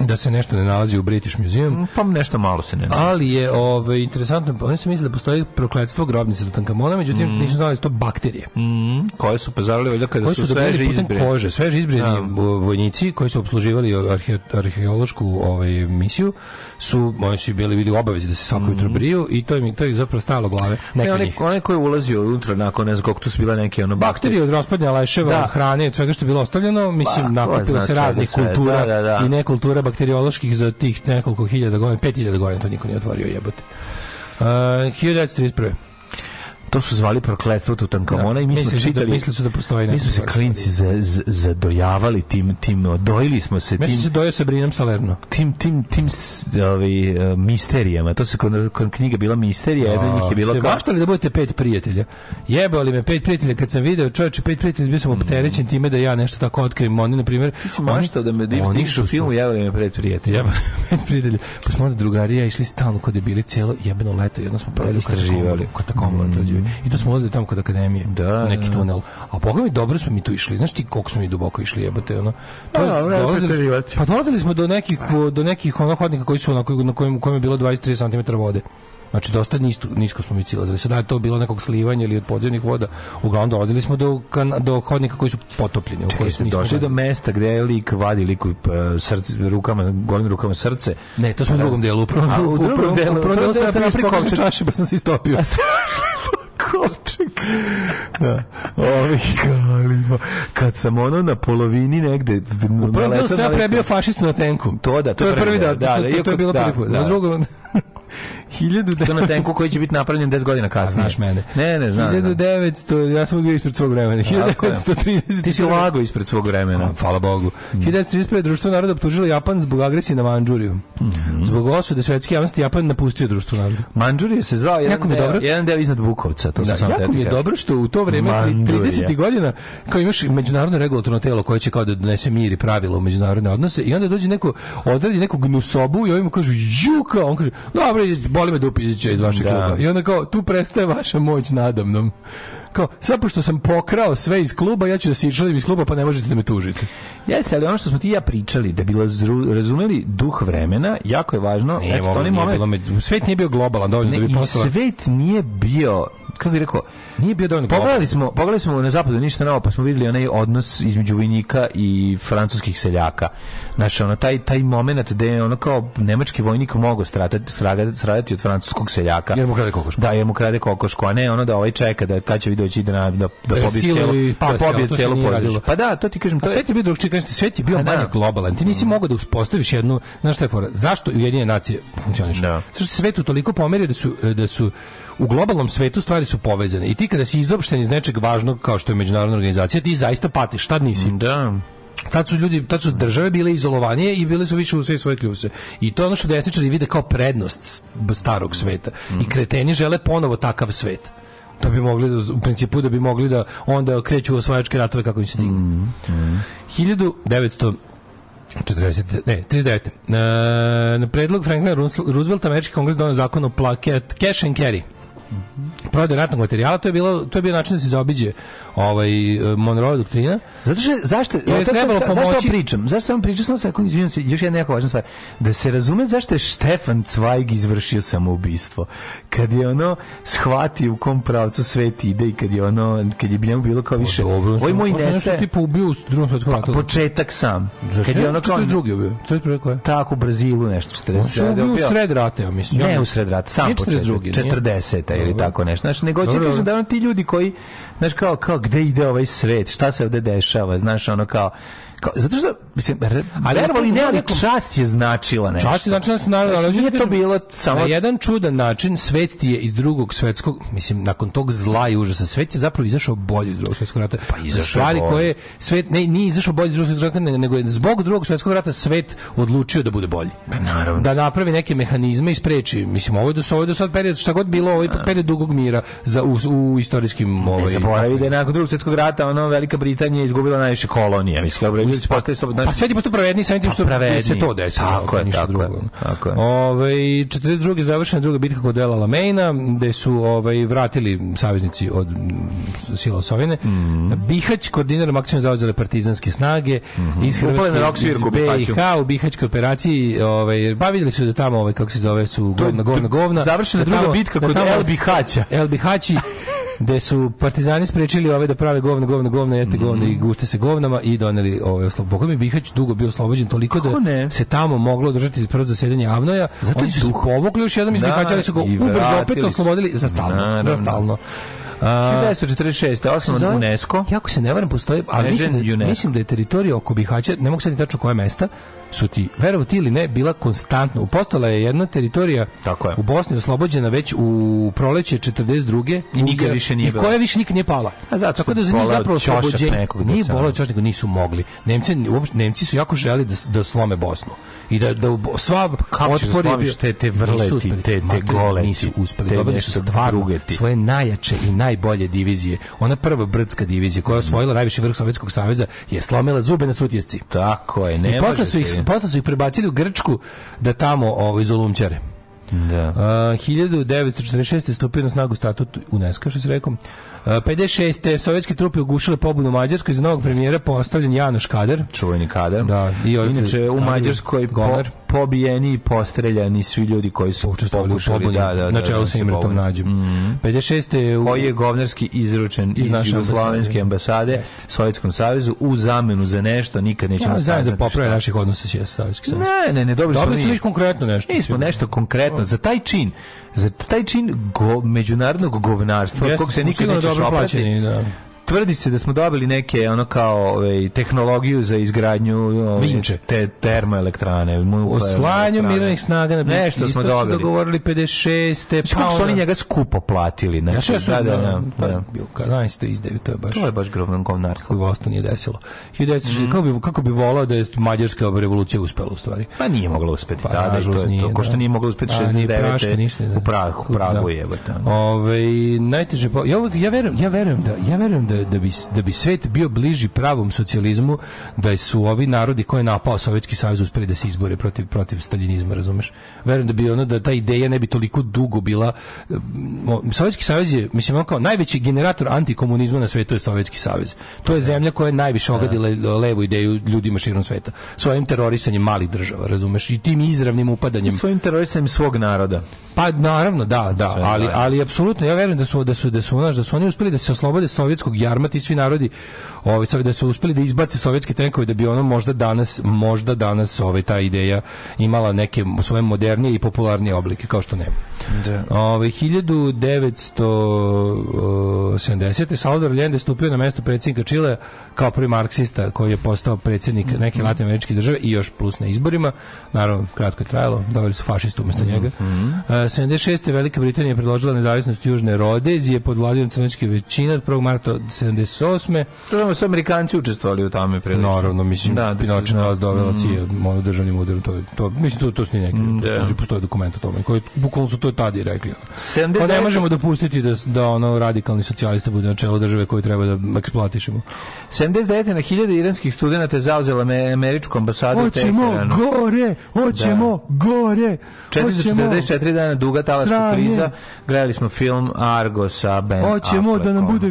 da se nešto ne nalazi u British Museum.
Pa nešto malo se ne nalazi.
Ali je ovaj, interesantno, oni su mislili da postoji prokletstvo grobnice Tutankamona, međutim nisu znali da su to bakterije.
Mm, koje su pazarili valjda kada
koji
su,
su
sveže
dobili putem
izbre.
kože, sveže izbrani vojnici koji su obsluživali arhe, arheološku ovaj, misiju, su, oni su bili bili u obavezi da se svako jutro briju i to im, je- to je zapravo stalo glave. Neki
Ne,
od
onaj,
njih.
onaj koji je ulazio unutra nakon ne znam koliko tu su bila neke ono
Bakterije od raspadnja leševa,
Da.
od hrane, od svega što je bilo ostavljeno, mislim,
Pa, ko
nakupilo
zna
se
čega
raznih
sve,
kultura
da, da, da.
i nekultura bakterioloških za tih nekoliko hiljada godina, pet hiljada godina, to niko nije otvorio jebote. Uh, 1931.
To su zvali prokletstvo Tutankamona
Da.
i mi smo
Mislili su da-
čitali.
mislili su da postoji
Mi
neki
smo se
baš-
klinci za, za- zadojavali tim, tim, odojili smo se
Mislim
tim,
se dojo sa Brinom Salerno.
tim, tim, tim s- ovi, e, misterijama. To se kod, kod knjiga bila misterija, jedna od njih je bila
Ste
kao...
maštali da budete pet prijatelja. Jebali me pet prijatelja kad sam video čoveče pet prijatelja, bio sam opterećen time da ja nešto tako otkrijem. Oni, na primjer... oni-
Mm. Maštao da me dim
oni
sniš
što
u
su-
filmu, javili me pred prijatelja.
Jeba, (laughs) pet prijatelja. Pa smo onda drugarija išli stalno kod je bili cijelo jebeno leto. Jedno smo proveli
Istraživali.
Kod takom I to smo ulazili tamo kod akademije.
Da,
u neki
da.
tunel. A boga mi dobro smo mi tu išli. Znaš ti koliko smo mi duboko išli jebote. Ono. To
Da, vreme
dolazili-
Pa preterivati.
pa dolazili smo do nekih, po- do nekih ono hodnika koji su onako, na kojem, kojem je bilo 23 cm vode. Znači, dosta nisko, nisko smo mi cilazili. Sada je to bilo nekog slivanja ili od podzemnih voda. Uglavnom, dolazili smo do, kan, do hodnika koji su potopljeni. U koji
Koji
se
ste
nismo
došli do
ulazili.
mesta gde je lik vadi liku srce, rukama, golim rukama srce.
Ne, to smo u drugom delu. U prvom,
Pa A, u
u prvom
drugom delu,
delu, u prvom delu sam
sam
napravio
napravio
skokče
kovčeg.
čaše, pa sam se istopio.
Kovčeg. Da. Ovi galimo. Kad sam ono na polovini negde...
U prvom delu sam ja prebio fašistu na tenku.
To da, to
je prvi da, da, to, to je
iako-
bilo
da,
prvi put.
da.
Na drugom... Hiljadu
To na tenku koji će biti napravljen 10 godina kasnije.
Znaš mene.
Ne, ne, znam. znam.
1900, ja sam uvijek bio ispred svog vremena.
Tako je.
1930.
Ti si lago ispred svog vremena.
Hvala Bogu. 1935. društvo naroda optužilo Japan zbog agresije na Manđuriju.
Mhm.
Zbog osude svetske javnosti Japan napustio društvo naroda.
Manđurije se zvao jedan,
Jako mi je
deo,
dobro.
jedan deo iznad Bukovca. To sam
Da,
samo
jako
teo ti
mi je
kažem.
dobro što u to vreme pri
Mandžurija.
30 godina kao imaš međunarodno regulatorno telo koje će kao da donese mir i pravila u međunarodne odnose i onda dođe neko odradi neku gnusobu i ovi mu kažu juka, on kaže dobro, boli me dupe izaći ću ja iz vašeg
Da.
kluba. I onda kao tu prestaje vaša moć nadamnom. Kao, sad pošto sam pokrao sve iz kluba, ja ću da se išalim iz kluba, pa ne možete da me tužiti.
Jeste, ali ono što smo ti i ja pričali, da bi razru- razumeli duh vremena, jako je važno.
Nije,
eto, to
ovo
onaj
nije
moment,
bilo među- svet nije bio globalan dovoljno
ne,
da bi
i
postala...
svet nije bio, kako bih rekao,
Nije bio dovoljno globalan.
Pogledali smo, pogledali smo na zapadu ništa novo, pa smo vidjeli onaj odnos između vojnika i francuskih seljaka. Znaš, ono, taj, taj moment gde je ono kao nemački vojnik mogao stradati, stradati, stradati od francuskog seljaka.
Jer mu krade kokošku.
Da, jer mu krade kokošku, a ne ono da ovaj čeka da kad će vi doći da, na- da, da
Da ga
pobije
siluju
celo,
i-
pa
da,
pobije
to se
celo
nije
porodicu.
radilo.
Pa da, to ti kažem,
A
to je...
svet je bio drugčiji, kažete, svet je bio
A, da.
manje globalan. Ti nisi mogao da uspostaviš jednu, znaš šta je fora? Zašto Ujedinjene nacije funkcionišu?
Da.
Zato što se svet u toliko pomerio da su da su u globalnom svetu stvari su povezane. I ti kada si izopšten iz nečeg važnog kao što je međunarodna organizacija, ti zaista patiš, tad nisi.
Da.
Tad su ljudi, tad su države bile izolovanije i bile su više u sve svoje kljuse. I to je ono što desničari vide kao prednost s- starog sveta. I kreteni žele ponovo takav svet. Da bi mogli, da, u principu da bi mogli da onda kreću u osvajačke ratove kako im se digne. 1900 40, ne, 39. E, na predlog Franklina Roosevelt- Roosevelta američki kongres donio zakon o plaket cash and carry. Prodaj ratnog materijala, to je, bilo, to je bio način da se zaobiđe ovaj, e, Monroe doktrina.
Zato što, zašto,
je
o, to sam-
trebalo
zašto
pomoći-
ovo pričam? Zašto sam pričao, samo sekund, izvinjam se, još jedna jako važna stvar. Da se razume zašto je Štefan Cvajg izvršio samoubistvo. Kad je ono shvatio u kom pravcu svet ide i kad je ono, kad je njemu bilo
Pa
kao više, oj moj nese,
tipa ubio u drugom svetskom ratu.
početak sam.
Zašto
Kad
Pa, je
je ono kao,
drugi ubio? To je prvo koje?
tako u Brazilu nešto,
On se
40.
ubio u
bio-
sred rata, ja mislim. Ono-
Ne u sred rata, sam
Nije
početak,
42., nije?
40. ili
Dobro.
tako nešto. Znaš, nego hoću da
Dobro,
kažem
dobro.
da ono ti ljudi koji, znaš, kao, kao, gde ide ovaj svet, šta se ovde dešava, znaš, ono kao, kao zato što, mislim, ali,
Ali
verovali
opet
ne,
na
ali
nekom-
čast je značila nešto.
Časti znači da su narod,
Znaš,
ali hoću
nije
da
to
kažem,
bilo samo...
Na jedan čudan način svet ti je iz drugog svetskog, mislim, nakon tog zla i užasa, svet je zapravo izašao bolje iz drugog svetskog rata. Pa
izašao je
Stvari
bolje.
koje svet, ne, nije izašao bolje iz drugog svetskog rata, ne- nego je zbog drugog svetskog rata svet odlučio da bude bolji.
Pa naravno.
Da napravi neke mehanizme i spreči. Mislim, ovo je do, ovo je do sad period, šta god bilo, ovaj period dugog mira za, u, u istorijskim...
Ne
Ovaj,
zaboravi da je nakon drugog svjetskog rata ono Velika Britanija izgubila najviše kolonija. Mislim, dobro, ljudi će postati slobodna.
Pa svet je postao pravedniji samim tim što
Znači- Pa pravedniji.
se to desilo.
Tako
ako
je,
ništa
tako je,
drugo.
tako je.
Ovaj, 42. završena druga bitka kod El Alameina, gde su ovaj, vratili saveznici od mm, sila Osovine.
Mhm.
Bihać, koordinarom akcijom zauzele partizanske snage iz Hrvatske,
Mhm. Upale na rok svirku u
iz
Bihaću.
BiH, u Bihaćkoj operaciji. Ovaj, pa vidjeli su da tamo, ovaj, kako se zove, su
je-
govna, govna,
to je
govna.
završena
da
druga
tamo-
bitka
da
kod
tamo
El Bihaća.
El Bihaći gde su partizani sprečili ove da prave govno, govno, govno, jete govno
Mhm.
i gušte se govnama i doneli ove oslob. Boga mi Bihać dugo bio oslobođen toliko da
Kako ne?
se tamo moglo održati prvo zasedanje Avnoja.
Zato
Oni
je
su se
duh.
povukli još jednom iz
Da,
Bihaća, ali su ga
i
ubrzo opet
vratili su.
oslobodili za stalno.
Naravno.
Za stalno. A,
1946. osnovan
Zove-
UNESCO.
Jako se ne varam, postoji, ali
Ležen
mislim da,
UNESCO.
mislim da je teritorija oko Bihaća, ne mogu sad ni tačno koje mesta, su ti, verovo ti ili ne, bila konstantno. Postala je jedna teritorija
Tako je.
u Bosni oslobođena već u proleće 42.
I nikad
koja-
više nije
I
bila.
koja više nikad nije pala.
A zato
Tako
što
da za
bola
njih
od
zapravo
ćošak
oslobođenje.
nekog da
Nije
se-
bola od ćošak, nego nisu mogli. Nemci, uopšte, Nemci su jako želi da, s- da slome Bosnu. I da, da u Bo- sva
kako ćeš da
otpor je
slomiš
bio-
te- te
Nisu
vrleti,
uspeli.
te- te
Ma, bre,
goleti,
Nisu uspeli.
te
Dobili su
nešto
stvarno
druge ti.
svoje najjače i najbolje divizije. Ona prva brdska divizija koja je osvojila najviši vrh Sovjetskog saveza je slomila zube na sutjesci.
Tako je, ne
I posle
možete.
su, ih, posle su ih prebacili u Grčku da tamo ovaj, zolumčare.
Da.
Uh, 1946. je stupio na snagu statut UNESCO, što se rekao. Uh, 56. sovjetske trupe ugušile pobunu u Mađarskoj, za novog premijera postavljen Janoš Kader.
čuveni kadar.
Da, i
I
ovdje-
Inače, u
Kadar,
Mađarskoj po,
Gomer.
pobijeni i postreljani svi ljudi koji su
Učestvovali u
pokušali
pobuni
da, da, da,
na čelu
da
sa
se
Imretom
pobune.
Nađem. 56. Mhm. je u-
koji je govnarski izručen iz,
naše
naše Jugoslovenske ambasade,
Jeste.
Sovjetskom savezu u zamenu za nešto nikad nećemo
Ja, zajedno za
saznati
poprave
šta.
naših odnosa sa Savjetskim savezom.
Ne, ne, ne, dobili smo
Dobili su
mi-
već konkretno nešto.
Mi smo nešto konkretno. Za taj čin, za taj čin go, međunarodnog govnarstva, od
Jeste,
kog se nikad
sigurno
nećeš
dobro
oprati,
plaćeni, da.
tvrdi se da smo dobili neke ono kao ovaj, tehnologiju za izgradnju ovaj,
Vinče.
te termoelektrane
O
nuklearne
slanju
elektrane.
mirovnih snaga na Bliskom
nešto smo
istoku su
dobili
dogovorili 56.
Mislim, kako su oni
onda-
njega skupo platili znači,
Ja sve su,
da, da, da,
pa,
da.
bio, kad 11. izdaju, to je baš...
to je Mhm. baš grovno govnarstvo
koji vas to nije desilo. 1960, kako, bi, kako bi volao da je mađarska revolucija uspela u stvari.
Pa nije mogla uspeti
Pa,
tada, i to
nažalost,
je to.
nije,
Ko što
da.
nije mogla uspeti
A, nije Praška,
69.
ništa, da.
u Pragu, u Pragu je.
Ovaj, najteže po- ja, uvek- ja verujem, ja verujem da ja verujem da da bi da bi svet bio bliži pravom socijalizmu da su ovi narodi koje je napao Sovjetski savez uspeli da se izbore protiv protiv staljinizma, razumeš? Verujem da bi ono da ta ideja ne bi toliko dugo bila mm, Sovjetski savez je mislim on kao najveći generator antikomunizma na svetu je Sovjetski savez. To je zemlja koja je najviše ogadila levu ideju ljudima širom sveta svojim terorisanjem malih država, razumeš? I tim izravnim upadanjem
Svojim terorisanjem svog naroda.
pa naravno, da, da,
Sve
ali
dalje.
ali apsolutno ja verujem da su da su da su naš, da su oni uspeli da se oslobode sovjetskog jarma ti svi narodi, ovaj sov- da su uspeli da izbace sovjetske tenkove da bi ono možda danas možda danas ovaj ta ideja imala neke svoje modernije i popularnije oblike kao što nema. Da. Ovaj 1970. Salvador Allende je stupio na mesto predsjednika Čile kao prvi marksista koji je postao predsjednik
Mhm.
neke latinoameričke države i još plus na izborima. Naravno, kratko je trajalo, doveli su fašistu umjesto
Mhm.
njega. E, 76. Velika Britanija je predložila nezavisnost Južne Rodezije pod vladom crnačke većine od 1. marta 78.
To znamo, su Amerikanci učestvovali u tome prilično.
Naravno, mislim, da,
da, da se
Pinoče
zna. Mhm.
nas dovela cije, ono državnim udarom, to, je- to, mislim, to, to su ni neki,
da.
to- postoje dokument o tome, koji bukvalno su to tada i rekli. Pa
79.
ne možemo dopustiti da, da ono radikalni socijalista bude na čelu države koju treba da eksploatišemo.
79. na hiljade iranskih studenta je zauzela me- američku ambasadu u
Hoćemo
Teheranu.
gore, hoćemo gore, hoćemo,
444 dana duga talačka
Sranje.
kriza. Gledali smo film Argo sa Ben
hoćemo da nam
Affleckom.
bude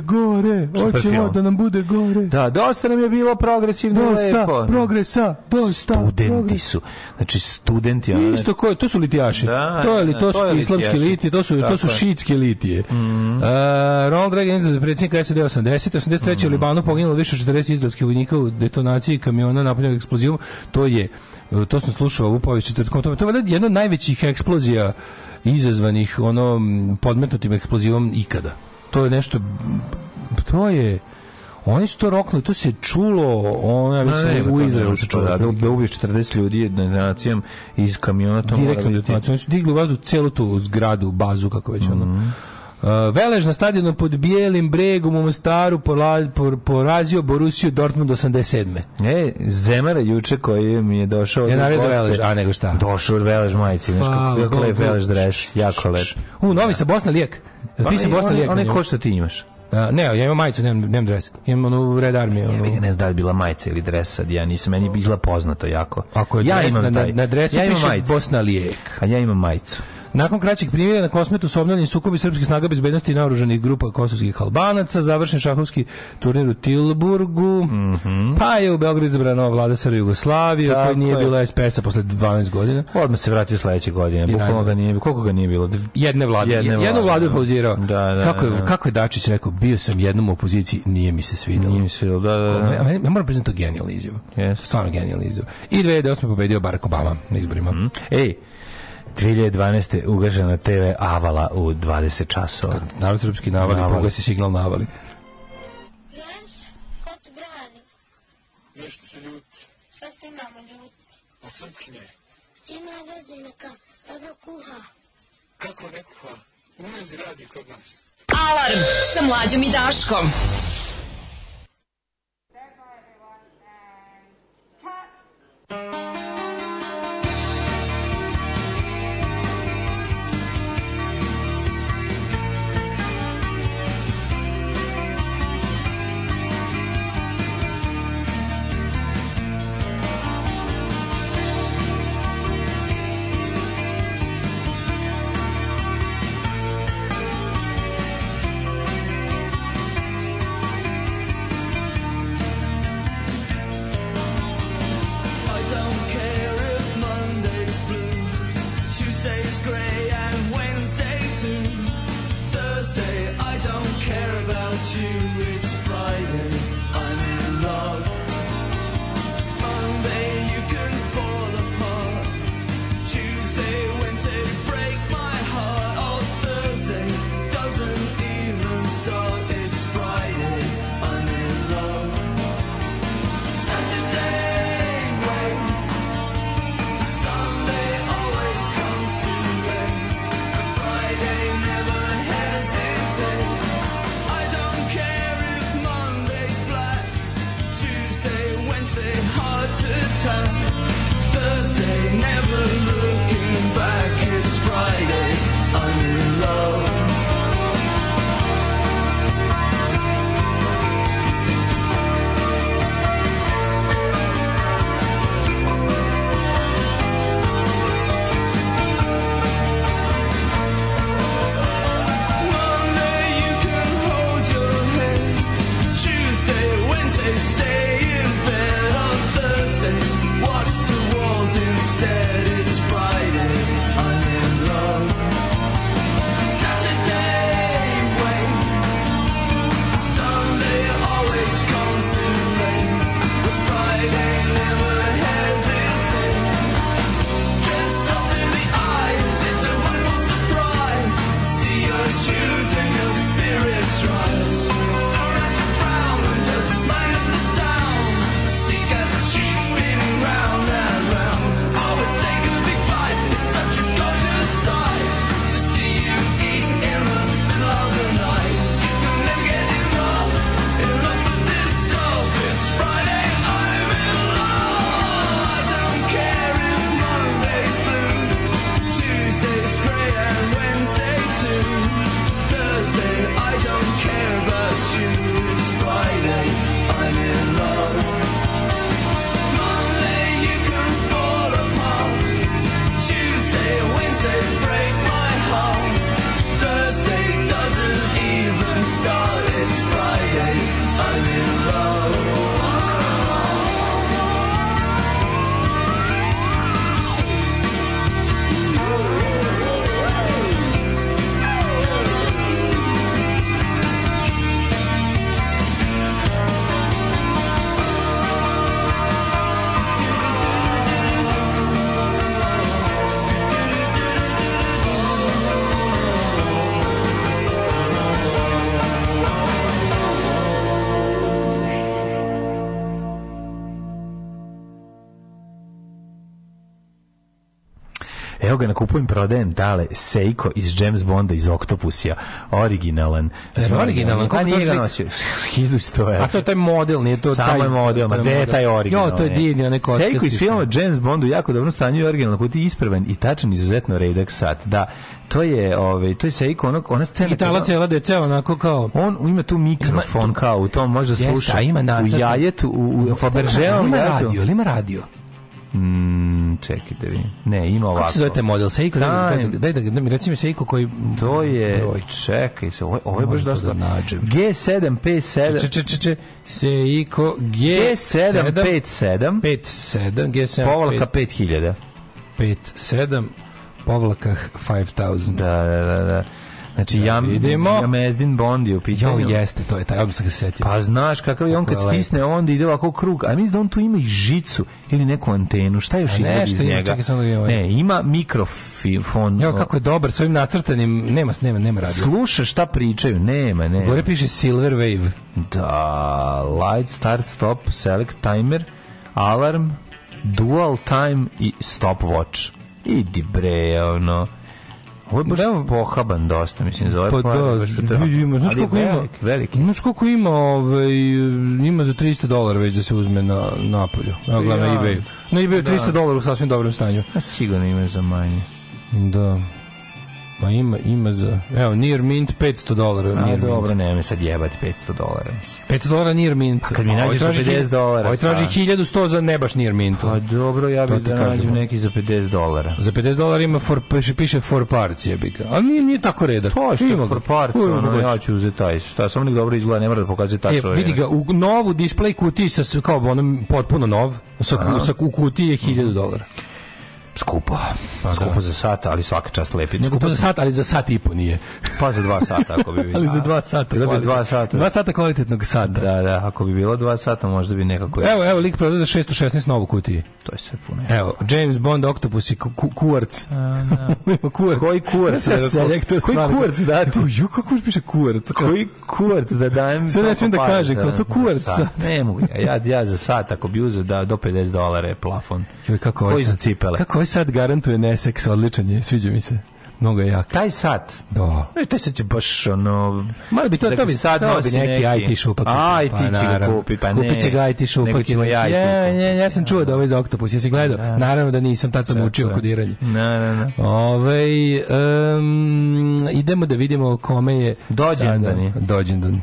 gore, hoćemo
pa ono. film.
da nam bude gore.
Da, dosta nam je bilo progresivno i
Dosta
lepo. ono.
progresa, dosta
Studenti
progresa.
su. Znači, studenti. ono,
Isto ko, to su litijaši.
Da,
to je li
da,
to su
to je
islamski
litijaši.
litije, to su to
Tako
su
je. Mhm.
šiitske litije. Mm. Uh, Ronald Reagan za predsjednika SAD 80, 83
Mhm.
u Libanu poginulo više od 40 izraelskih vojnika u detonaciji kamiona napunjenog eksplozivom. To je e, to sam slušao ovu povijest četvrtkom. To je valjda jedna od najvećih eksplozija izazvanih ono m, podmetnutim eksplozivom ikada. To je nešto to je Oni su to roknuli, to se čulo, ono, ja
Ma,
mislim,
ne,
u
znači, to
Izraelu
nema
se
što,
čulo.
Da, da, da ubiješ 40 ljudi detonacijom iz kamiona, to mora
direktno
biti. Mhm.
detonacijom. Oni su digli u vazduh celu tu zgradu, bazu, kako već ono. Uh, Velež na stadionu pod Bijelim bregom u Mostaru pola- por- porazio Borusiju Dortmund 87.
E, Zemara juče koji mi je došao...
Ja
od
navezao
goste.
Velež, a nego šta?
Došao od Velež majici, znaš kako- kako lep Velež dres, jako lep.
U, novi sa Bosna Lijek. Pa, ti si Bosna Lijek. na
Onaj
njemu?
ko što ti imaš.
A, ne, ja imam majicu, nemam, nemam dres. Imam onu Red ono. Army.
Ja
Onu.
bih ga ne znam da li je bila majica ili dres sad, ja nisam, meni je izla poznato jako.
Ako je
ja
dres,
imam
na, na,
taj-
na dresu
ja imam
piše
majicu.
Bosna Lijek.
A ja imam majicu.
Nakon kraćeg primjera na kosmetu su obnovljeni sukobi srpskih snaga bezbednosti i naoružanih grupa kosovskih albanaca, završen šahovski turnir u Tilburgu, pa je u Beogradu izabrana nova vlada Sara Jugoslavije,
Mhm. Tako
koja nije
je.
bila SPS-a posle 12 godina.
Odmah se vratio sledeće godine. Bukvalno
najbolje.
ga nije, koliko ga nije bilo?
Jedne vlade,
Jedne
jednu
vlade,
vladu je
da.
pauzirao.
Da, da,
kako, je,
da.
kako je Dačić rekao, bio sam jednom u opoziciji, nije mi se svidalo.
Nije mi se bilo, da, da, da.
A meni, ja moram priznati to je genijalna izjava.
Jeste.
Stvarno genijalna izjava. I 2008. pobedio Barack Obama na izborima.
Mhm. Ej, 2012. ugažena TV Avala u 20 časova.
Narod srpski navali,
Navali.
pogasi signal navali.
Šta ste mama ljudi? A crkne. Ima veze neka, dobro kuha. Kako ne kuha? U menzi radi kod nas.
Alarm sa mlađom i Daškom.
Thank
Evo ga, nakupujem, prodajem, dale, Seiko iz James Bonda, iz Octopusija. Originalan.
Jel originalan?
A
Koliko
nije
to
ga
slik-
nosio. (laughs) 1100 evra.
A to je taj model, nije to
Samo
taj...
je model, ma
to
gde je taj
model.
original?
Jo, to je divni, onaj kockasti.
Seiko iz filma James Bond u jako dobrom stanju je originalno koji ti je ispravan i tačan izuzetno redak sat. Da, to je, ovaj, to je Seiko, ono, ona scena...
I tala
kada-
cela deca, onako kao...
On ima tu mikrofon kao, u tom može
Jeste,
slušati.
a ima
U
nacrtan.
jajetu, u, u Fabergeovom
Ima
jajetu.
radio, ili ima radio?
Mm, čekaj da vidim. Ne, ima ovako.
Kako se zove taj model? Seiko? Daj, da-
Time.
daj, da- daj, da mi reci mi Seiko koji...
To je,
Broj.
čekaj se, ovo, ovo je baš
Moram to
dosta.
da nađem.
G757.
Če, če, če, če, Seiko G7,
G757
G7, G7,
povlaka 5000.
57, povlaka 5000.
Da, da, da, da. Znači, jam,
vidimo.
Jamezdin Bond je u
Jo,
pitanju.
jeste, to je taj, odmah sam ga se setio.
Pa znaš kakav je on kad
Kako je lepo.
stisne, onda ide ovako u krug. A mislim da on tu ima i žicu ili neku antenu. Šta još
A
izgleda
nešto
iz
ima,
njega?
čekaj, samo da vidim ovaj.
ne, ima mikrofon.
Jo, kako je dobar, s ovim nacrtanim, nema, nema, nema radio.
Sluša šta pričaju. Nema, nema.
Gore piše Silver Wave.
Da, light, start, stop, select timer, alarm, dual time i stop watch. Idi bre, ono. Ovo je baš
Da.
pohaban dosta, mislim, za ovaj
Pa
par,
da,
baš to je-
vidimo, znaš
ali je
koliko ima?
velik, Veliki,
Znaš koliko ima, ovaj, ima za 300 dolara već da se uzme na napolju. Evo gledam na
Ja.
eBayu. Na eBayu
Da.
300 dolara u sasvim dobrom stanju.
A sigurno imaš za manje.
Da. Ma ima, ima za... Evo, Near Mint 500 dolara.
A
Near
dobro,
Mint.
ne me sad jebati 500 dolara, mislim.
500 dolara Near Mint.
A kad mi
Ovaj
nađeš za
traži
50
hilj-
dolara,
Ovaj traži
sad.
1100 za ne baš Near Mint.
Pa dobro, ja
To
bih
ti
da
kažem.
nađem neki za 50 dolara.
Za 50 dolara ima for, piše- piše for parts jebiga. Ali nije, nije tako redak.
To je što
Ima ga.
je for parts,
Ima ga
ono,
baš.
ja ću uzeti taj. Šta, samo nek dobro izgleda, ne mora da pokazuje
E,
tačno.
vidi
vreme.
ga, u novu display kutiji sa sve- kao onom potpuno nov, sa, ku- sa, u kutiji je 1000 dolara.
Skupo. skupo
da.
za sata, ali svaka čast lepi.
Skupo za sat, ali za sat i po nije.
Pa za dva sata
(laughs)
ako bi bilo.
ali za dva sata.
Bilo bi dva
kvalitet-
sata.
Dva sata kvalitetnog sata.
Da, da, ako bi bilo dva sata možda bi nekako...
Evo, evo, lik prodaje za 616 novu kutiji.
To je sve puno.
Evo, James Bond, Octopus i ku, ku, kuvarc. (laughs) Ima kuvarc.
Koji kuvarc?
Ja sam selektor
Koji
stvarno.
kuvarc dati?
Ju, kako mi piše kuvarc?
Koji kurac da dajem...
Sve ne smijem da
toliko para
kažem,
za-
kao to
za
kurac
sat?
sad.
Ne mogu, ja, ja, ja za sat ako bi uzeo da, do 50 dolara je plafon.
Joj, kako ovaj
Koji za
sad-
cipele?
Kako ovaj sad garantuje neseks, odličan je, sviđa mi se. Mnogo je jak.
Taj sat,
Da.
Ne, taj sad je baš ono...
Malo bi to,
da
to
ga
bi,
sad
to
nosi
bi Dakle, neki,
neki.
IT šupak.
A, IT će ga
naravno.
kupit, pa
Kupit će
ne.
ga IT šupak.
Nego ćemo
i
ja
reći,
IT
"E,
kupiti."
ne, ja sam čuo da ovo iz Octopus, jesi gledao? Naravno da nisam, tad sam učio kodiranje.
Na, na, na.
Ove, idemo da vidimo kome je
Dođendan
sada-
je.
Dođendan.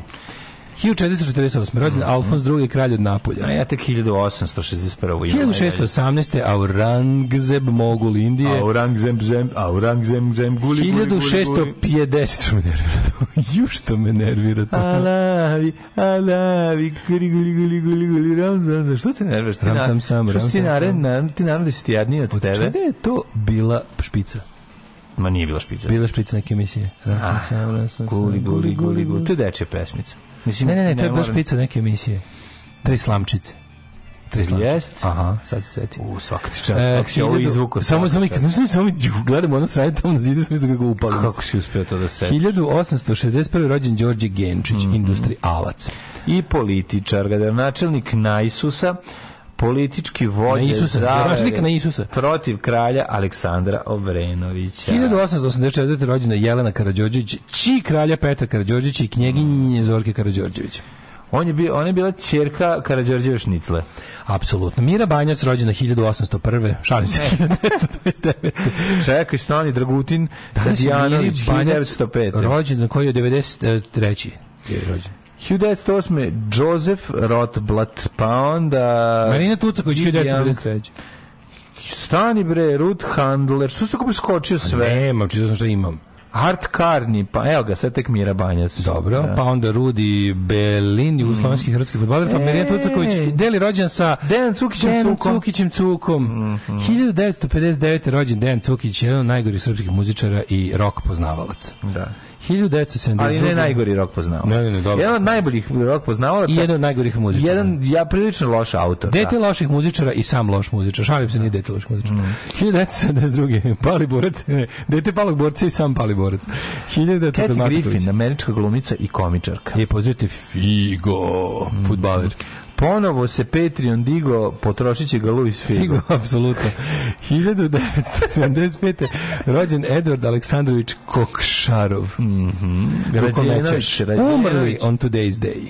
1448. rođen
Mhm.
Alfons II, kralj od Napolja.
A ja tek 1861. imam, ajde.
1618. Aurangzeb mogul Indije.
Aurang zem zem, aurang zem zem, guli, guli, guli, guli.
1650. Što me nervira to? Ju što me nervira to?
Alavi, alavi, guli, guli, guli, guli, guli, ram, sam, sam. Što ti nerveš? Ti
Ram,
na-
sam, sam,
Što
ram,
si ti
sam, sam.
naravno, ti naravno da si ti jadniji od
Od
tebe?
čega je to bila špica?
Ma nije bila špica.
Bila špica neke emisije.
Ah, Guli, guli, guli, guli. To je dečja pesmica. Mislim,
Ne, ne, ne, to je bila
moram-
špica neke emisije. Tri slamčice. Tri slamčice.
Jest. E,
Aha, sad se setim.
U, svaka ti čast, kako si Pa ovo izvuko.
Samo, samo, znaš, samo gledam ono sranje tamo na zidu, sam izgleda kako upalim.
Kako si uspio to da se...
1861. rođen Đorđe Genčić,
Mhm.
industrialac.
I političar, gradonačelnik Najsusa, politički vođa
Na Isusa,
zavere
gradonačelnik na Isusa.
protiv kralja Aleksandra Obrenovića.
1884. rođena Jelena Karađorđević, či kralja Petra Karađorđevića i knjeginje Zorke Karađorđević.
On je bio, ona je bila ćerka Karađorđeve Šnicle.
Apsolutno. Mira Banjac rođena 1801. Šalim se, 1929.
Čekaj, stani Dragutin
Danas je
Tadijanović,
Mira Banjac
1905.
Rođen, koji je 93. je rođen.
1908. Joseph Rotblat, pa onda...
Marina Tucaković,
Idi Jank.
1993.
Stani bre, Ruth Handler, što si tako preskočio sve?
Nemam, čitao sam šta imam.
Art Karni, pa evo ga, sad tek Mira Banjac.
Dobro, pa onda Rudi
Mm.
Belin, jugoslovenski hrvatski fudbaler, pa Marina Tucaković, deli rođen sa
E. Dejan Cukićem
Dejanom
Cukom. Mhm.
Cukićem Cukom. 1959. rođen Dejan Cukić, jedan od najgorih srpskih muzičara i rock poznavalac.
Da.
1972.
Ali ne najgori rok poznavalac.
Ne, ne, ne, dobro.
Jedan od najboljih rok poznavalaca.
I jedan od najgorih muzičara.
Jedan, ja prilično loš autor.
Dete loših muzičara i sam loš muzičar. Šalim se, nije dete loših muzičara.
Mm.
1972. Pali borac. Ne, dete palog borca i sam pali borac. 1900.
da. Kathy
Matović.
Griffin, američka glumica i komičarka. Mm.
Je, pozdravite Figo, futbaler.
Ponovo se Patreon digo, potrošit će ga Luis Figo.
Figo, apsolutno. 1975. rođen Edward Aleksandrović Kokšarov. Mm
Mhm. Rađenović, Rađenović.
Umrli on today's day.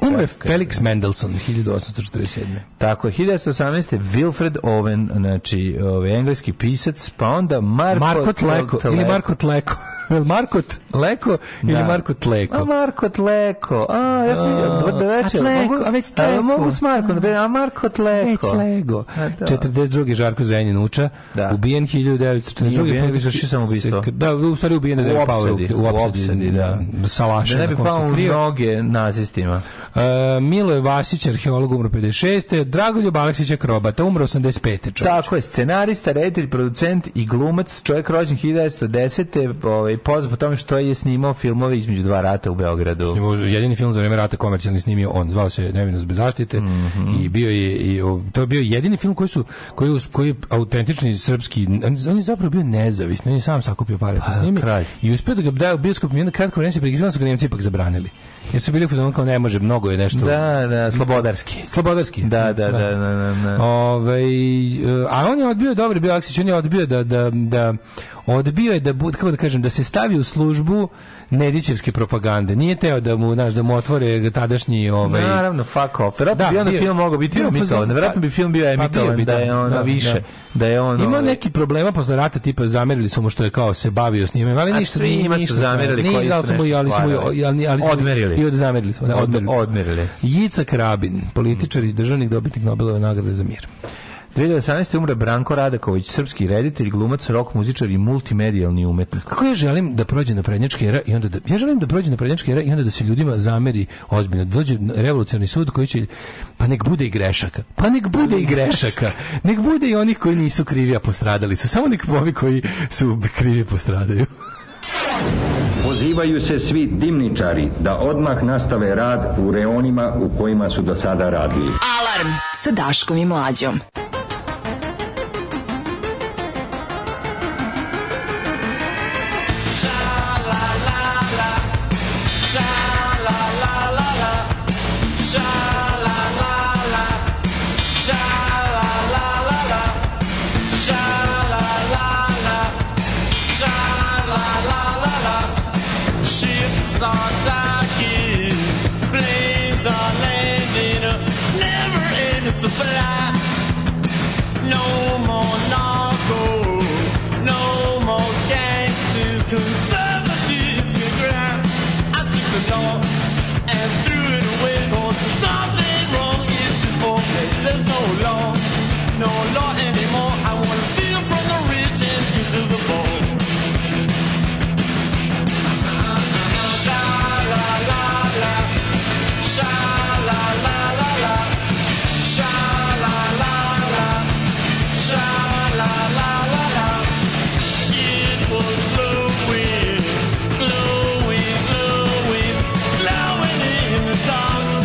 Umre Felix Mendelssohn 1847.
Tako je, 1918. Wilfred Owen, znači ovaj, engleski pisac, pa onda Marko,
Marko Tleko, ili Marko Tleko. Jel
(laughs)
Marko Tleko ili
Da.
Marko Tleko?
A Marko Tleko. A, ja sam
A,
dobro da večer.
a Tleko,
mogu-
a već
jel
Tleko.
mogu s Markom, da a Marko Tleko.
Već Lego.
A, da.
42. Žarko Zrenjanin Nuča,
Da.
ubijen 1942.
Nije ubijen, nego
Politički
izvršio samoubistvo.
sek- Da, u stvari ubijen je da je
U
pao
opsadi,
u u
u
opsadi,
opsadi,
da.
da.
Salaša
Da ne bi
na kom se
pao u
krio.
noge nazistima.
E, Miloje Vasić, arheolog, umro 56. Dragoljub Aleksić, akrobata, umro 85. čovječ.
Tako je, scenarista, reditelj, producent i glumac, čovjek rođen 1910. Ovaj, poznat po tome što je snimao filmove između dva rata u Beogradu.
Ovo je Jedini film za vreme rata komercijalni snimio on, zvao se Nevinost bez zaštite
Mhm.
i bio je i o, to je bio jedini film koji su koji je, us- koji je autentični srpski on, on je zapravo bio nezavisni, on je sam sakupio pare
Pa,
da snimi
kralj.
i uspio da ga da u bioskop i onda kratko vreme se pregizvan su ga Nemci ipak zabranili. Jer su bili u fazonu kao ne može, mnogo je nešto.
Da, da, slobodarski.
Slobodarski.
Da, da, da, da, da, da.
Ovaj, e, a on je odbio, dobro je bio Aksić, on je odbio da, da, da odbio je da, bud, kako da kažem, da se stavi u službu Nedićevske propagande. Nije teo da mu, znaš, da mu otvore tadašnji ovaj,
Naravno, fuck off. Vjerojatno
Da,
bi onda
bio-
film mogao biti
bio
emitovan.
fazon-
Vjerojatno bi film bio
Pa bio
emitovan
bi,
da,
da,
je ono
da,
više. Da.
da.
je ono...
Imao neki problema posle rata, tipa zamerili su mu što je kao se bavio s njime, ali
A
ništa,
svi ima su
ništa
zamerili
stvarno.
koji
Nije, ali
su
smo, mu i-
nešto
ali smo, i- ali, ali smo i-
Odmerili.
I od zamerili smo, da,
Od-
odmerili. smo.
odmerili.
Jica Krabin, političar i državnik dobitnik Nobelove nagrade za mir.
2018. umre Branko Radaković, srpski reditelj, glumac, rock muzičar i multimedijalni umetnik.
Kako ja želim da prođe naprednjačka era i onda da, ja želim da prođe naprednjačka era i onda da se ljudima zameri ozbiljno. Dođe revolucionarni sud koji će pa nek bude i grešaka. Pa nek bude i grešaka. Nek bude i onih koji nisu krivi a postradali su. Samo nek ovi koji su krivi postradaju.
Pozivaju se svi dimničari da odmah nastave rad u reonima u kojima su do sada radili.
Alarm sa Daškom i Mlađom.
Ships are docking, planes are landing, never ending supply. No more narco, no more gangsters, conservatives can cry. I took the law and threw it away, 'cause there's nothing wrong is before me. There's no law, no law anymore. I wanna steal from the rich and give to the poor. Sha la la la, sha la la la la, sha la la la, sha la la la la. It was glowing, glowing, glowing, glowing in the dark.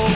oh, Oh, Oh,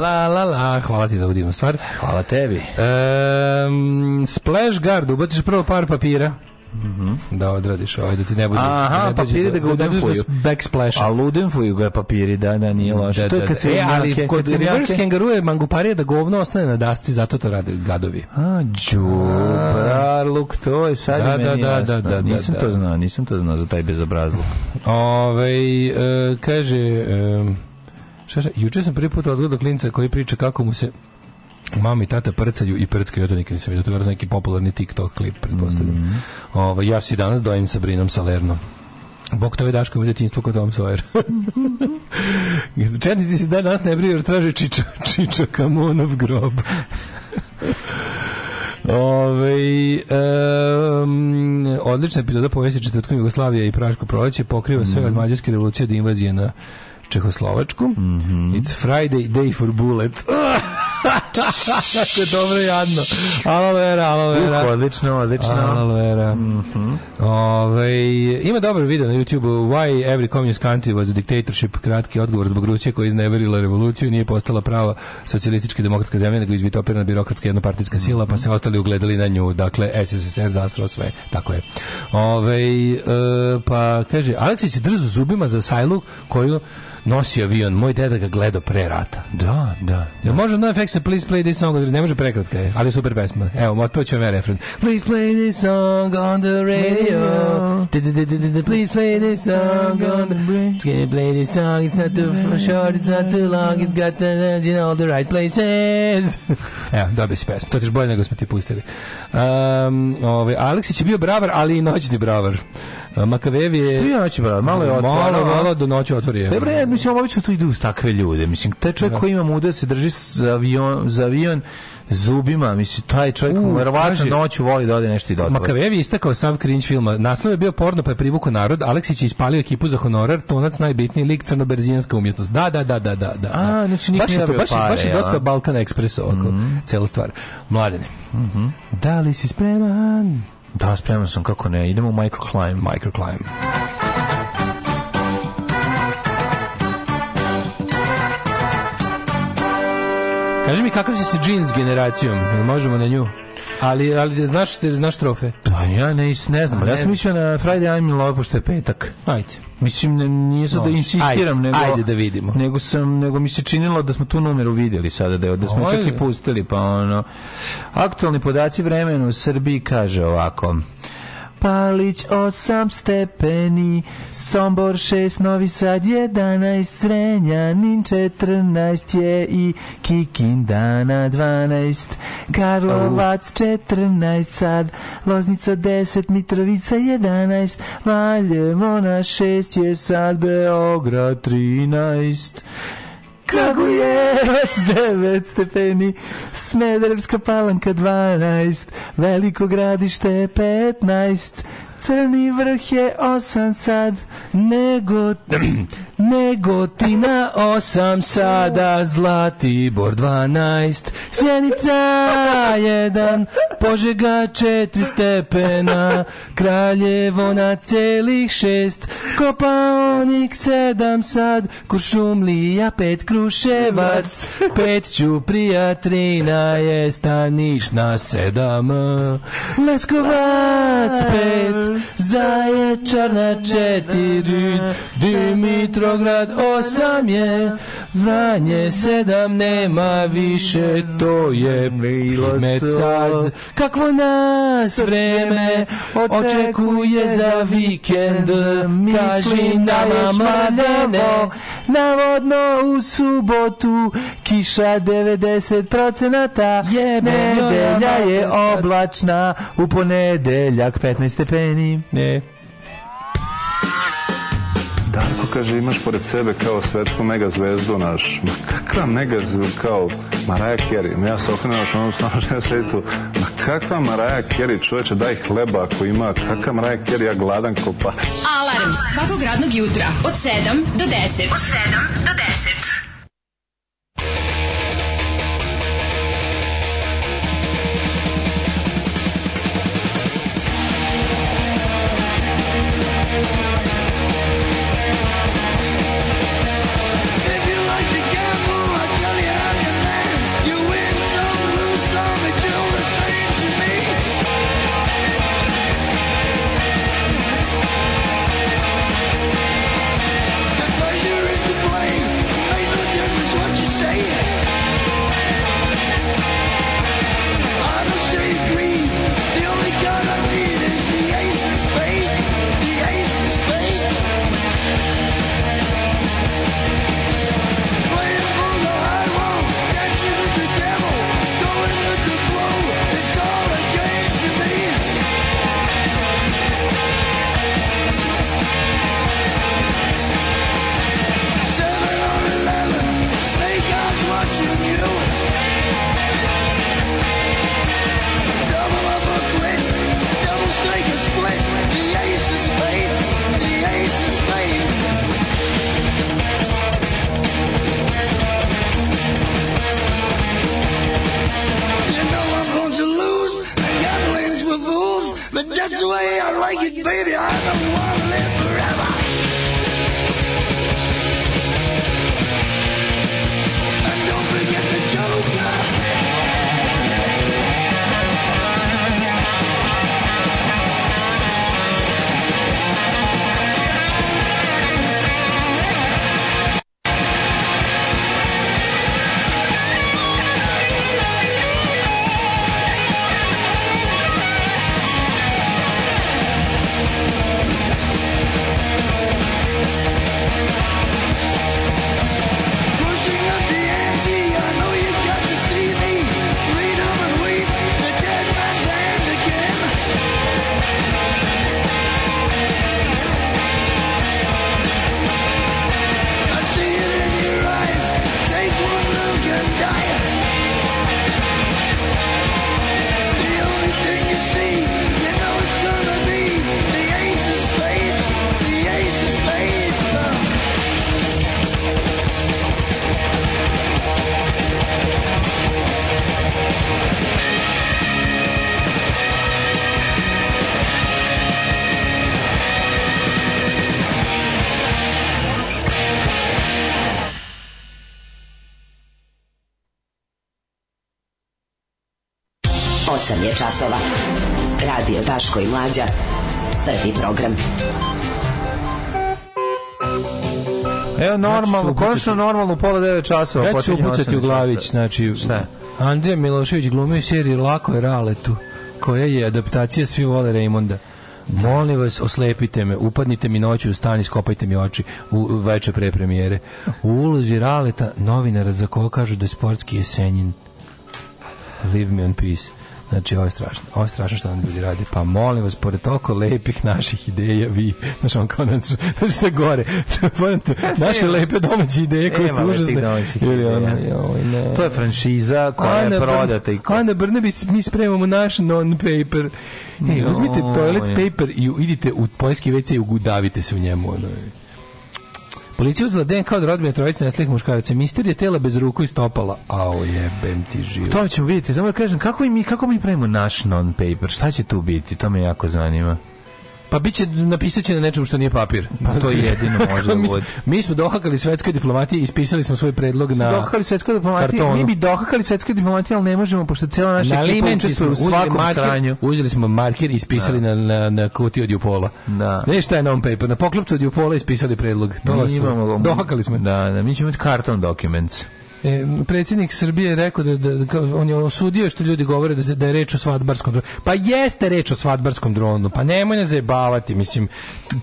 La, la, la. Hvala ti za ovu divnu stvar.
Hvala tebi.
Um, splash guard, ubaciš prvo par papira. Mm -hmm. Da odradiš ovaj, da ti ne bude...
Aha,
ne dođe
papiri da ga
ne dođe do
udenfuju.
backsplash.
A ludenfuju ga papiri, da, da, nije loše.
Da,
to je
da,
kad
da.
se
E, ali
junake-
kod
kad se
reverse
junake-
kangaruje manguparija da govno ostane na dasti, zato to rade gadovi.
A, Đubrarluk, to je sad
Da,
i
da,
meni
da,
jasno.
da, da, da,
nisam
da.
to znao, nisam to znao za taj
(laughs)
bezobrazluk.
Ove, e, kaže, e, šta, šta, juče sam prvi put odgledao klinca koji priča kako mu se mama i tata prcaju i prckaju, ja to nikad nisam vidio, to je vjerojatno neki popularni TikTok klip, pretpostavljam. Ovaj, ja si danas dojim sa Brinom Salernom. Bog tove Daško u djetinstvu kod Tom Sawyer. (laughs) Četnici si danas ne briju jer traže Čiča, Čiča Kamonov grob. Ove, em, odlična epizoda povesti četvrtkom Jugoslavije i Praško proleće pokriva sve od mađarske revolucije do invazije na Čehoslovačku. It's Friday day for bullet. (laughs) Kako je dobro i jadno. Alo vera, alo vera.
Uh, odlično, odlično.
Aloe vera. Ovaj, ima dobar video na YouTubeu Why every communist country was a dictatorship kratki odgovor zbog Rusije koja je izneverila revoluciju i nije postala prava socijalistička i demokratska zemlja nego izvitopirana birokratska jednopartijska sila pa se ostali ugledali na nju dakle SSSR zasrao sve tako je Ovaj, e, pa kaže Aleksić je drzu zubima za sajlu koju nosi avion moj deda ga gledao pre rata
Da, da.
Jel može no effects please play this song on the... Ne može prekratka je, ali je super pesma. Evo, otpeću vam ja refren. Please play this song on the radio. Du-du-du-du-du-du. Please play this song on the radio. Can play this song? It's not too f- short, it's not too long, it's got the energy in all the right
(laughs)
places. Evo, dobio si pesmu. To ćeš bolje nego smo ti pustili. Um, ovaj, Aleksić je bio bravar, ali i noćni bravar. Makavevi je...
Što je noći, brad? Malo je otvoreno.
Malo,
a?
malo do noći otvorio.
Dobro, ja mislim, obično tu idu uz takve ljude. Mislim, taj čovjek koji ima muda se drži za avion, za avion zubima, mislim, taj čovjek
U,
uh, verovatno
kaže-
noću voli da ode nešto i dotvore.
Makavev je istakao sav cringe filma. Naslov je bio porno pa je privukao narod. Aleksić je ispalio ekipu za honorar. Tonac najbitniji lik crnoberzijanska umjetnost. Da, da, da, da, da. da.
A, znači niko
baš
nije
je to,
dobio
baš, je-
pare, Mhm.
baš je
ja.
dosta Balkan Express ovako, cela stvar. Mladene,
Mhm.
da li si spreman?
Da, spreman sam, kako ne, idemo u microclimb.
Microclimb. Kaži mi kakav si se džins generacijom, Jel možemo na nju? Ali, ali znaš, znaš trofe?
Pa ja ne, ne znam, ali ja sam mislio na Friday I'm in love, pošto je petak.
Ajde.
Mislim, ne, nije sad da
Može.
insistiram,
Ajde,
nego...
ajde da vidimo.
Nego, sam, nego mi se činilo da smo tu numeru vidjeli sada, da, je- da smo čak
Ajde.
i pustili, pa ono... Aktualni podaci vremena u Srbiji kaže ovako... Palić 8 stepeni, Sombor 6, Novi Sad 11, Srenjanin 14 je i Kikindana 12, Karlovac 14 sad, Loznica 10, Mitrovica 11, Valjevona 6 je sad, Beograd 13. Kragujevac 9 stepeni, Smederevska palanka 12, Veliko gradište 15, Crni vrh je 8 sad,
Nego, (clears throat) Negotina 8 sada, Zlatibor 12, Sjenica 1, Požega 4 stepena, Kraljevo na celih 6, Kopaonik 7 sad, Kuršumlija 5, Kruševac 5, Ćuprija 13 je, Stanišna 7, Leskovac 5, Zaječar na četiri, Dimitrograd osam je, Vranje sedam nema više, to je primet sad. Kakvo nas vreme očekuje za vikend, kaži nama mladene.
Navodno u subotu kiša 90 procenata,
Jebe,
nedelja je
joj, joj.
oblačna, u ponedeljak 15 stepeni.
Ne.
Darko kaže imaš pored sebe kao svetsku megazvezdu naš. Ma kakva megazvezdu kao Mariah Carey? Ma ja se okrenuo što ono stano žena sedi tu. Ma kakva Mariah Carey čoveče daj hleba ako ima. Kakva Mariah Carey ja gladan ko pas.
Alarm svakog radnog jutra od 7 do 10. Od 7 do 10.
If you like to gamble, I'll tell you how you way I like it, baby. I don't want to live forever. And don't forget the joker. Pushing up the ante, I know you got to see me. Read 'em and weep, the dead man's hands again. I see it in your eyes. Take one look and die. The only thing you see, you know it's gonna be the ace of spades, the ace of spades.
Osam je časova. Radio Daško i Mlađa. Prvi program.
Evo E, normalno,
upucati-
konačno normalno u pola devet časova.
Ja ću se
počinje
upucati
osam
u glavić,
časova.
znači...
Šta?
Andrija Milošević glumi u seriji Lako je raletu, koja je adaptacija Svi vole Raymonda. Molim vas, oslepite me, upadnite mi noću u stan i skopajte mi oči u u veče pre premijere. U ulozi Raleta, novinara za koga kažu da je sportski jesenjin. Leave me in peace. Znači, ovo je strašno. Ovo je strašno što nam ljudi radi. Pa molim vas, pored toliko lepih naših ideja, vi, znaš, on kao nas, znaš što je gore. (laughs) Moram te- naše
Nema.
lepe domaće ideje koje su
Nema lepih
užasne.
domaćih
Ili ono,
ideja.
joj, ne.
To je franšiza koja je
Ana Brn-
prodata i
Ana Brnabić, mi spremamo naš non-paper. Ej,
Joj.
uzmite toilet paper i idite u poljski WC i ugudavite se u njemu. Ono. Policija uzela DNK od rodbine trojice neslih muškaraca. Mister je tela bez ruku i stopala. Ao, jebem ti život.
To ćemo vidjeti. Samo da kažem, kako mi, kako mi pravimo naš non-paper? Šta će tu biti? To me jako zanima.
Pa bit će, napisat će na nečemu što nije papir.
Pa
(laughs)
to jedino može da
mi, smo,
bude.
mi smo dohakali svetskoj diplomatiji i ispisali smo svoj predlog na
dohakali svetskoj diplomatiji.
kartonu.
Mi bi dohakali svetskoj diplomatiji, ali ne možemo, pošto cijela naša
na
ekipa
limenči smo
učestvuje u
uzeli
svakom
marker,
sranju.
uzeli smo marker i ispisali na, na, na kutiju od Jupola. Da. Ne šta je non paper, na poklopcu od Jupola ispisali predlog. To
Mi
su,
imamo-
dohakali smo.
Da, da, mi ćemo imati karton documents.
E, predsjednik Srbije je rekao da, da, da kao, on je osudio što ljudi govore da, se- da je reč o svadbarskom dronu. Pa jeste reč o svadbarskom dronu, pa nemoj ne zajebavati, mislim.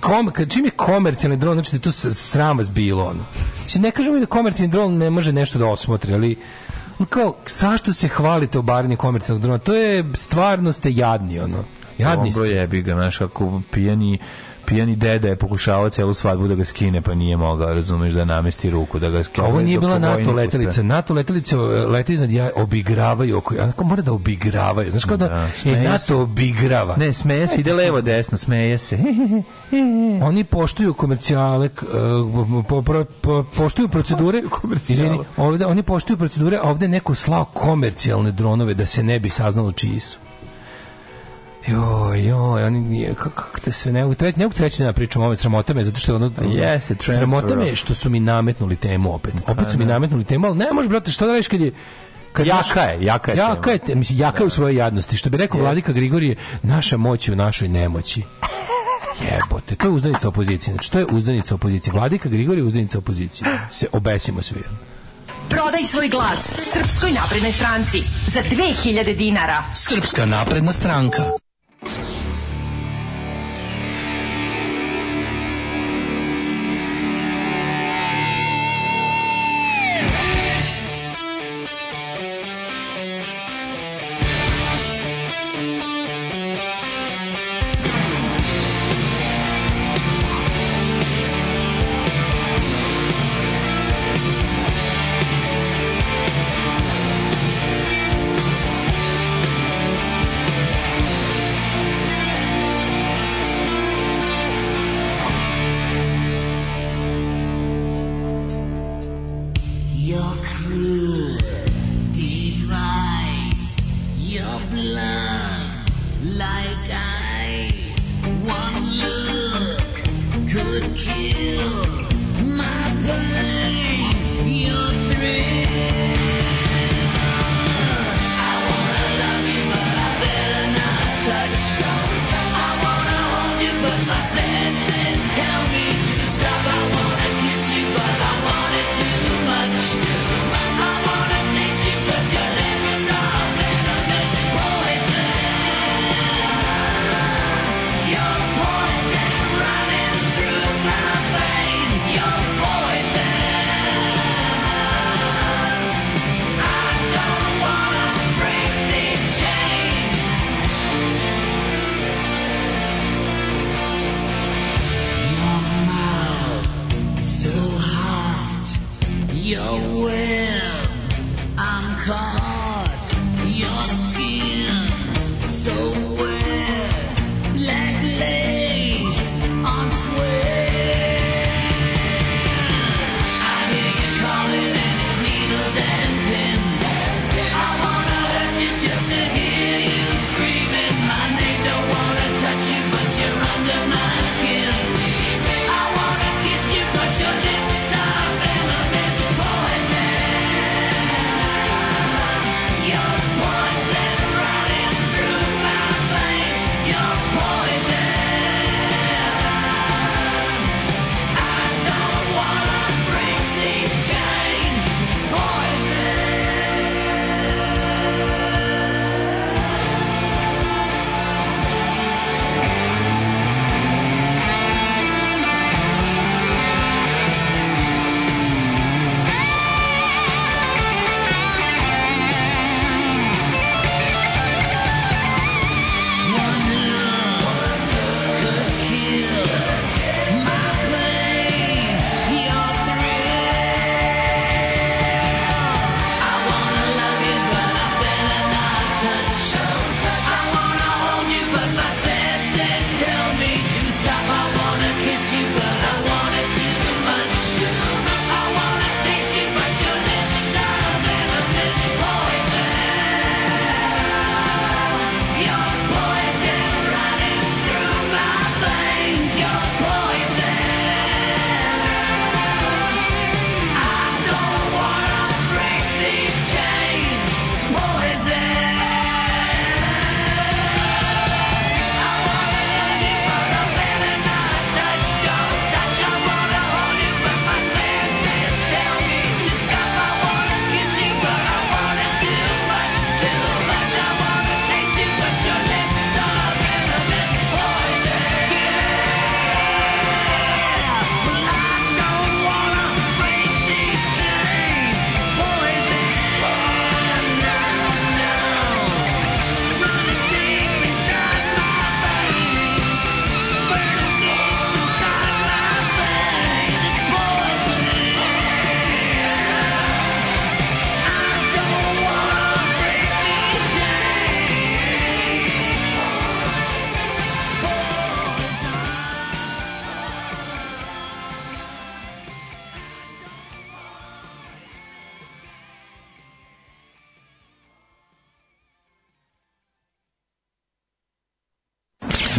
Kom, kad- čim je komercijalni dron, znači da je to s- sram vas bilo. Ono. Mislim, ne kažemo mi da komercijalni dron ne može nešto da osmotri, ali ono kao, zašto se hvalite obaranje komercijalnog drona? To je, stvarno ste jadni, ono. Jadni ste.
Dobro jebi ga, znaš, ako pijani pijani deda je pokušavao celu svadbu da ga skine, pa nije mogao, razumeš, da namesti ruku, da ga skine.
Ovo nije
dok
bila
je
NATO
vojnik
letelica.
uspeo.
NATO letelice e, lete iznad ja obigravaju oko. Onako mora da obigravaju. Znaš kao da,
smeje
e,
se.
NATO obigrava.
Ne, smeje se, ide levo, desno, smeje se. (laughs)
Oni poštuju komercijale, k- e, po, pro- po- poštuju procedure. Izvini, ovde, oni poštuju procedure, a ovde je neko slao komercijalne dronove da se ne bi saznalo čiji su. Joj, joj, oni, je- kako kako te sve, ne mogu treći, ne mogu treći da pričam ove sramota me, zato što ono,
Jeste, transfer
sramota me
of.
što su mi nametnuli temu opet. Opet su mi
da.
nametnuli temu, ali ne možeš, brate, što da radiš kad je, kad
Jaka
imaš-
je, jaka je
Jaka
tema.
je, te- mislim, jaka je u svojoj jadnosti. Što bi rekao Vladika Grigorije, naša moć je u našoj nemoći. Jebote, to je uzdanica opozicije. Znači, to je uzdanica opozicije. Vladika Grigorije je uzdanica opozicije. Se obesimo svi.
Prodaj svoj glas Srpskoj naprednoj stranci za 2000 dinara.
Srpska napredna stranka.
Your cruel device, your blood like ice,
your web. I'm caught, your skin so wet, black lace on sweat. I hear you calling and it's needles and pins. I wanna hurt you just to hear you screaming my name. Don't wanna touch you, but you're under my skin. I wanna kiss you, but your lips are venomous poison. Your poison running through my veins. Your poison. I don't wanna break these chains. Poison.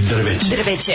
Drveće. Drveće.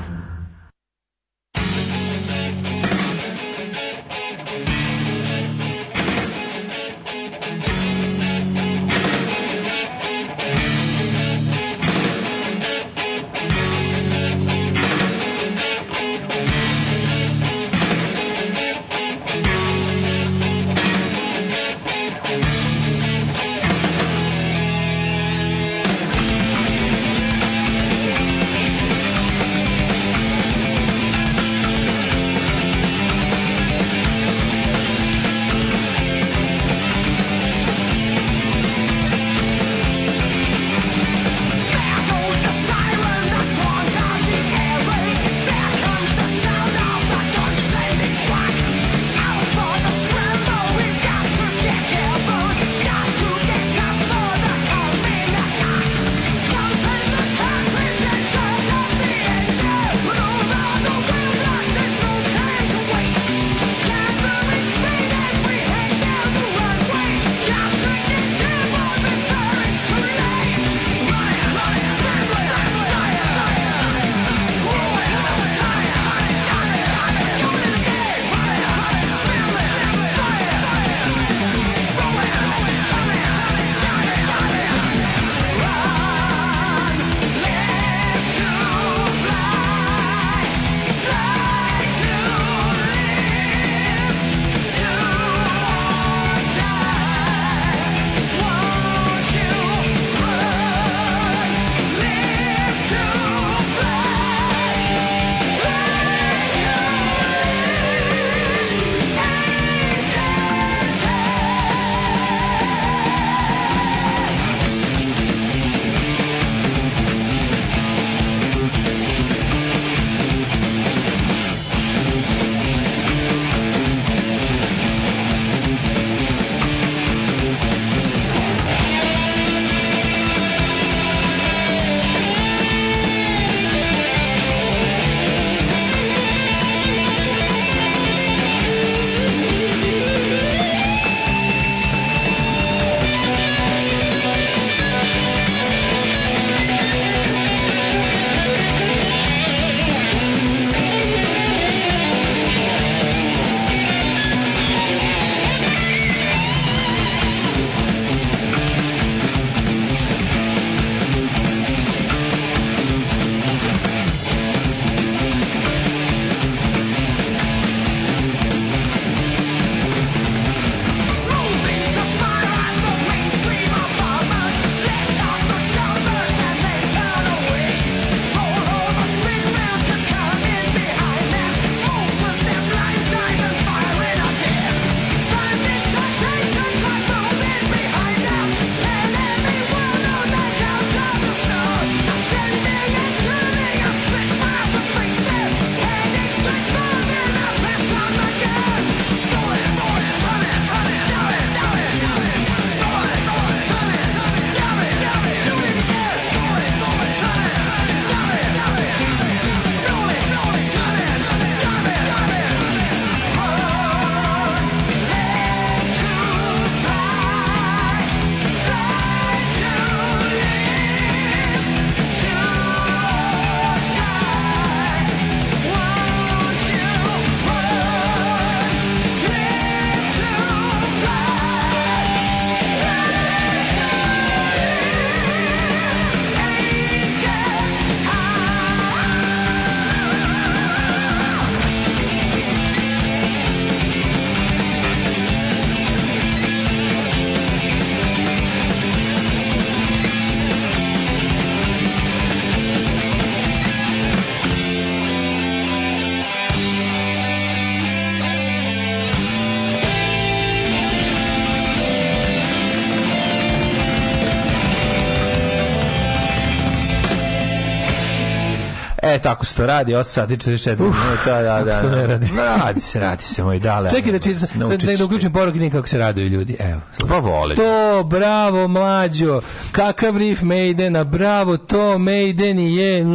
E, tako se to radi, 8 sati 44 minuta, da, da.
kako se to ne radi.
Radi se, radi se, moj dale.
Čekaj da čitam, sad
Naučit
da
ćeš ti.
uključim poruke kako se raduju ljudi. Evo.
Pa vole.
To, bravo, mlađo. Kakav riff Maidena, bravo, to Maiden i je.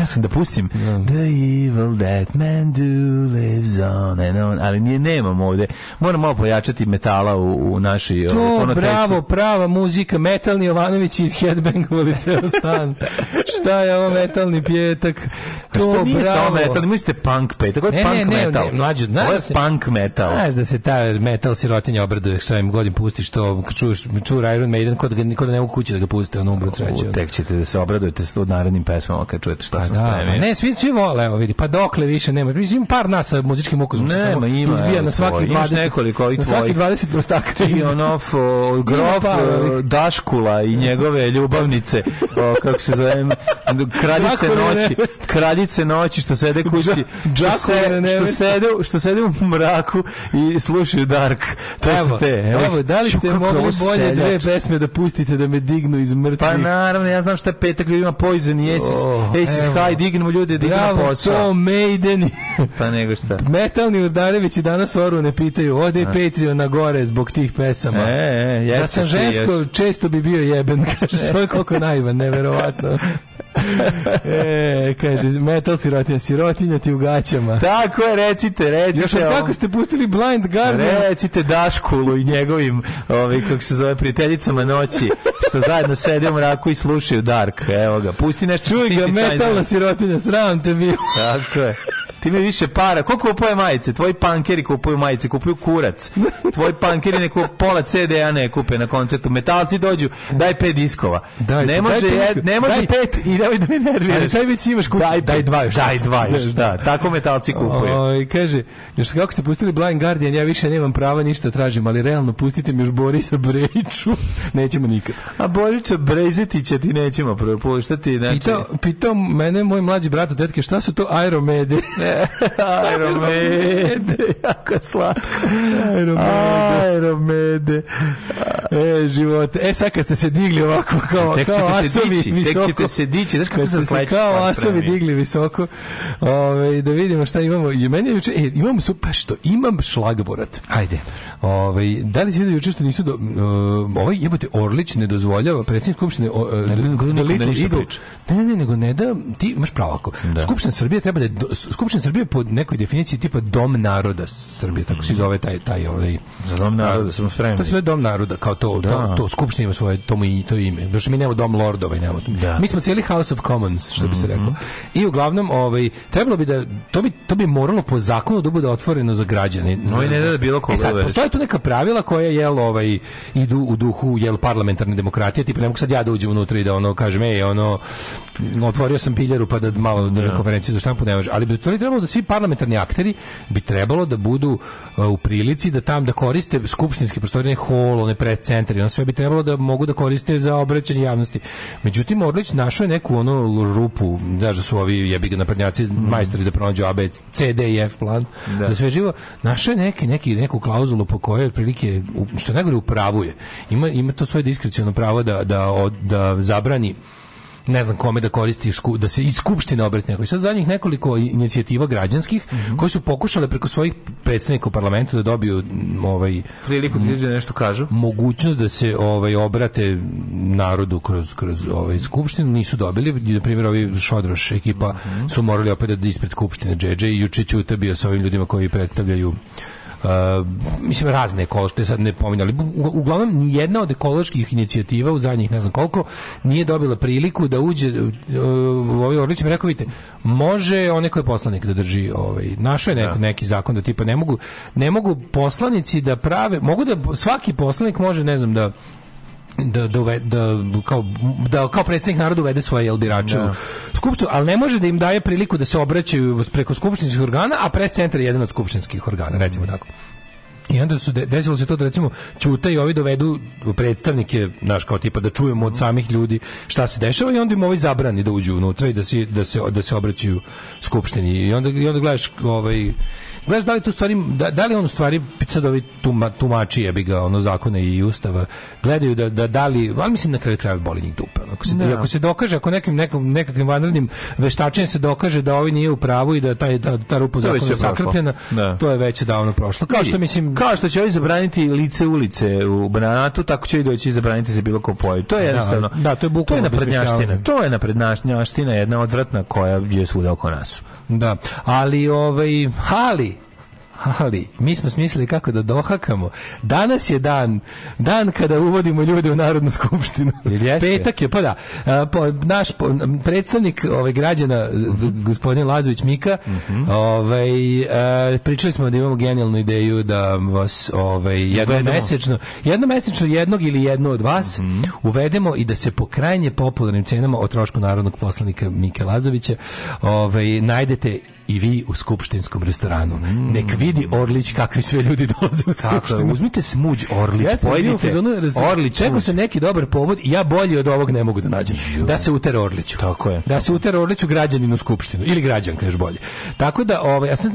Ja sam da pustim. The evil that man do lives on and on. Ali nije, nemam ovde. Moram malo pojačati metala u, u naši... ovaj,
To,
fonotekstu.
bravo, prava muzika, metalni Jovanović iz headbangovali ceo stan. Šta je ovo metalni pjetak?
To
To,
Pa nije samo
bravo.
metal, mislite punk petak, ovo je punk metal.
mlađe, znaš
ovo je
da se-
punk metal.
Znaš da se ta metal sirotinja obraduje sa ovim godin pustiš to, kad čuješ, čur Iron Maiden, kod da, kod da ne mogu kući da ga puste, on umre od sreće. ono.
U, tek ćete da se obradujete s od narednim pesmama kad čujete šta sam
Pa Da,
spremio.
ma ne, svi, svi vole, evo vidi, pa dokle više nema. Mislim, par nas sa muzičkim ukusom se
Nema,
samo
ima,
izbija
evo,
na svaki
tvoj.
20,
Imaš nekoliko ovih
na svaki
tvojih.
20 prostaka.
I onof, o,
(laughs) Ima
grof,
par
o,
ovih.
Daškula i njegove ljubavnice, o, kako se zove, kraljice
Đakuline
noći,
neveste.
kraljice noći što sede kući,
Đa-
što, se,
Đakuline
što,
neveste.
sede, što sede u mraku i slušaju Dark. To
Evo,
su te.
evo, da li
Šu,
ste
kako
mogli
ovo
bolje dve
seljač.
pesme da pustite da me dignu iz mrtvih?
Pa naravno, ja znam šta je petak ljudima poison, jesi,
O,
jesi
Oh, evo.
skaj, dignemo ljude, dignemo
Bravo, to
posao. (laughs)
Maiden.
Pa nego šta.
Metalni udarevići danas oru ne pitaju, ode Patreon na gore zbog tih pesama.
E, e, jeste
da sam
što
žensko, često bi bio jeben, (laughs) kaže čovjek koliko naivan,
(laughs)
neverovatno. e, kaže, metal sirotinja, sirotinja ti u gaćama.
Tako je, recite, recite.
Još od
ovom-
kako ste pustili Blind Guardian?
Recite Daškulu i njegovim, ovaj, kako se zove, prijateljicama noći, što zajedno sede u mraku i slušaju Dark. Evo ga, pusti nešto.
Čuj
sa
ga,
synthesizerom.
metalna sirotinja, sram te bio.
Tako je. Ti mi više para. Ko kupuje majice? Tvoji pankeri kupuju majice, kupuju kurac. Tvoji pankeri ne kupuju pola CD-a ne kupe na koncertu. Metalci dođu, daj pet diskova.
Daj,
ne
daj
može,
pet
jed-
diskova.
ne može
Daj.
pet i nemoj da me
Ali
nerviraš.
taj već imaš kuću.
Daj, daj dva još. Daj dva još, da. Tako metalci kupuju.
Oj, kaže, još kako ste pustili Blind Guardian, ja više nemam prava ništa tražim, ali realno pustite mi još Borisa Brejiću. (laughs) Nećemo nikad.
A Borića Brezetića ti nećemo propuštati. Znači...
Pitao, pitao mene moj mlađi brat od detke šta su to aeromede? (laughs)
Aeromede, (laughs) jako je slatko.
aeromede.
(laughs) Aeromede.
E, život. E, sad kad ste se digli ovako kao,
Tek
kao
ćete se
asovi
dići, tek
visoko.
ćete se dići. Znaš kako
Kad
sam
ste se
sledeći
kao
stvar
asovi
spremio?
digli visoko, ove, da vidimo šta imamo. I meni je juče, e, imam su, pa što, imam šlagvorat.
Ajde.
Ove, da li si vidio juče što nisu do, e, ovaj jebote Orlić ne dozvoljava predsjednik skupštine o, e,
ne,
the
niko ne
Little
ništa
Eagle.
priča.
Ne, ne, ne, nego ne da ti imaš pravo ako.
Da.
Skupština Srbije treba da je do- Skupština Srbije po nekoj definiciji tipa dom naroda Srbije, tako se zove taj taj ovaj
Za dom naroda sam
to
spremni.
se zove dom naroda, kao to, to, to skupština ima svoje, to mu i to ime. Došto mi nemamo dom lordova i nemamo.
Da. Mhm.
Mi smo cijeli House of Commons, što bi se reklo. I uglavnom, ovaj, trebalo bi da, to bi, to bi moralo po zakonu da bude otvoreno za građane.
No i ne da bilo koga
E sad,
uveriš.
postoje tu neka pravila koja jel, ovaj, idu u duhu jel, parlamentarne demokratije, tipa ne mogu sad ja da uđem unutra i da ono kažem, ej, ono, otvorio sam piljaru pa da malo držam konferenciju za štampu, ne može. Ali bi to trebalo da svi parlamentarni akteri bi trebalo da budu uh, u prilici da tam da koriste skupštinske prostorije, hol, one pres centri, ono sve bi trebalo da mogu da koriste za obraćanje javnosti. Međutim, Orlić našao je neku ono rupu, znaš da su ovi jebi ga naprednjaci majstori da pronađu A, B, C, D i F plan za sve živo. Našao je neki, neki, neku klauzulu po kojoj otprilike, u- što najgore upravuje. Ima, ima to svoje diskreciono pravo da, da, od- da zabrani ne znam kome da koristi sku- da se iz skupštine obrati neko. I sad zadnjih nekoliko inicijativa građanskih koji su pokušale preko svojih predstavnika u parlamentu da dobiju m, ovaj
Priliku ti ljudi nešto kažu.
mogućnost da se ovaj obrate narodu kroz kroz ovaj skupštinu nisu dobili I, na primjer ovi Šodroš ekipa su morali opet da ispred skupštine DJJ i juče Ćuta bio sa ovim ljudima koji predstavljaju Uh, mislim razne ekološke sad ne pominjali uglavnom ni jedna od ekoloških inicijativa u zadnjih ne znam koliko nije dobila priliku da uđe uh, ovaj Orlić mi je rekao vidite može onaj ko je poslanik da drži ovaj našo je neko, neki zakon da tipa ne mogu ne mogu poslanici da prave mogu da svaki poslanik može ne znam da da, da, uve- da, kao, da kao predsjednik naroda uvede svoje jel, birače u skupštinu, ali ne može da im daje priliku da se obraćaju preko skupštinskih organa, a pres centar je jedan od skupštinskih organa, recimo tako. I onda su de- desilo se to da recimo Ćuta i ovi dovedu predstavnike, znaš, kao tipa da čujemo od samih ljudi šta se dešava i onda im ovi zabrani da uđu unutra i da se da se da se obraćaju skupštini. I onda i onda gledaš ovaj gledaš da li tu stvari, da, da li on u stvari sad ovi tuma, tumači jebi ga ono zakone i ustava, gledaju da, da, da li, ali mislim na kraju krajeva boli njih dupe. ono. Ako se,
Da.
ako se dokaže, ako nekim, nekom, nekakvim vanrednim veštačenjem se dokaže da ovi nije u pravu i da taj, da, ta rupa u
To je već
zakonu je
sve prošlo.
sakrpljena,
Da.
to je već davno prošlo. Kao Pa što mislim...
Kao što će ovi zabraniti lice ulice u Banatu, tako će i doći i zabraniti se bilo ko pojavi. To je
Da,
jednostavno...
da, to je bukvalno
To je naprednjaština.
obesmišljavanje.
To je naprednjaština, jedna odvratna koja je svuda oko nas.
Da, ali ovaj, ali, ali, mi smo smislili kako da dohakamo. Danas je dan, dan kada uvodimo ljude u Narodnu skupštinu. Petak je, pa da, A, po- naš po- predstavnik ovaj, građana, gospodin Lazović Mika, ovaj, e, pričali smo da imamo genijalnu ideju da vas ovaj, jednom
Uvedemo.
mesečno, jednom mesečno jednog ili jedno od vas uvedemo i da se po krajnje popularnim cenama o trošku narodnog poslanika Mike Lazovića ovaj, najdete i vi u skupštinskom restoranu. Nek vidi Orlić kakvi sve ljudi dolaze u skupštinu.
Uzmite smuđ Orlić,
Ja sam bio u
pojedite.
fazonu, raz-
Orlić,
čekao sam neki dobar povod i ja bolji od ovog ne mogu da nađem. Da se uter Orliću. Tako je. Da se uter Orliću građaninu u skupštinu. Ili građanka još bolje. Tako da, ovaj, ja sam,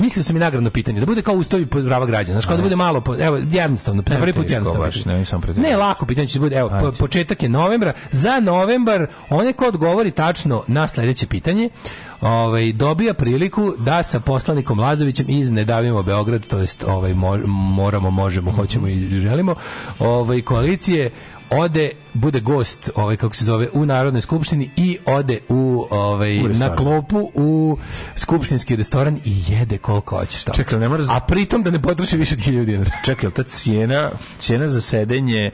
mislio sam i nagradno pitanje. Da bude kao ustavi prava građana. Znaš, kao da bude malo, po- evo, jednostavno, za prvi
Nemojte
put
vi
jednostavno.
baš, nemoj samo pretjerati.
Ne, lako pitanje će bude, evo, po- početak je novembra. Za novembar, onaj ko odgovori tačno na sljedeće pitanje, ovaj, dobija priliku da sa poslanikom Lazovićem iz Ne davimo Beograd, to jest ovaj, mo- moramo, možemo, hoćemo i želimo, ovaj, koalicije ode bude gost ovaj kako se zove u narodnoj skupštini i ode u ovaj
U restoran.
na klopu u skupštinski restoran i jede koliko hoće šta
Čekaj, ne mora...
A pritom da ne potroši više od 1000 dinara.
Čekaj, jel ta cijena, cijena za sedenje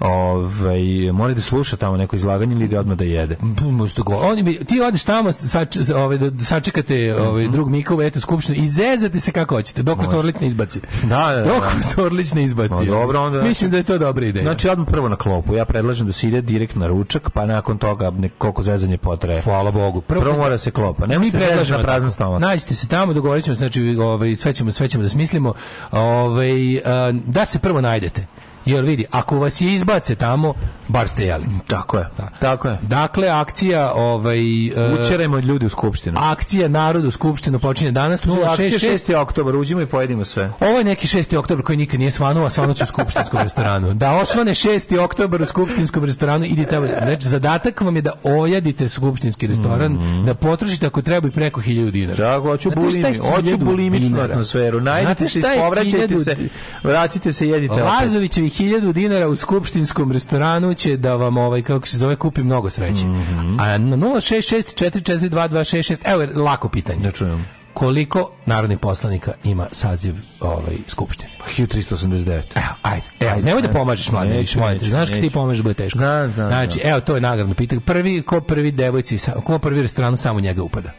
ovaj, mora da sluša tamo neko izlaganje ili da odmah da jede?
Možda go. Oni bi, ti odeš tamo, sač, za- ovaj, da- da sačekate ovaj, drug Mika u etu skupštinu i zezate se kako hoćete, dok vas
Mhm. Može.
Orlić ne
(laughs)
izbaci.
Da, da, da.
Dok vas Orlić ne izbaci.
Ma, dobro, onda-
Mislim da je to dobra ideja.
Znači, odmah prvo na klopu. Ja predlažem da se ide direkt na ručak, pa nakon toga nek- koliko zezanje potraje.
Hvala Bogu.
Prvo, mora se klopa. Nemoj
mi
se zezati
predlažemo
na prazan
tako.
stomak.
Nađite se tamo, dogovorit ćemo, se, znači ovaj, sve, ćemo, sve ćemo da smislimo. Ovaj, eh, da se prvo najdete. Jer vidi, ako vas je izbace tamo, bar ste jeli.
Tako je. Tako je.
Dakle, akcija... Ovaj, eh,
Učerajmo ljudi u skupštinu.
Akcija Narodu u Skupštinu počinje danas
Akcija
066
6. oktobar, uđimo i pojedimo sve.
Ovo je neki 6. oktobar koji nikad nije svanuo, a svanuće u skupštinskom restoranu. Da osvane 6. oktobar u skupštinskom restoranu, idite tamo. Znači, zadatak vam je da ojadite skupštinski restoran, da potrošite ako treba i preko 1000 dinara.
Tako, Mhm. hoću
Znate šta
bulimi,
je
hoću
1000
bulimičnu
dinara?
atmosferu.
Znate
Najdite se,
šta je
povraćajte
1000
se, vratite se, jedite opet.
Lazovićevi 1000 dinara u skupštinskom restoranu će da vam ovaj kako se zove kupi mnogo sreće.
Mhm.
A na 0664422266 evo je lako pitanje. Koliko narodnih poslanika ima saziv ovaj skupštine?
Pa, 1389.
Evo, ajde. Evo, nemoj da pomažeš mladim
Neću,
više, molim te.
neću,
Znaš kad ti
neću.
pomažeš bude teško.
Znam, znam,
Znači,
znam.
evo, to je nagradno pitanje. Prvi, ko prvi devojci, sa- ko prvi restoranu samo u njega upada.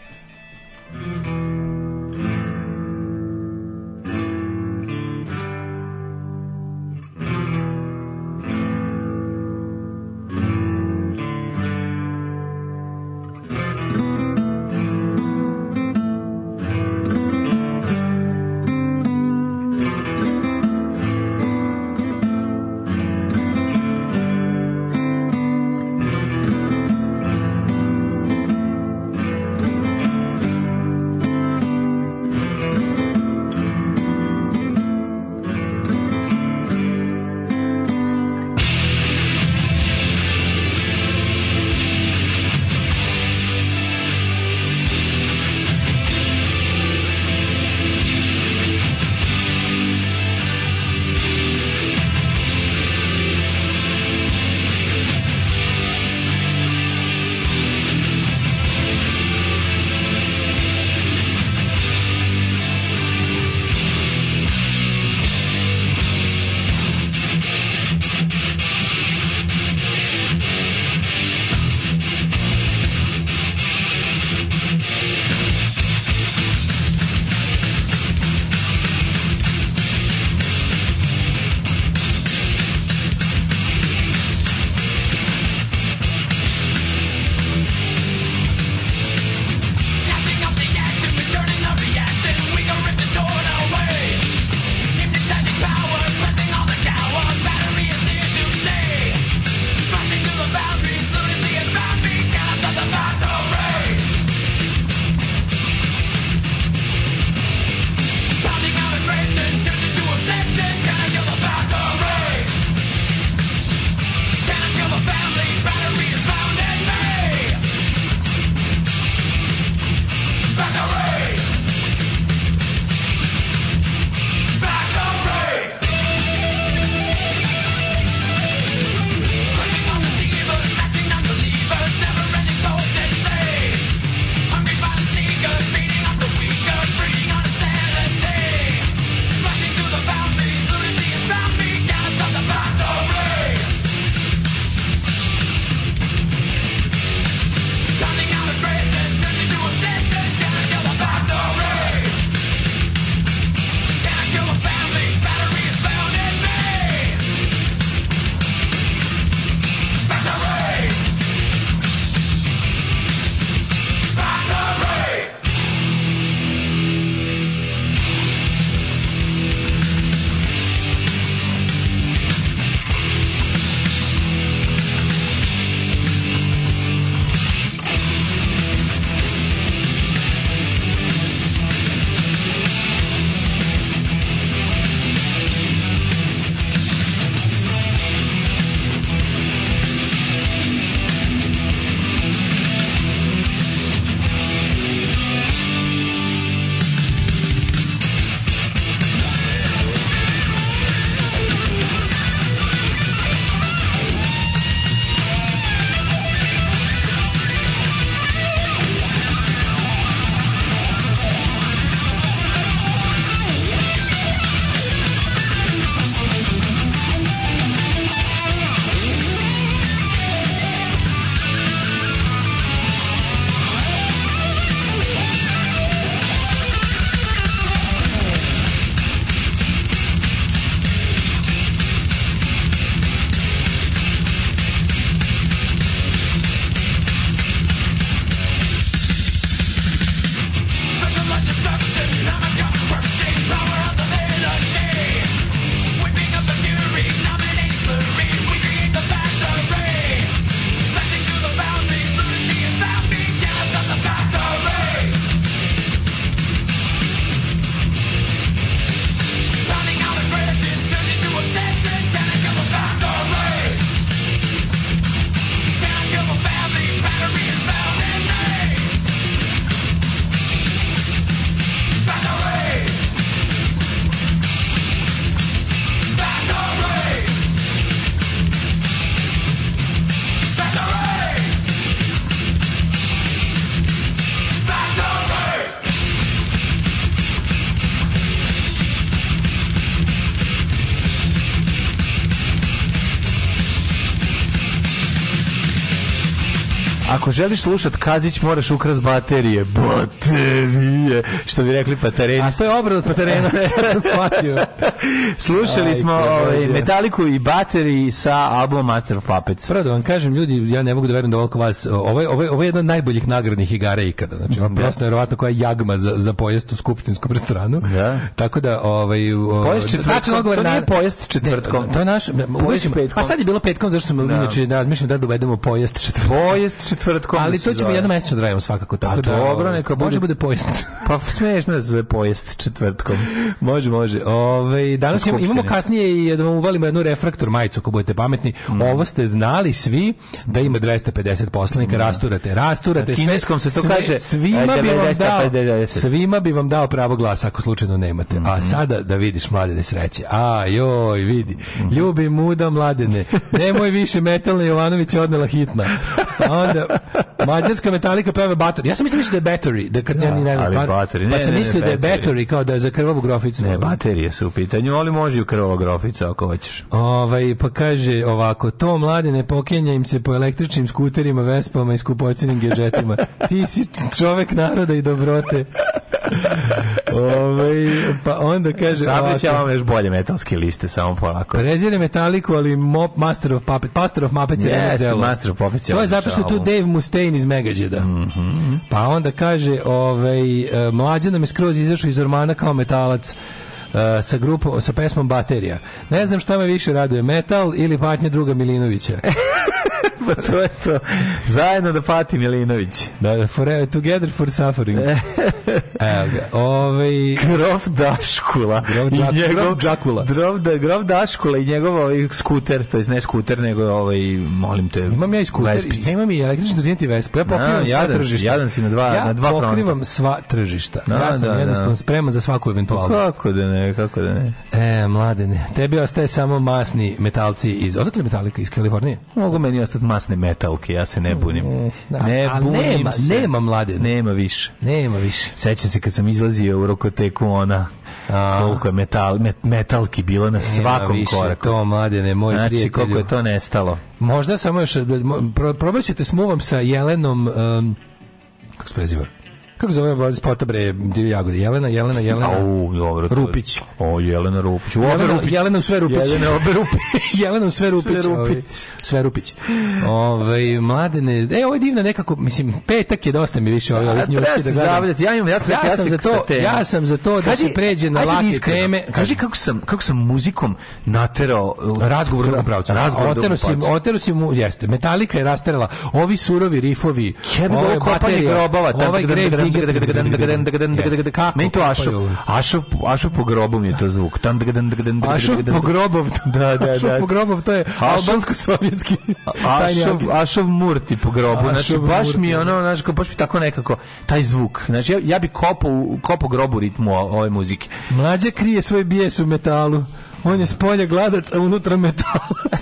Ako želiš slušat Kazić, moraš ukras baterije. Baterije! Što bi rekli patareni.
A to je obrad od patarena, ja sam shvatio.
(laughs) Slušali
Aj,
smo
Bože.
ovaj, Metaliku i Bateri sa albuma Master of Puppets.
Prvo da vam kažem, ljudi, ja ne mogu da verujem da ovoliko vas, ovo je, ovo je, ovo je jedna od najboljih nagradnih igara ikada. Znači, ovo je prosto nevjerovatno koja je jagma za, za pojest u skupštinskom restoranu. Tako da, ovaj... o-
Pojest četvrtkom,
Tačan odgovor
to
na-
nije pojest četvrtkom.
Ne, to je naš...
Pojest
uvijek-
petkom.
Pa sad je bilo petkom, zašto smo
Da.
inače razmišljam da dovedemo pojest četvrtkom.
Pojest četvrtkom.
Ali
se
to ćemo
zove.
jednom mesečno da radimo svakako. Tako
A
da, ovaj,
dobro, neka
Može
bude
bude pojest.
Pa smiješno je za pojest četvrtkom.
Može, može. Ove, danas imamo, imamo
Skupštini.
kasnije i da vam uvalimo jednu refraktor majicu ako budete pametni.
Mhm.
Ovo ste znali svi da ima 250 poslanika, rasturate, rasturate.
Mhm.
sve-
Na kineskom se to
sve-
kaže,
Svima
e,
bi vam
90,
dao,
pa 90.
svima bi vam dao pravo glasa ako slučajno nemate. A
Mhm.
sada da vidiš mladene sreće. A joj, vidi.
Mhm.
Ljubi muda mladene. Nemoj više metalna Jovanović je odnela hitna. A onda mađarska metalika peva Battery. Ja sam mislio da je Battery, da kad ja ni ne znam.
ali
stvarno.
Battery, ne,
pa sam
ne, ne,
mislio da je
Battery.
Battery kao da je za krvavu groficu.
Ne, E, baterije su u pitanju, ali može i u krvogroficu ako hoćeš.
Ovaj, pa kaže ovako, to mlade ne pokenja im se po električnim skuterima, vespama i skupocenim gedžetima. Ti si č- čovek naroda i dobrote. Ovaj, pa onda kaže
Sabrića
ovako,
vam još bolje metalske liste, samo polako.
prezire metaliku, ali mop, Master of Puppet, Master of Puppets je
Jeste,
redno delo.
Master of Puppets je
To je
odličan
zato što je tu
album.
Dave Mustaine iz Megadjeda. Pa onda kaže, ovaj, e, mlađa nam je skroz izašao iz ormana kao metalac e, sa grupom, sa pesmom Baterija. Ne znam šta me više raduje, metal ili patnja druga Milinovića.
(laughs) (laughs) Pa to je to. Zajedno da pati Milinović.
Da, da, forever, together for
(laughs)
suffering. Evo ga, ovaj...
Grof Daškula.
Grof
i
Đak-
njegov-
Grof Đakula.
Grof, da, grof Daškula i njegov ovaj skuter, to jest ne skuter, nego ovaj, molim te,
Imam ja i skuter,
Vespicu.
ja imam i električni trottinet i Vespu. Ja pokrivam
Da,
sva
jadan si,
tržišta.
jadan si na dva-
ja
na dva fronta.
pokrivam sva tržišta.
Da,
ja sam
da, da.
jednostavno spreman za svaku eventualnost.
Pa Kako da ne, kako da ne.
E, mladene, tebi ostaje samo masni metalci iz... Odakle metalika? Iz Kalifornije?
Mogu meni ostati masne metalke, ja se ne bunim.
Eh, da,
Ne
ali
bunim
nema-
se.
nema mladene.
Nema više.
Nema više.
Sećam se kad sam izlazio u rokoteku ona
A.
koliko je metal, met- metalki bilo na svakom
Nema više
koraku.
to, mladene, moj
Znači,
prijatelju.
koliko je to nestalo.
Možda samo još... da- mo- Pro, probat ćete s muvom sa Jelenom... em, kako se preziva? Kako zove ova spota bre Divlje jagode? Jelena, Jelena, Jelena.
Au, dobro. to je-
Rupić.
O, Jelena Rupić. U obe
Jelena,
Rupić.
Jelena u sve Rupić.
Jelena obe Rupić.
(laughs) Jelena u sve Rupić.
Sve
ovaj,
Rupić.
Sve Rupić. Ove, mladene, e, ovo je divno nekako, mislim, petak je dosta mi više ove
A,
ovih
treba
njuški da
se
gledam.
zabavljati, ja imam- ja sam- ja
sam
sam
za to,
sa temom.
ja sam za to da
Kaži-
se pređe na
aj sad
lake
iskreno,
teme.
Kaži kako sam, kako sam muzikom naterao... uh,
Razgovor u drugom pravcu.
Razgovor u
otero
drugom
si,
pravcu.
otero si mu, jeste. Metalika je rasterala. Ovi surovi rifovi,
Jebe
ove
ovo kopanje
baterije,
grobova. tam,
ovaj grave
tam,
digger- Jeste. Kako
Meni to
kopaju
Ašov,
ovo?
Ašov, Ašov po grobu mi je to zvuk. Tam,
Ašov po grobov,
(laughs) Da, (laughs) da,
Ašov
da.
po grobov, to je
Ašov-
albansko-sovjetski. (laughs) tajni
Ašov,
agent.
Ašov Murti po grobu, znači
Ašov
baš mi je
Murti,
ono, znači baš mi tako nekako taj zvuk. Znači ja, ja bi kopao u- kopao grobu ritmu o- ove muzike.
Mlađa krije svoj bijes u metalu. On je s polja gladac, a unutra (laughs) metalac.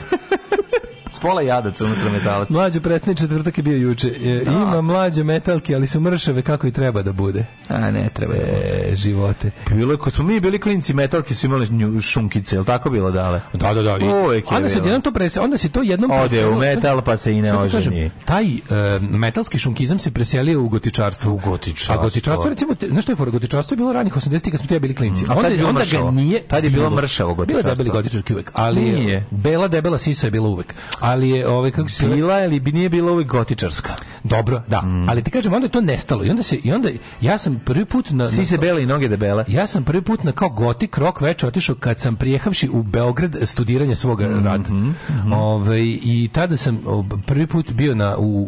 S pola jadaca unutra metalac.
Mlađo presne četvrtak je bio juče. E, Ima mlađe metalke, ali su mršave kako i treba da bude.
A ne, treba je.
E, živote.
pa Bilo je, kad smo mi bili klinci, metalki su imali nju- šunkice, je tako bilo dale?
Da, da, da. I,
Uvek je
onda se
bilo.
jednom to prese, onda se to jednom
Ode
preselilo.
u metal, pa se i ne
Sad da kažem,
oženi.
Taj e, metalski šunkizam se preselio u gotičarstvo. U
gotičarstvo.
A gotičarstvo, recimo, te- znaš što je fora? Gotičarstvo je bilo ranih 80-ih kad smo ti i ja bili klinci.
A tad je bilo
onda
mršavo.
ga nije...
Tad je bilo mršavo
Bilo
gotičarstvo.
je debeli gotičarki uvek, ali
Nije.
je bela debela sisa je bila uvek. Ali je, ovaj, kako se...
Bila ili bi nije bila uvijek gotičarska.
Dobro, da.
Mm.
Ali ti kažem, onda je to nestalo. I onda se, i onda, ja sam prvi put na...
Svi se
na-
bele i noge debele.
ja sam prvi put na kao gotik rock večer otišao kad sam prijehavši u Beograd studiranje svoga
Mhm,
rada. Ovaj, I tada sam o, prvi put bio na, u,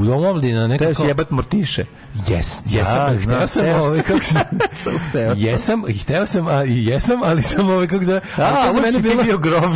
u domu omladine na
Treba si
nekako...
jebat
(laughs)
mortiše.
Jes, jesam,
Da,
hteo
znam,
sam,
hteo sam.
ovaj, kako se-
Sam (laughs) hteo sam.
jesam, i hteo sam, a i jesam, ali sam ovaj, kako se zove,
A,
ali to za
uvijek
mene
si ti
bilo-
bio grof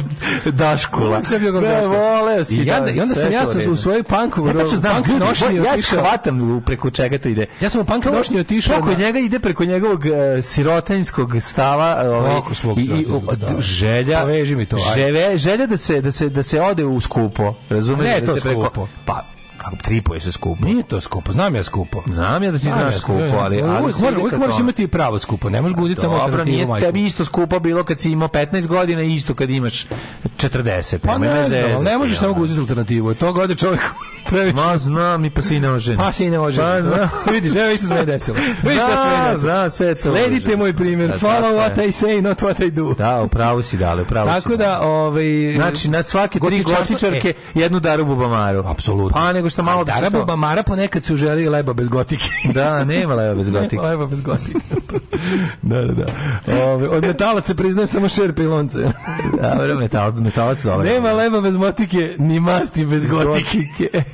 Daškula.
Uvijek sam bio grof
Ne,
Daškula.
voleo si
I ja-
da-
i onda
sve
sam
je
ja
to
sam
u
u svojoj punk-
redu. Ja tačno znam,
punk
ljudi,
nošnji
ja
otišao-
shvatam u- preko čega to ide.
Ja sam u punk
To-
nošnji otišao
to Kod
na-
njega ide preko njegovog e, sirotinjskog stava, e, ovaj,
Kako svog
i- i
sirotinjskog
o-
stava?
želja.
Poveži mi to, ajde.
želje- želja da se da se da se ode u skupo, razumeš?
Ne,
da
to
se preko-
skupo.
Pa, kako tripuje se skupo.
Nije to skupo, znam ja skupo.
Znam ja da ti
Znam
znaš
ja
skupo,
ja
ali...
sam-
ali
uvijek,
se
moraš,
ide
uvijek
ka
moraš
tome.
imati i pravo skupo, ne možeš guziti samo
Pa Dobro,
alternativu
nije
majku.
tebi isto skupo bilo kad si imao 15 godina i isto kad imaš 40.
Pa
nemoj me
ne, znam, ali
zezati,
ne možeš
ono.
samo uzeti alternativu. Od toga ode čovjek (laughs) previše.
Ma Pa znam, i pa si i ne oženi.
Pa si i ne oženi. (laughs)
Pa znam.
Vidiš, evo isto se meni
(laughs)
desilo. Vidiš šta se meni
Zna,
desilo.
zna, sve to.
Sledite
može.
moj primjer.
Da,
Follow
tako
what
je.
I say, not what I do.
Da, upravo si dale, upravo si.
Tako da, ovaj...
Znači, na svake tri
Gotičarstvo-
gotičarke jednu daru bubamaru.
Apsolutno.
Pa nego što malo da se
Dara
to-
Bubamara ponekad se uželi leba bez gotike.
Da, nema leva bez gotike.
Nema leba bez gotike. (laughs) da, da, da. Ove, od metalaca priznajem samo šerpe i lonce.
Dobro, metal, metalac dobro.
Nema leba bez motike, ni masti bez gotike.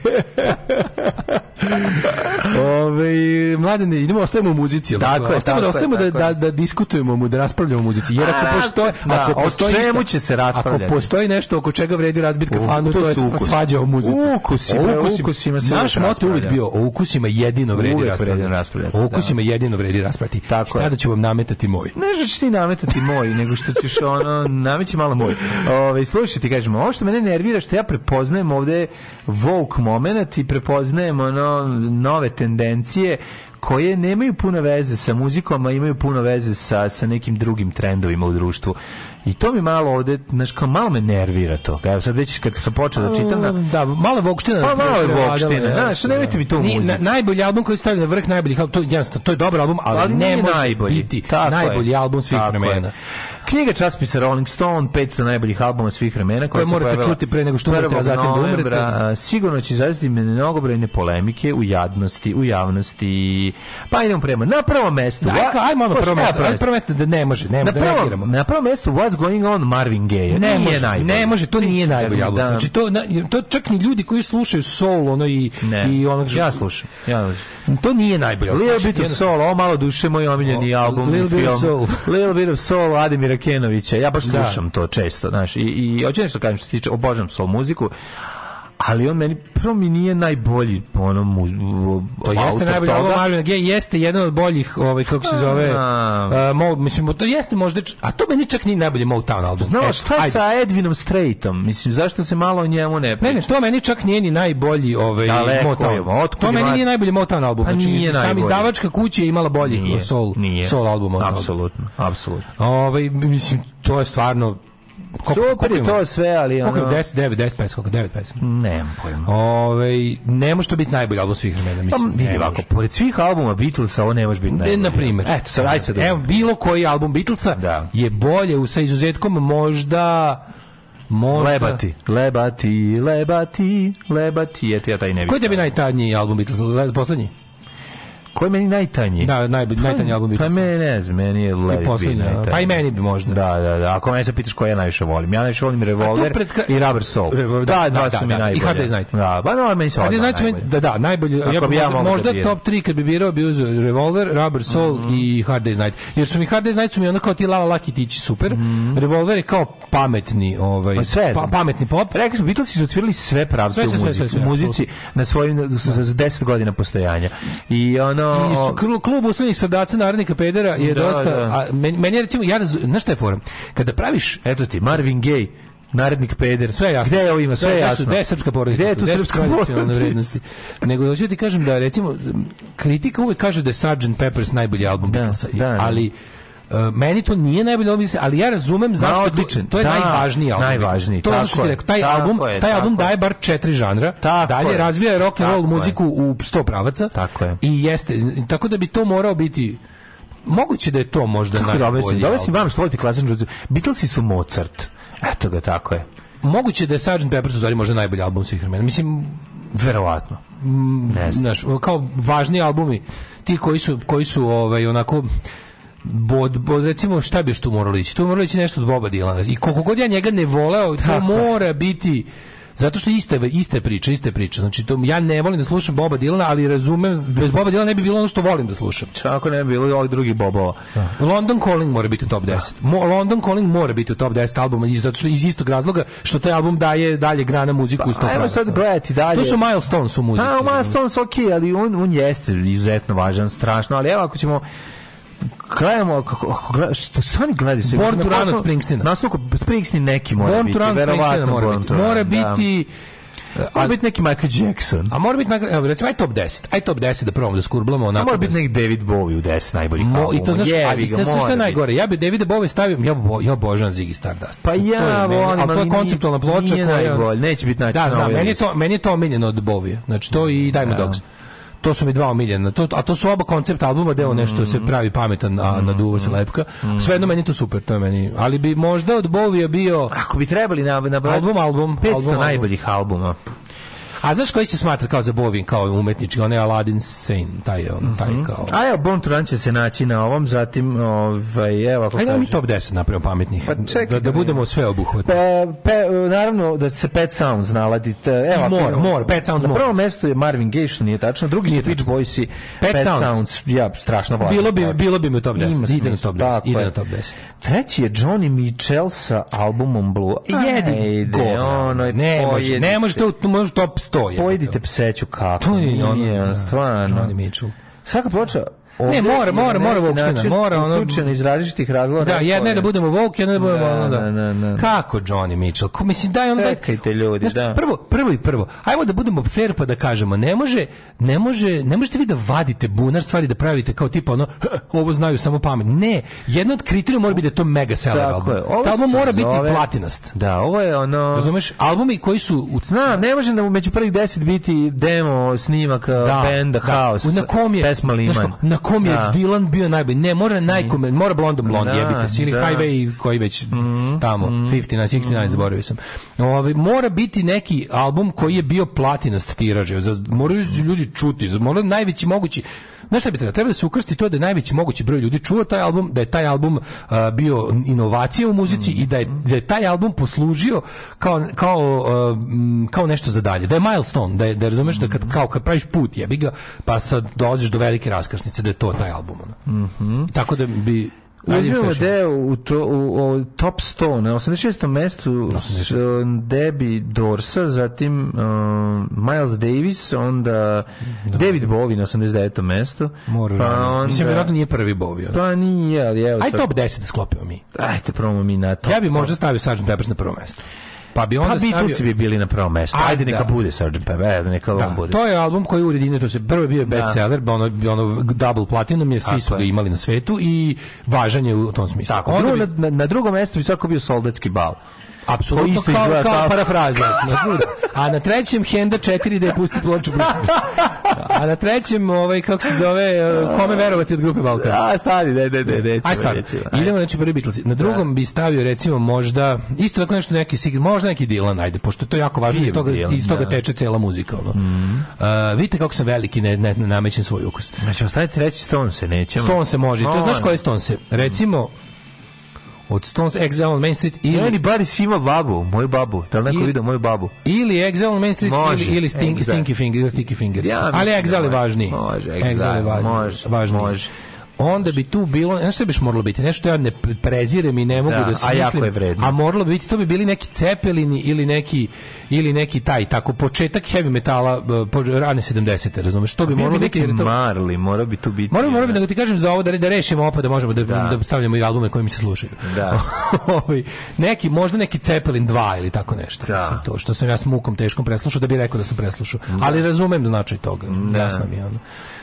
(laughs) Ove, mladene, idemo, ostajemo u muzici. jel
Tako je,
ostajemo, da,
tako je,
ostajemo da,
tako
da,
je.
da diskutujemo, mu, da raspravljamo o muzici. Jer
A,
ako
raz-
postoji,
da,
ako
o
postoji
čemu
išta-
će se raspravljati?
Ako postoji nešto oko čega vredi razbit kafanu,
U,
to,
to
je
su ukusi.
svađa o muzici.
Ukusi, bre,
O ukusima-
ukusima se
Naš
uvek
moto je uvijek
raspravlja.
bio, o ukusima jedino vredi
Uvek
raspravljati.
vredi raspravljati,
O ukusima jedino vredi raspravljati.
Tako je.
Sada ću vam nametati moj.
Ne što ćeš ti nametati moj, nego što ćeš ono, nameći malo moj. Ove, slušaj, ti kažemo, ovo što mene nervira, što ja prepoznajem ovde woke moment i prepoznajem ono, nove tendencije koje nemaju puno veze sa muzikom, a imaju puno veze sa, sa nekim drugim trendovima u društvu. I to mi malo ovde, znaš, kao malo me nervira to. Evo sad već kad sam počeo da čitam na...
Da, malo vokština.
Pa malo je
prevladala,
vokština,
ja,
znaš,
da.
nemojte mi to u
Ni-
muzici.
na- najbolji album koji stavlja na vrh najboljih album, to, je jednostavno, to je dobar album, ali,
ali
ne
Pa nije
može
najbolji.
biti
Tako
najbolji
je.
album svih
Tako je.
vremena.
Knjiga časpisa Rolling Stone, 500 najboljih albuma svih vremena.
Koje
se
morate
pojavila
čuti pre nego što umrete, a
1.
zatim da umrete.
novembra. A, Sigurno će izazvati mnogobrojne polemike u jadnosti, u javnosti. Pa idemo prema. Na prvo mesto.
Da, ajmo, ajmo na
Slušaj,
prvo
na
mesto, ajmo na prvo mesto da ne može, ne
Na
može da
prvo,
reagiramo.
na prvo mesto What's Going On Marvin Gaye.
Ne
Nije
može,
najbolji.
ne može, to nije
Ništa,
najbolji
da.
album. Znači to, na- to čak ni ljudi koji slušaju soul, ono i,
Ne.
i onog...
Ja slušam. Ja slušam.
To nije najbolji album.
Little
Znači,
Bit of
jedno-
Soul, ovo malo duše moj omiljeni
O,
album
Little
i
Bit of
film. (laughs)
Soul.
Little Bit of Soul Ademira Kenovića. Ja baš
Da.
slušam to često, znaš. I, i hoću nešto kažem što se tiče, obožavam soul muziku, ali on meni, prvo mi nije najbolji ono, po onom muz,
To jeste najbolji album Marvin Gaye, jeste jedan od boljih, ovaj kako se zove,
A.
uh, Mo, mislim to jeste možda, č- a to meni čak ni najbolji Motown album. Eto,
Znaš, šta
E, ajde.
sa Edvinom Straightom? Mislim, zašto se malo o njemu ne
Ne,
priča?
ne, to meni čak nije ni najbolji ovaj
Daleko je, ma
Motown.
otkud
To meni
ima-
nije najbolji Motown album. znači,
Pa nije
sam
najbolji.
izdavačka kuća je imala boljih
Nije,
soul,
nije.
soul ono- albuma. od toga.
Apsolutno, apsolutno.
Ovaj mislim to je stvarno koliko-
Super
koliko
je
ima?
to sve, ali
Koliko
ono... Mm.
je 10, 9, 10 pesma, koliko 9 pesma.
Nemam pojma.
Ovaj ne može to biti najbolji album svih vremena,
Pa
mislim.
vidi
ne
ovako,
može.
pored svih albuma Beatlesa ovo ne može biti
Ne,
najbolji.
na primjer.
Eto, sad, aj sad.
Evo, bilo koji album Beatlesa
Da.
je bolje, u- sa izuzetkom možda... možda
Lebati, lebati, lebati, lebati, eto ja taj ne vidim.
Koji je tebi najtanji album Beatlesa? Le- Poslednji?
Koji je meni najtanji?
Da, najbolji, najtanji album
Pa
Beatlesa.
meni ne znam, meni je Let It Be
poslednji, a?
najtanji.
Pa i meni bi možda.
Da, da, da. Ako me se pitaš koje ja najviše volim. Ja najviše volim Revolver
pred kraj-
i Rubber Soul.
Revolver, da,
da, dva
da, da,
su mi
da. I
najbolje.
Hard Day's Night.
Da, ba no, meni su
Ajde,
odmah
znači meni- da,
najbolje.
da, najbolji.
Ako
ja
bi ja
možda,
mogao
možda
da biram. Mhm.
top 3 kad bi birao bi uzeo Revolver, Rubber Soul i Hard Day's Night. Jer su mi Hard Day's Night su mi ono kao ti Lala Laki tići super. Revolver je kao pametni, ovaj,
Mhm. Pa sve
pa,
jedno.
pametni pop.
Rekli smo, Beatlesi su otvorili sve pravce
Sve, sve,
u
sve,
muzici,
sve, sve,
muzici na svojim, za za 10 godina postojanja. I ono...
I su klu- klub usiljenih srdaca narodnika pedera je
Da,
dosta
da.
a meni, meni je recimo ja raz- znaš šta je fora kada praviš
Eto ti, Marvin Gaye, narednik peder.
sve je jasno.
Gde je ovo ima? Sve je
Gde su-
jasno.
Gde je srpska porodica?
Gde je tu
su
srpska
tradicionalne
porodica?
vrednosti? Nego hoću da ti kažem da recimo kritika uvek kaže da je Sgt. Pepper's najbolji album Beatlesa,
da, da.
ali e, meni to nije najbolji album, Beatlesa, ali ja razumem zašto to-
odličan,
to je
da,
najvažniji album. Beatlesa.
najvažniji,
To je ono
tako
što ti
je,
rekao, taj
tako
album, taj
je, tako
album
je.
daje bar četiri žanra.
Tako
dalje
je.
razvija je rock and roll
Tako je.
muziku u 100 pravaca.
Tako je.
I jeste, tako da bi to morao biti Moguće da je to možda
Kako da objasnim?
najbolji
Da objasnim
album.
vam što volite klasičnu muziku. Beatlesi su Mozart. Eto ga, tako je.
Moguće da je Sgt. Pepper's u stvari možda najbolji album svih vremena. Mislim,
Verovatno. Ne znam.
Mm, znaš, kao važni albumi, ti koji su, koji su ovaj, onako bod, bod, recimo šta bi još tu moralo ići? Tu moralo ići nešto od Boba Dilana. I koliko god ja njega ne voleo, to mora biti Zato što iste, iste priče, iste priče. Znači, to, ja ne volim da slušam Boba Dilana, ali razumem, bez Boba Dilana ne bi bilo ono što volim da slušam.
Ako ne bi bilo i ovih drugih bobova.
London Calling mora biti u top 10. Mo- London Calling mora biti u top 10 albuma iz, zato što, iz istog razloga što taj album daje dalje grana muziku u 100
Pa, ajmo sad gledati dalje.
To su milestones u muzici.
Pa, Milestones ok, ali on, on jeste izuzetno važan, strašno, ali evo ako ćemo gledamo, ako, ako gleda, šta, šta oni gledaju? se?
Born to
Na
Run od
osnovu-
Springsteena.
Na osnovu Springsteen neki mora
Born
biti,
to Run Springsteena
verovatno
mora
Born
biti.
to Run,
Mora
da.
biti
Mora biti neki Michael Jackson.
A mora biti, Michael- evo, recimo, aj top 10. Aj top 10 da probamo da skurblamo.
A
Onako
mora
bez-
biti neki David Bowie u 10 najboljih
Mo,
albuma.
I to znaš,
Jebi
ali
ga,
znaš
mora
šta je
biti.
najgore? Ja bi Davida Bowie stavio, ja, bo, ja obožavam Ziggy Stardust.
Pa ja
To je meni-
volim,
ali to je
ali
konceptualna
nije-
ploča
nije
koja... je-
najbolje, neće biti način
Da,
na
znam,
ovoj
meni je,
listi.
to, meni je to omiljeno od Bowie. Znači, to i Dime Dogs. To su mi dva omiljena. To, a to su oba koncept albuma deo nešto
Mm.
se pravi pametan, a naduva se lepka. Svejedno meni je to super, to je meni. Ali bi možda od Bovija bio...
Ako bi trebali na, na
album, album,
500
album, album.
najboljih albuma.
A znaš koji se smatra kao za Bovin, kao umetnički? On je Aladdin Sane, taj, je on, taj kao...
Mhm. A evo, Born to Run će se naći na ovom, zatim, ovaj, evo, ako
Ajde da mi
kaže-
top 10 napravimo pametnih.
Pa čekaj
da, da
da Pa,
budemo sve obuhvatni.
Pe, pe, naravno da će se Pet Sounds naladite. Evo, ako
More,
idemo-
more, Pet Sounds
Na
more.
prvom mestu je Marvin Gaye, što nije tačno. Drugi
Nije
su Beach
tačno.
Boysi.
Pet Sounds.
Ja, strašno vlada.
Bilo bi, bilo bi mi u top 10. Ide na top 10.
pa, Tako
Ide
je.
na top 10.
Treći je Johnny Mitchell sa albumom Blue.
Jedi
Ajde,
govna.
Pa ono je
Ne može, ne može, to, to može top 100. jebote.
Pojedite pa, pseću kako.
To je ono,
nije,
da,
stvarno.
Johnny Mitchell.
Svaka ploča
Ne, mora, mora, mora Vukština, mora ono...
Uključena iz različitih razloga.
Da,
neko
jedna je da budemo woke, jedna je da budemo
Da,
ono da.
da, da, da.
Kako Johnny Mitchell? Ko, mislim, daj on daj...
Čekajte, ljudi, da.
Prvo, prvo i prvo. Ajmo da budemo fair pa da kažemo, ne može, ne može, ne možete vi da vadite bunar stvari da pravite kao tipa ono, ovo znaju samo pamet. Ne, jedna od kriterijuma mora biti da je to mega seller
Tako
album.
je. Ovo
Ta album
se
mora biti
zove-
platinast.
Da, ovo je ono...
Razumeš? Albumi koji su u
Znam, ne može nam među prvih deset biti demo, snimak, da, benda, house,
na kom je,
pesma Liman.
znaš ko, na kom je
Da.
Dylan bio najbolji. Ne, mora najkomen, mora Blondom Blond,
Da,
jebite se, ili
da. Mm-hmm.
Highway koji već tamo, 59, 69, zaboravio sam. Ovaj, mora biti neki album koji je bio platinast tiraže, za- moraju
Mm-hmm.
ljudi čuti, za- mora najveći mogući Znaš šta bi trebalo? Treba da se ukrsti to da je najveći mogući broj ljudi čuo taj album, da je taj album a, bio inovacija u muzici i da je,
Mm-hmm.
da je taj album poslužio kao, kao, a, mm, kao nešto za dalje. Da je milestone, da, je, da razumeš da
Mm-hmm.
kad, kao kad praviš put jebi ga, pa sad dođeš do velike raskrsnice, da je to taj album. Ono. Tako da bi... Ajde,
Uzmemo
slušaj.
deo u, to, u, u top 100, na 86. mestu s, um, Debbie Dorsa, zatim um, Miles Davis, onda David Bowie na 89. mestu.
Mora
pa
ranije.
onda,
Mislim, vjerojatno nije prvi Bovi.
Pa nije, ali evo
Aj
sad-
top 10 da sklopimo mi.
Ajde, probamo mi na to.
Ja bi možda stavio Sgt. Peppers na prvo mesto. Pa bi onda
Pa Beatlesi
stavio...
bi bili na prvom mestu.
Ajde,
Ajde, neka
da.
bude Sgt. Pepper, ajde, neka on
Da,
bude.
to je album koji uredine, to se prvo je bio bestseller, ba ono, ono double platinum je,
Tako
svi su ga
je.
imali na svetu i važan je u tom smislu.
Tako,
Onda
drugo,
bi-
na, na drugom mjestu bi svako bio soldatski bal.
apsolutno
to isto
kao,
izgleda
kao
tako.
parafraza. na drugo. A na trećem Henda 4 da je pusti ploču
(laughs)
pusti. A na trećem, ovaj, kako se zove, kome verovati od grupe Balkan.
A, stani, ne, ne, ne, nećemo,
Aj sad,
nećemo.
idemo znači prvi Beatlesi. Na drugom bi stavio recimo možda isto tako nešto neki Sigrid, možda neki Dylan, ajde, pošto to je jako važno, iz
Bio bi
toga,
Dylan,
iz toga
da. Mhm.
teče cela muzika. Ono. A, vidite kako sam veliki, ne, ne, ne namećem svoj ukus.
Znači, ostaviti treći ston se, nećemo.
Stone se može. To
No,
znaš
ne.
koje Stone se? Recimo od Stones Exile on Main Street
Ili
ili
Baris ima babu, moju babu. Da li neko
I-
vidio moju babu?
ili Exile on Main Street
Može.
ili, ili Stin-
Exile.
Stinky Finger, ili Sticky Fingers.
Ja mislim
Ali
da
Exile je
može.
važniji.
Može,
Exile je
Exile,
važniji.
može,
važniji.
može.
Onda bi tu bilo, znaš što biš moralo biti? Nešto ja ne prezirem i ne mogu
Da,
da,
a
smislim.
jako je vredno.
A moralo bi biti, to bi bili neki cepelini ili neki, ili neki taj, tako, početak heavy metala, eh, po- rane 70. razumeš? To bi
Bio
moralo
Pa bi
biti. jer
neki
je to-
Marli, morao bi tu biti.
Moram, moram da ti kažem za ovo da, da rešimo opa da možemo da, da.
Da.
stavljamo i albume koji mi se slušaju.
Da.
(laughs) Ovaj, neki, možda neki Cepelin 2 ili tako nešto.
Da.
Mislim, To što sam ja s mukom teškom preslušao da bi rekao da sam preslušao. Ali razumem značaj toga. Jasno mi je ono.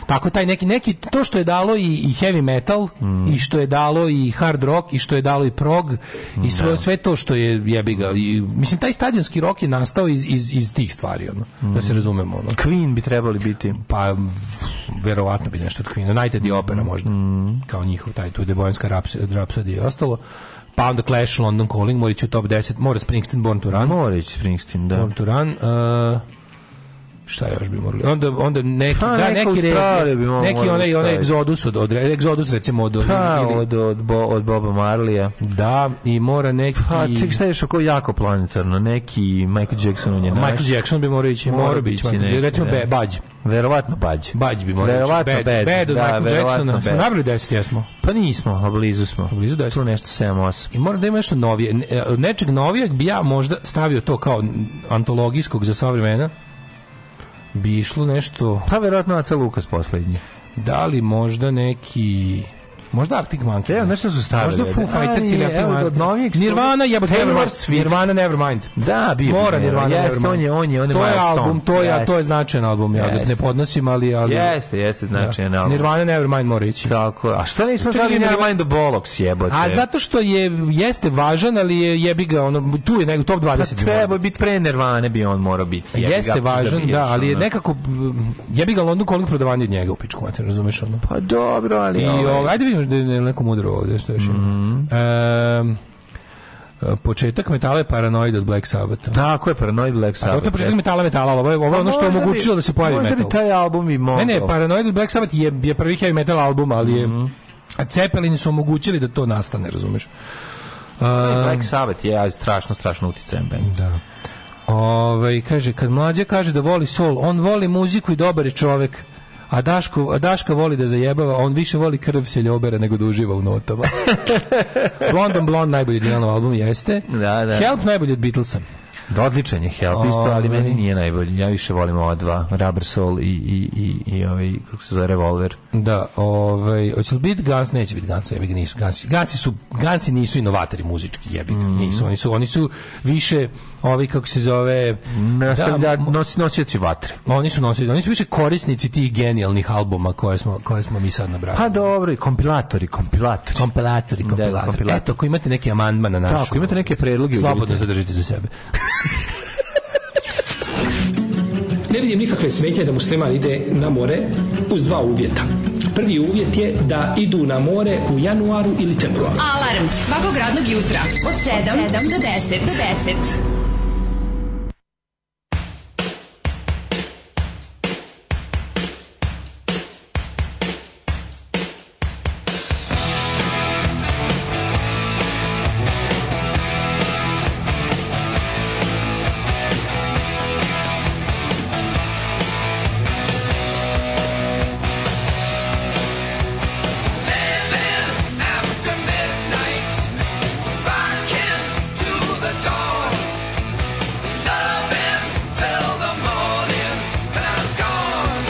Tako taj neki, neki, to što je dalo i, i heavy metal, i što je dalo i hard rock, i što je dalo i prog, i sve, sve to što je jebi ga. I, mislim, taj stadionski rock je nastao iz, iz, iz tih stvari, ono, da se razumemo. Ono.
Queen bi trebali biti.
Pa, v- verovatno bi nešto od Queen. United i Opera
Mm-hmm.
možda. Kao njihov taj tu Debojnska Raps- Rhapsody i ostalo. Pa onda Clash, London Calling, mora ići u top 10. Mora Springsteen, Born to Run.
Mora ići Springsteen, da.
Born to Run. uh, šta još bi morali? Onda, onda neki,
Pa,
da,
neka
neki, re-
Australija bi mogla
neki
možda
onaj, onaj
staviti.
Exodus, od, od, Exodus recimo od...
Pa,
ili-
od, od, Bo- od Boba Marlija.
da, i mora neki...
Pa, ček, šta je još oko jako planetarno? Neki Michael Jackson on je naš.
Michael Jackson bi morao ići,
Mora
mora
bi
biti.
ići
Michael-
neki,
Recimo,
da.
Be- Bađ.
Verovatno Bađ.
Bađ bi morao ići.
Verovatno
Bad,
Bad,
Bad od
da,
Michael
verovatno
Jacksona. Smo
Bad.
nabrali 10, jesmo.
Pa nismo, a blizu smo.
Blizu 10.
Tu nešto 7-8.
I mora da ima nešto novije. Ne- e, Nečeg novijeg bi ja možda stavio to kao antologijskog za sva vremena. Bi išlo nešto...
Pa verovatno Aca Lukas poslednji.
Da li možda neki... Možda Arctic Monkeys.
Evo, znaš šta su stavili?
Možda Foo
A,
Fighters
nije,
ili Arctic
evo, od novijih
Monkeys.
su-
Nirvana, jebote,
Taylor
Nevermind.
Swift.
Nirvana, Nevermind.
Da, bio bi
Mora Nirvana,
Jeste,
Nevermind.
on je- on je- on je
To je
milestone.
album, to je, to
Jeste.
je značajan album, ja ga
Jeste.
ne podnosim, ali... ali
Jeste, jeste značajan album.
Nirvana, Nevermind mora ići.
Tako, a što nismo znali Nevermind the Bollocks, jebote?
A zato što je jeste važan, ali je jebi ga ono tu je nego top 20.
Pa
bi morao
treba biti pre Nirvane bi on morao biti. Pa jebi ga,
Jeste važan,
bi
da,
još,
ali je
ono.
nekako mm, jebi ga London koliko prodavanje od njega u pičku, mater, razumeš ono.
Pa dobro, ali
I
ovaj- Mhm.
ovaj, ajde vidimo da je neko mudro ovdje što još ima. Ehm, početak metala je paranoid od Black Sabbatha.
Tako je, Paranoid Black
A to je
Sabbath,
početak
jeste.
metala metala, ali ovo je, ovo je
Pa
ono što je
možda bi-
omogućilo da se pojavi
možda
metal.
bi taj album i mogao. Mhm.
Ne, pa- ne, Paranoid od Black Sabbath je, je prvi heavy metal album, ali je... A Cepelini su omogućili da to nastane, razumeš?
Pa, Black Sabbath je strašno, strašno uticajan band.
Da. Ovaj kaže kad mlađa kaže da voli sol, on voli muziku i dobar je čovek. A Daško, a Daška voli da zajebava, a on više voli krv se ljobera nego da uživa u
(laughs)
notama. Blond on Blond najbolji Dylanov album jeste.
Da, da.
Help najbolji od Beatlesa.
Da, odličan je Help isto, ali
Ovaj.
meni nije najbolji. Ja više volim ova dva, Rubber Soul i, i, i, i ovaj, kako se zove, Revolver.
Da, ovaj, hoće li biti Guns? Neće biti Guns, jebi ga, nisu. Guns, Gunsi su, Gunsi nisu inovatori muzički, jebi ga,
Mm.
nisu. Oni su, oni su više, ovi, kako se zove...
Mm, Nastavlja,
Da, mo-
nosi, nosioci vatre.
oni su nosili, oni su više korisnici tih genijalnih albuma koje smo, koje smo mi sad nabrali.
Pa dobro, i kompilatori, kompilatori.
Kompilatori, kompilatori.
kompilatori.
Eto, ako imate neki amandman na našu...
Tako, imate neke predloge?
Slobodno
uvedite.
zadržite za sebe.
(laughs) Ne vidim nikakve smetnje da musliman ide na more uz dva uvjeta. Prvi uvjet je da idu na more u januaru ili februaru.
Alarm svakog radnog jutra od 7, do 10. Do 10.
After midnight, rocking to the dawn, loving till the morning. But I'm gone,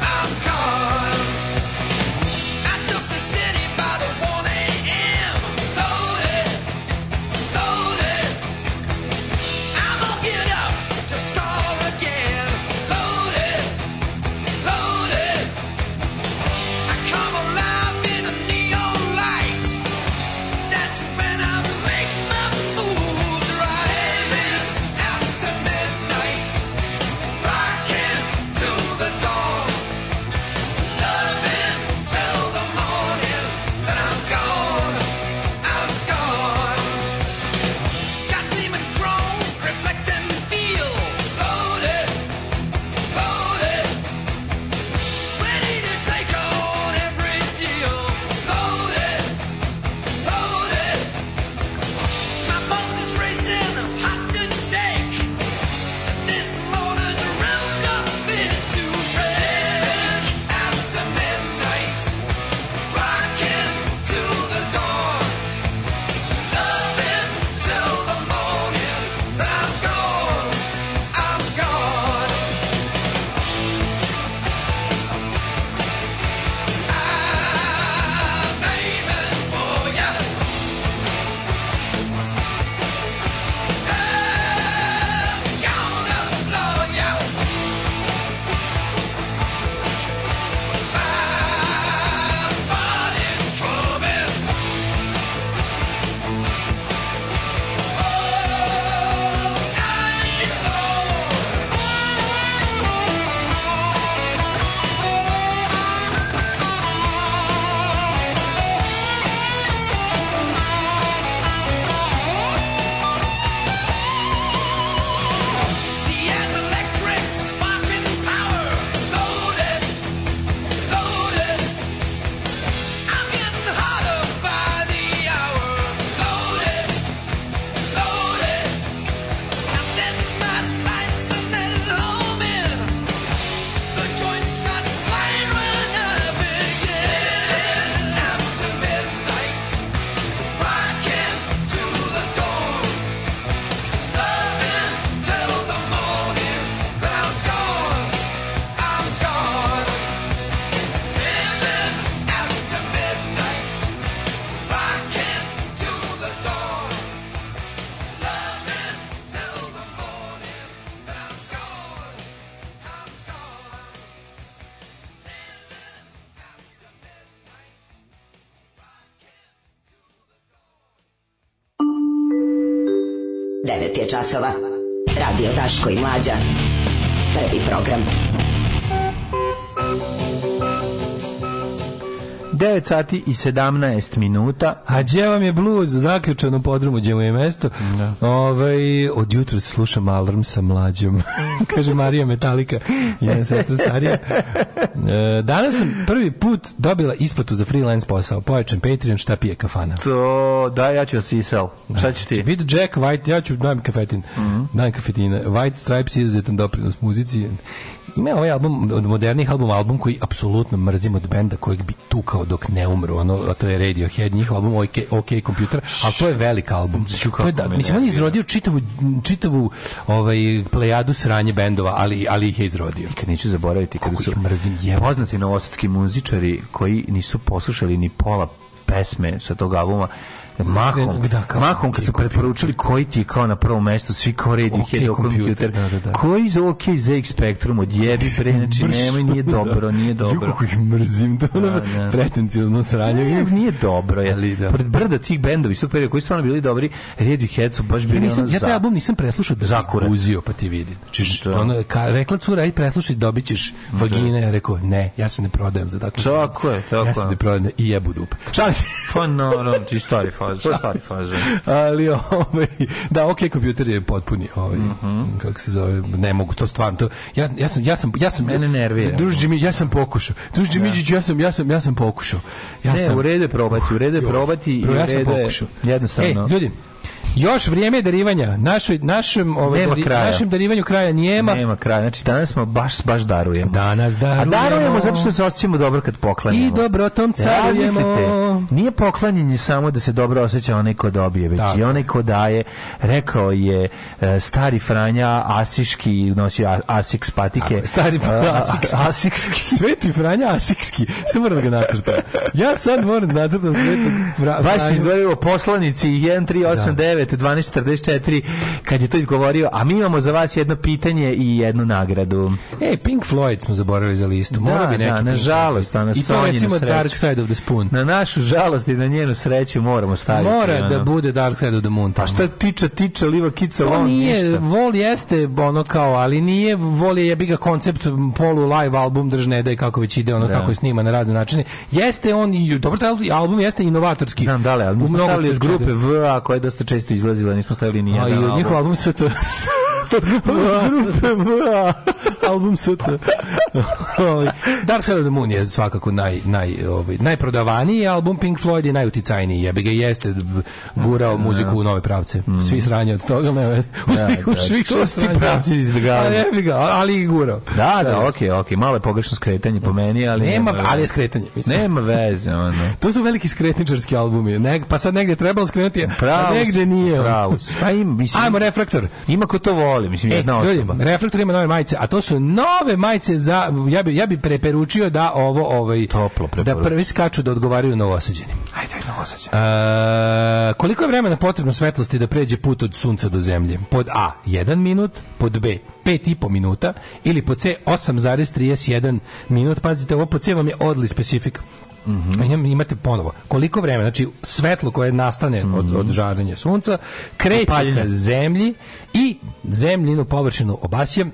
I'm gone. I took the city by the 1 a.m. Loaded, loaded. I'm gonna get up to start again. Loaded, loaded. I come alive in the neon lights. That's when I make my moves right. It's after midnight, rocking to the dawn, loving till the morning. Then I'm gone, I'm gone. Got demon grown, reflect and feel loaded, loaded. Ready to take on every deal. Loaded, loaded. My pulse is racing, I'm hot to take. This motor's around up fit to break. After midnight, rocking to the dawn. Loving till the morning. I'm gone, I'm gone. Gonna blow
9 je časova. Radio Daško i Mlađa. Prvi program.
9 sati i 17 minuta.
A gdje vam je bluz zaključan u podrumu gdje mu je mesto? Da. Ovaj, od jutra slušam alarm sa mlađom. (laughs) Kaže Marija Metalika, jedna sestra starija. E, danas sam prvi put dobila isplatu za freelance posao. Pojačan Patreon, šta pije kafana?
To, da, ja ću vas isao. Šta ćeš ti?
Bit Jack White, ja ću dajem kafetin. Dajem kafetina. White Stripes je izuzetan doprinos muzici. Ima ovaj album, od modernih album, album koji apsolutno mrzim od benda kojeg bi tukao dok ne umru, ono, a to je Radiohead, njihov album OK, OK Computer, ali to je velik album. To je, da,
me
mislim, on je izrodio čitavu, čitavu ovaj, plejadu sranje bendova, ali, ali ih je izrodio.
Nikad neću zaboraviti kada su
ih mrzim, jebo.
poznati novosadski muzičari koji nisu poslušali ni pola pesme sa tog albuma Mahom,
Da, kao-
mahom kad su preporučili koji ti je kao na prvom mestu, svi kao redi
Ok,
kompjuter,
kompjuter, da, da, da.
koji za OK ZX Spectrum odjebi pre, znači
Mrš.
nemoj, nije
(laughs)
dobro, nije
Ju,
dobro.
kako ih mrzim, to je ono
da.
pretencijozno sranje.
Ne, nije dobro, je.
Ali da.
Pored brda tih bendovi su koji su stvarno bili dobri, Radiohead su baš bili
Ja, nisam,
ono
ja taj
za-
album nisam preslušao da bi
Zakurat.
guzio, pa ti vidi. Znači, ono, ka, rekla cura, aj preslušaj, dobit ćeš vagine. Ja rekao, ne, ja se ne prodajem za takve stvari.
Tako je, tako
Ja se
je.
ne prodajem i jebu dupe. Šalim se. (laughs)
Pa naravno, ti stari faze, to je stari faze.
Ali, ovaj, da, ok, kompjuter je potpuni, ovaj,
Mhm.
kako se zove, ne mogu, to stvarno, to, ja, ja sam, ja sam, ja sam,
Mene nervira.
Druž Đimi, ja sam pokušao, druž Đimiđić, ja sam, ja sam, ja sam pokušao. Ja
Ne,
sam,
u redu je probati, u redu je
Joj,
probati i u
bro, ja sam
redu je
pokušao.
jednostavno.
Ej, ljudi, još vrijeme je darivanja. Našoj, našem, ovaj,
Nema
dari-
kraja.
našem darivanju kraja nijema.
Nema kraja, znači danas smo baš, baš darujemo.
Danas
A
darujemo.
darujemo zato što se osjećamo dobro kad poklanjamo. E,
I dobrotom carujemo.
Razmislite, nije poklanjanje samo da se dobro osjeća onaj ko dobije, već
Tako.
i onaj ko daje. Rekao je e, stari Franja Asiški, nosi a, Asiks patike.
Tako je, stari Franja
A, a-
Asikski.
Asikski.
Sveti Franja Asikski. Sad moram da ga nacrtam. Ja sad moram da nacrtam Svetog Fra-
Baš je
Franju.
izgovorio poslanici 1389 1244 kad je to izgovorio, a mi imamo za vas jedno pitanje i jednu nagradu.
Ej, E, Pink Floyd smo zaboravili za listu. Mora
Da,
bi neki
da,
Pink
nažalost,
Floyd.
a na
I to
Sonjinu
recimo
sreću.
Dark Side of the Spoon.
Na našu žalost i na njenu sreću moramo staviti.
Mora da
ono.
bude Dark Side of the Moon.
A
tamo.
Pa šta tiča, tiča, liva kica,
To
lon,
nije,
ništa.
Vol jeste ono kao, ali nije Vol je jebi ga koncept polu live album držne da i kako već ide ono
Da.
kako je snima na razne načine. Jeste on i dobro taj al- album jeste inovatorski.
Znam da li, ali mi
U
smo
mnogo
stavili od
čega.
grupe V, a koja je dosta često izlazila, nismo stavili ni
A
jedan
i
album.
njihov album se to (laughs)
(laughs) Grupe V.
album su to. (laughs) Ovaj, Dark Side of the Moon je svakako naj, naj, ovaj, najprodavaniji album Pink Floyd je najuticajniji. Jebi ga jeste b- gurao muziku u nove pravce. Svi sranje od toga, ne vez. (laughs) U svih, u
Mm, da.
svih
Što si ti pravci izbjegavao?
Ali jebi ga, ali i gurao.
Da, da, okej, okej, malo je pogrešno skretanje po meni, ali
Nema,
nema
ali je
veze.
skretanje. Mislim.
Nema veze, ono.
To su veliki skretničarski albumi. Neg, pa sad negde je trebalo skrenuti, a
Pravo
Pa negde
si,
nije. ono.
Pravo si. Pa im, mislim,
Ajmo refraktor.
ima ko to voli, mislim,
E,
jedna
ljudi,
osoba.
reflektor ima nove majice, a to su nove majice za ja bi ja bi preperučio da ovo ovaj
Toplo
da
preporučujem.
prvi skaču da odgovaraju novosađeni.
Ajde, jedno osjećaj.
E, koliko je vremena potrebno svetlosti da pređe put od sunca do zemlje? Pod A 1 minut, pod B 5,5 minuta ili pod C 8,31 minut. Pazite, ovo pod C vam je oddly specific. Imam- Imate ponovo. Koliko vremena, znači svetlo koje nastane od, od žarenja sunca, kreće
Paljenje.
ka zemlji i zemljinu površinu obasje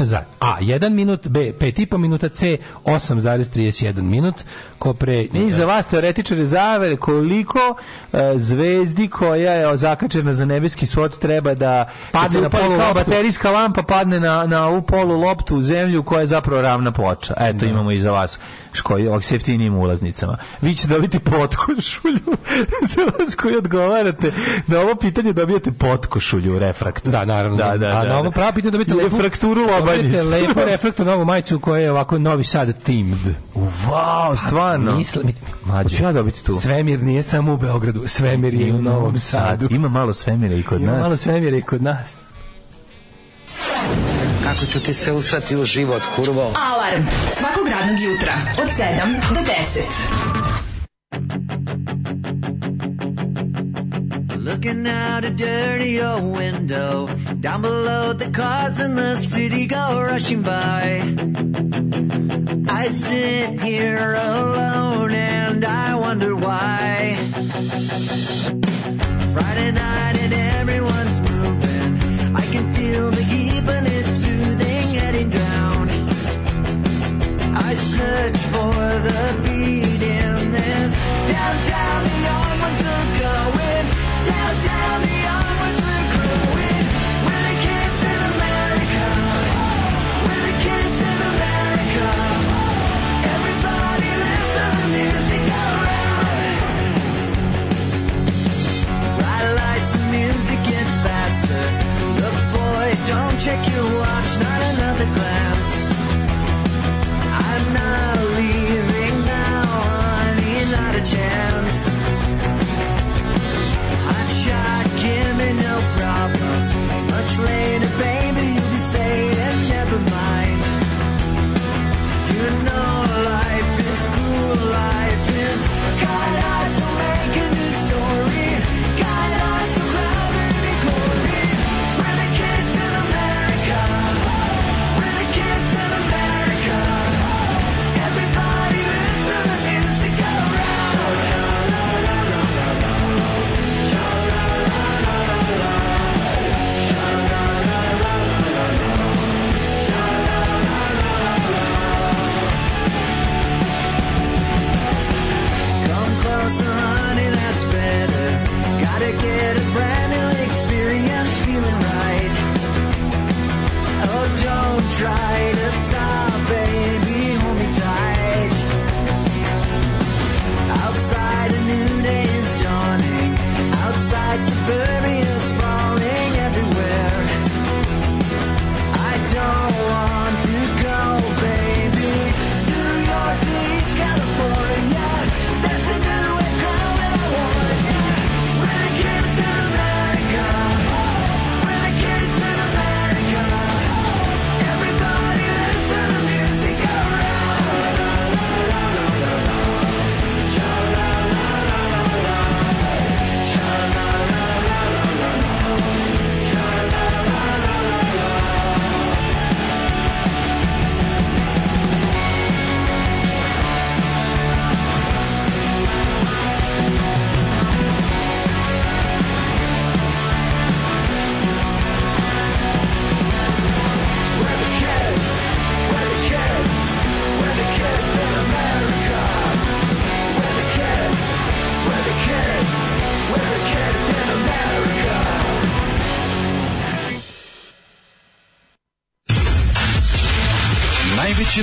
za A 1 minut, B 5,5 minuta, C 8,31 minut. Ko pre...
I za vas teoretičari zavere koliko e, zvezdi koja je zakačena za nebeski svod treba da
Padne
kad se
na
upali
polu
kao
loptu.
baterijska lampa padne na, na ovu polu loptu u zemlju koja je zapravo ravna ploča. Eto imamo i za vas škoji ovak s jeftinijim ulaznicama. Vi ćete dobiti potkošulju (laughs) za vas koji odgovarate na ovo pitanje dobijete potkošulju refraktor.
Da, naravno.
Da, da,
A
da,
na ovo
da.
pravo pitanje dobijete
I
lepu...
refrakturu lobanji.
Dobijete lepu
(laughs)
refraktor novu majicu koja je ovako Novi Sad themed.
Wow, stvarno.
Mislim, mi- mlađe,
Hoću ja dobiti tu.
Svemir nije samo u Beogradu, svemir je i u Novom Sadu.
Ima malo svemira i kod
Ima
nas.
malo svemira i kod nas.
Kako ću ti se usrati u život, kurvo?
Alarm svakog radnog jutra od 7 do 10.
Looking out a dirty old window. Down below, the cars in the city go rushing by. I sit here alone and I wonder why. Friday night and everyone's moving.
najveće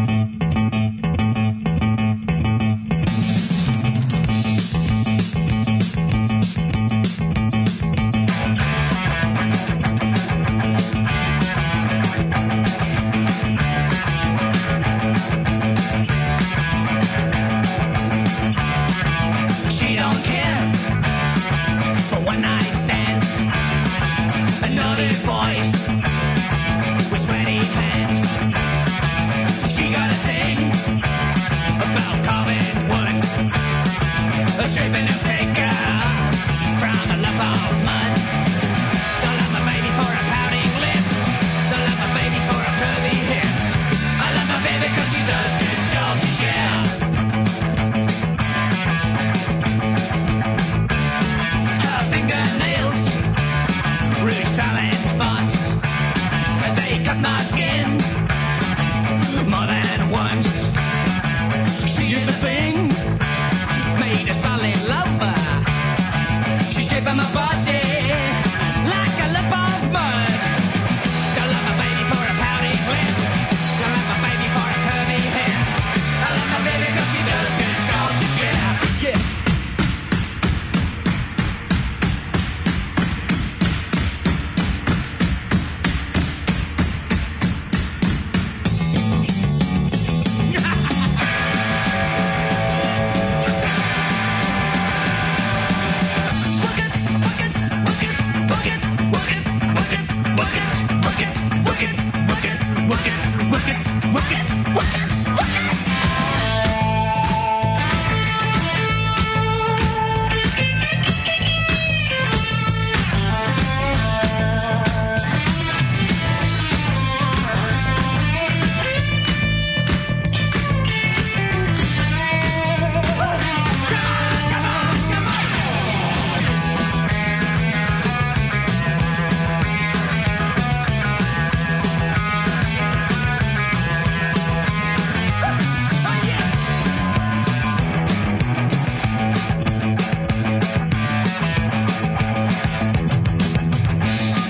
She don't care for one night stands. Another voice with sweaty hands. She got a thing about carving wood, a shaping a figure from a lump of mud. The love of baby for a pouting lips. The love of baby for a curvy hips. I love my baby 'cause she does good stuff to share. Her fingernails reached talent spots. They cut my skin more than once. She used the thing, made a solid lover. She shaped my body like a lump of mud. I love my baby for a pouty lip. I love my baby for a curvy hip. I love my baby 'cause she does good stuff to share. Yeah.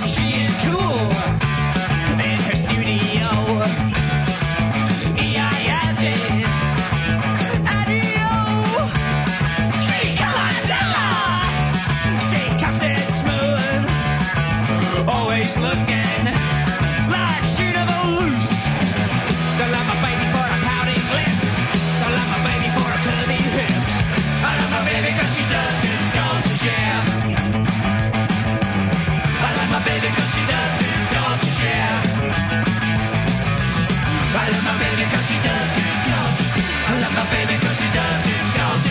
She is cool in her studio. E-I-S-E. Adio. Tricaladella. She cuts it smooth. Always looking like she'd have a loose. I love my baby for a pouty lips. I love my baby for her curvy hips. I love my baby 'cause she does good stuff to share. I love my baby 'cause she does good stuff to share. I love my baby 'cause she does good stuff. I love my baby 'cause she does good stuff.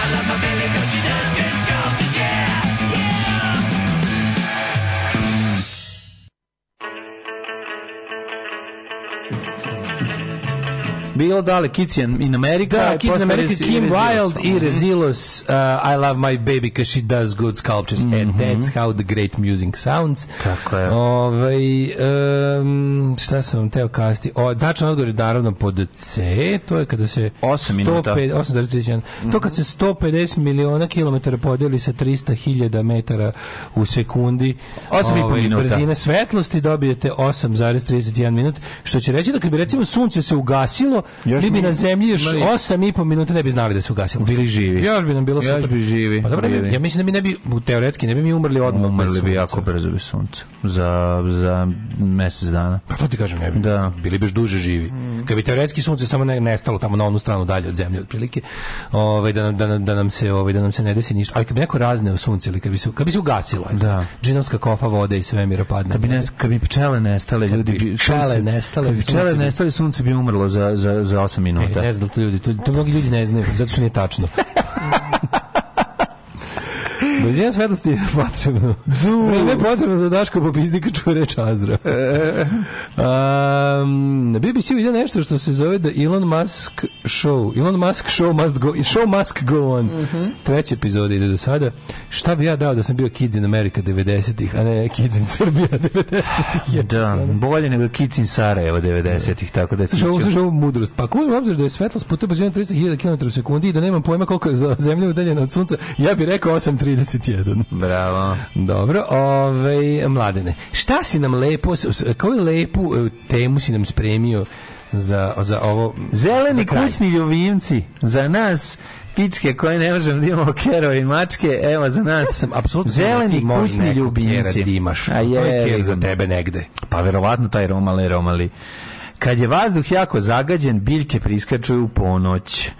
I love my baby 'cause she does good stuff to share.
Bilo dale Kids in America.
Da,
je
Kids in
posle
America,
Resi-
Kim
Resilos.
Wilde i Resilos, uh, I love my baby because she does good sculptures and that's how the great music sounds. Mhm. Tako je. Ovaj, um, šta sam vam teo kasti? O, tačan odgovor je naravno pod C, to je kada se... 8
minuta. Mhm.
8,31. To kad se 150 miliona kilometara podijeli sa 300 hiljada metara u sekundi,
Osam i po
ovaj,
minuta.
brzine svetlosti dobijete 8,31 minut, što će reći da kad bi recimo sunce se ugasilo, mi bi
mi-
na zemlji još
imali-
8 i po minuta ne bi znali da se ugasilo.
Bili živi.
Još bi nam bilo
Još
super.
bi živi,
Pa dobro, ne bi-
bili.
ja mislim da mi ne bi, u- teoretski, ne bi mi umrli odmah.
Umrli
bez
bi
sunca.
jako brzo bi sunce. Za, za mesec dana.
Pa to ti kažem, ne bi.
Da.
Bili bi još duže živi.
Mm.
Kad bi teoretski sunce samo ne, nestalo tamo na onu stranu dalje od zemlje otprilike, ovaj da nam da, nam- da nam se ovaj da nam se ne desi ništa. Ali kad bi neko razneo sunce ili kad bi se kad bi se ugasilo, ajde,
Da.
džinovska kofa vode i svemira padne.
Kad bi, ne, kad bi pčele nestale, ljudi
bi
bi...
pčele
sunce-
nestale,
Kad bi
sunce
pčele
bi-
nestale, sunce bi umrlo za, za, za 8 minuta.
E, ne znam da li to ljudi, to, to mnogi ljudi ne znaju, zato što nije tačno. Brzina svetlosti je potrebno. Vreme je potrebno da Daško popizdika čuje reč Azra. Um, na BBC ide nešto što se zove da Elon Musk show. Elon Musk show must go, show must go on. Treća epizoda ide do sada. Šta bi ja dao da sam bio Kids in America 90-ih, a ne Kids in Srbija 90-ih?
Da, bolje nego Kids in Sarajevo 90-ih, tako da je
Slušaj, ovo,
sličio.
slušaj, ovo mudrost. Pa ako uzmem obzir da je svetlost puta brzina 300.000 km u sekundi i da nemam pojma koliko je za zemlja udaljena od sunca, ja bih rekao 8.31.
Bravo.
Dobro, ovaj, mladene. Šta si nam lepo, s- s- koju lepu e, temu si nam spremio za, za ovo?
Zeleni
za kraj?
kućni ljubimci, za nas pičke koje ne možemo da imamo kerove i mačke, evo za nas
Sam apsolutno siguran da
zeleni
ti može
kućni
nekog
ljubimci.
kjera da imaš.
A
To je
je,
kjer za
tebe
negde.
Pa verovatno taj romale romali. Kad je vazduh jako zagađen, biljke priskačuju u ponoć.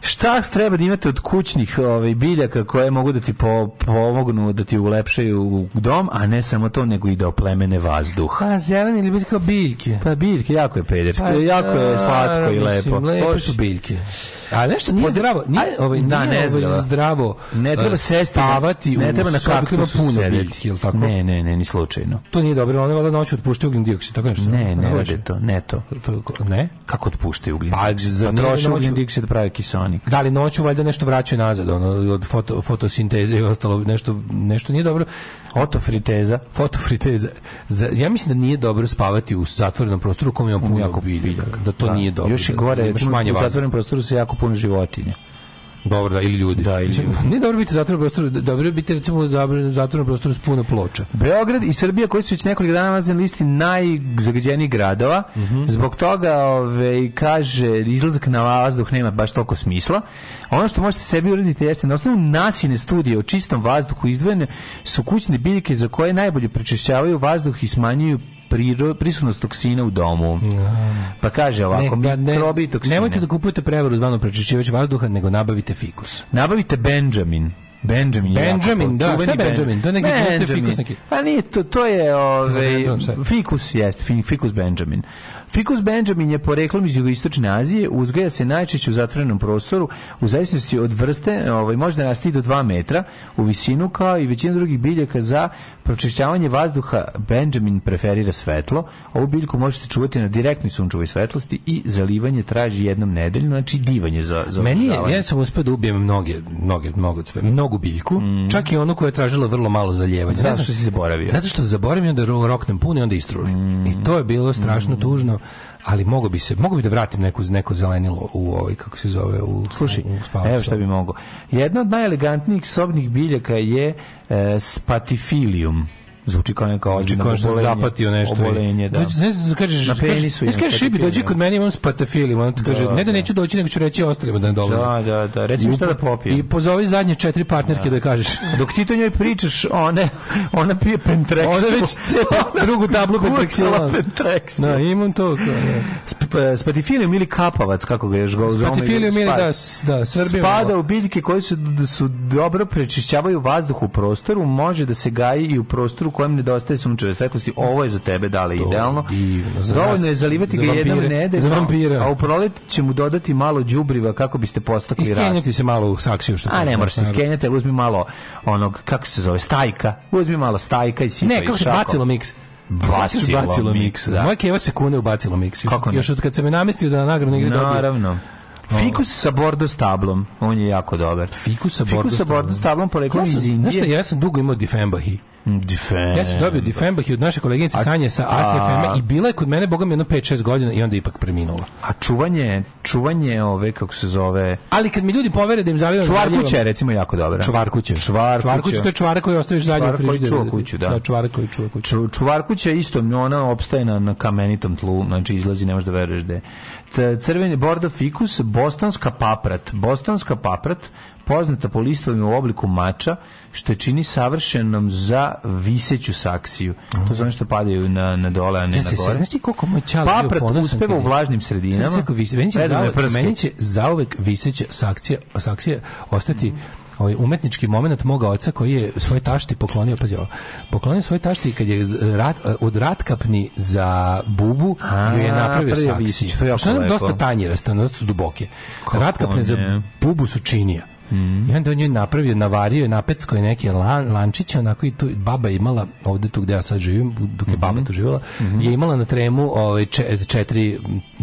Šta treba da imate od kućnih ovaj, biljaka koje mogu da ti po- pomognu, da ti ulepšaju u dom, a ne samo to, nego i da oplemene vazduh?
Pa zeleni ili biti kao biljke?
Pa biljke, jako je pederski, jako je
da,
slatko i
Pa, mislim,
lepo.
Lepe
Slušaj.
su biljke. A nešto nije zdravo, nije, ovaj, nije
da, ne
ovaj
zdravo.
zdravo
Ne treba
e,
sesti,
spavati
ne
u
treba na
sobi koja ima
kaktusu
puno
sedeti.
biljki, ili tako?
Ne, ne, ne, ni slučajno.
To nije dobro, one valjda noću otpuštaju ugljen dioksid, tako nešto.
Ne, ne
Noću.
rade to, ne to.
To- Ne?
Kako otpuštaju ugljen?
Pa, za
Pa troše
noću-
ugljen dioksid da pravi kisonik.
Da li noću valjda nešto vraćaju nazad, ono od foto, fotosinteze i ostalo nešto nešto nije dobro.
Otofriteza.
Fotofriteza. Za- ja mislim da nije dobro spavati u zatvorenom prostoru u kom ima puno
Jako
biljaka,
biljaka.
da to
Da.
nije dobro.
Još i
da-
gore,
da imaš
recimo,
manje
u
vazduha.
zatvorenom prostoru se jako puno životinja.
Dobro, da, ili ljudi.
Da, ili ljudi.
Nije dobro biti u zatvorenom prostoru, d- dobro je biti recimo u zabra- zatvorenom prostoru s puno ploča.
Beograd i Srbija koji su već nekoliko dana nalaze na listi najzagađenijih gradova.
Mhm.
Zbog toga ove, kaže izlazak na vazduh nema baš toliko smisla. Ono što možete sebi uraditi jeste na osnovu nasine studije o čistom vazduhu izdvojene su kućne biljke za koje najbolje prečišćavaju vazduh i smanjuju priro- prisutnost toksina u domu. Pa kaže ovako,
Ne, da, ne,
mikrobi i toksine.
nemojte da kupujete prevaru zvanu prečišćivač vazduha, nego nabavite fikus.
Nabavite Benjamin. Benjamin, je
Benjamin,
jako
da,
čuveni
šta je
Ben-
Benjamin? To je neki žuti
Benjamin.
fikus neki.
Pa nije, to, to je ovaj,
Random, šta je?
fikus, jeste, fi- fikus Benjamin. Fikus Benjamin je poreklom iz jugoistočne Azije, uzgaja se najčešće u zatvorenom prostoru, u zavisnosti od vrste, ovaj, može da rasti i do 2 metra u visinu, kao i većina drugih biljaka za pročišćavanje vazduha. Benjamin preferira svetlo. Ovu biljku možete čuvati na direktnoj sunčevoj svetlosti i zalivanje traži jednom nedeljno, znači divanje za, za
Meni je,
održavanje.
ja sam uspio da ubijem mnoge, mnoge, mnogo cve, mnogu biljku,
Mm.
čak i onu koja je tražila vrlo malo zaljevanja.
Zato
Ne znam-
što si zaboravio.
Zato što zaboravim i onda ro- roknem puno i onda istruli.
Mm.
I to je bilo strašno tužno, ali mogo bi se, mogo bi da vratim neku, neko zelenilo u ovaj, kako se zove, u,
Slušaj,
u, u spavaću
evo šta
sobu.
bi mogao. Jedna od najelegantnijih sobnih biljaka je e, spatifilium. Zvuči kao neka ozbiljna
kao što
obolenje.
Znači, zapatio nešto. i-
Obolenje, da.
Dođi- Ne znam, kažeš,
Na
kažeš-
penisu
ne
ima
kažeš, šibi, dođi
patofilija.
kod mene, imam spatafilim. Ona ti kaže,
Da,
ne da
da.
neću doći, nego ću reći ostalima da ne dolaze.
Da, da, da. Reci mi
I
šta da
upo-
popijem.
I pozovi zadnje četiri partnerke da, da kažeš.
Dok ti to njoj pričaš, one, ona pije pentreksu.
(laughs) Ona
(laughs)
već cepa drugu tablu
skucala (laughs)
pentrexila.
pentrexil.
Da, imam to. kao, da.
Sp- e, spatifilium ili kapavac, kako ga još go zovemo,
Spatifilium
ili
ili
spa-
da, s- da, Srbijom.
Spada u biljke koje su, su dobro prečišćavaju vazduh u prostoru, može da se gaji i u prostoru u kojem nedostaje sunčeve svetlosti. Ovo je za tebe, dale, idealno.
divno, za
Dovoljno
nas,
je zalivati
za
ga jednom
vampire,
nedeljno,
za vampire.
a u prolet će mu dodati malo đubriva kako biste postakli rast.
Iskenjati se malo u saksiju što
A ne
kažeš,
moraš se
naravno.
skenjati, ali uzmi malo onog, kako se zove, stajka. Uzmi malo stajka pa i sipaj
Ne, kako se
šakom.
bacilo mix.
Bacilo
bacilo
mix,
mix.
da.
Moja keva se kune u bacilo mix. Još,
Kako ne?
još od kad sam je namestio da na nagradnoj igri dobije.
Naravno. Fikus sa bordo stablom, on je jako dobar.
Fikus sa bordo
Fikus sa bordo stablom, poreklom
Ja sam,
iz
znaš šta,
Indije.
ja sam dugo imao difembahi.
Difen.
Ja sam dobio difembah i od naše koleginice Sanje sa ACFM-a i bila je kod mene, boga mi, jedno 5-6 godina i onda je ipak preminula.
A čuvanje, čuvanje ove, kako se zove,
Ali kad mi ljudi povere da im zavijem...
čuvarkuća je recimo jako dobra.
Čuvarkuće.
Čuvarkuća.
Čuvarkuće, to je čuvara koji ostaviš zadnje u
Čuvara koji
frižideru.
čuva kuću, da.
Da, čuvara koji čuva kuću.
Ču- čuvarkuća je isto, ona opstaje na, na kamenitom tlu, znači izlazi, ne možeš da veruješ da je. C- Crveni bordo fikus, bostonska paprat. Bostonska paprat poznata po listovima u obliku mača, što je čini savršenom za viseću saksiju. To su ono što padaju na, na dole, a ne
Ja
na
se sad,
gore.
znaš ti koliko moj čal bio
Paprat
ponosan
uspeva
kad
u
je-
vlažnim
Sad
sredinama.
sam rekao, vis- meni, će
Redovne
zauvek,
prske.
meni će zauvek viseća sakcija, sakcija ostati ovaj umetnički moment moga oca koji je svoje tašti poklonio, pazi ovo, poklonio svoje tašti kad je z- rat, od ratkapni za bubu
A,
ju je napravio
pravio
saksiju.
visić, to je jako
Što je
lepo.
dosta tanjiraste, dosta su duboke. ratkapne za
ne?
bubu su činija. I onda on joj napravio, navario je napecko je neke lan, lančić, onako i tu baba je imala, ovde tu gde ja sad živim, dok je baba tu živjela, je imala na tremu ovaj,če- četiri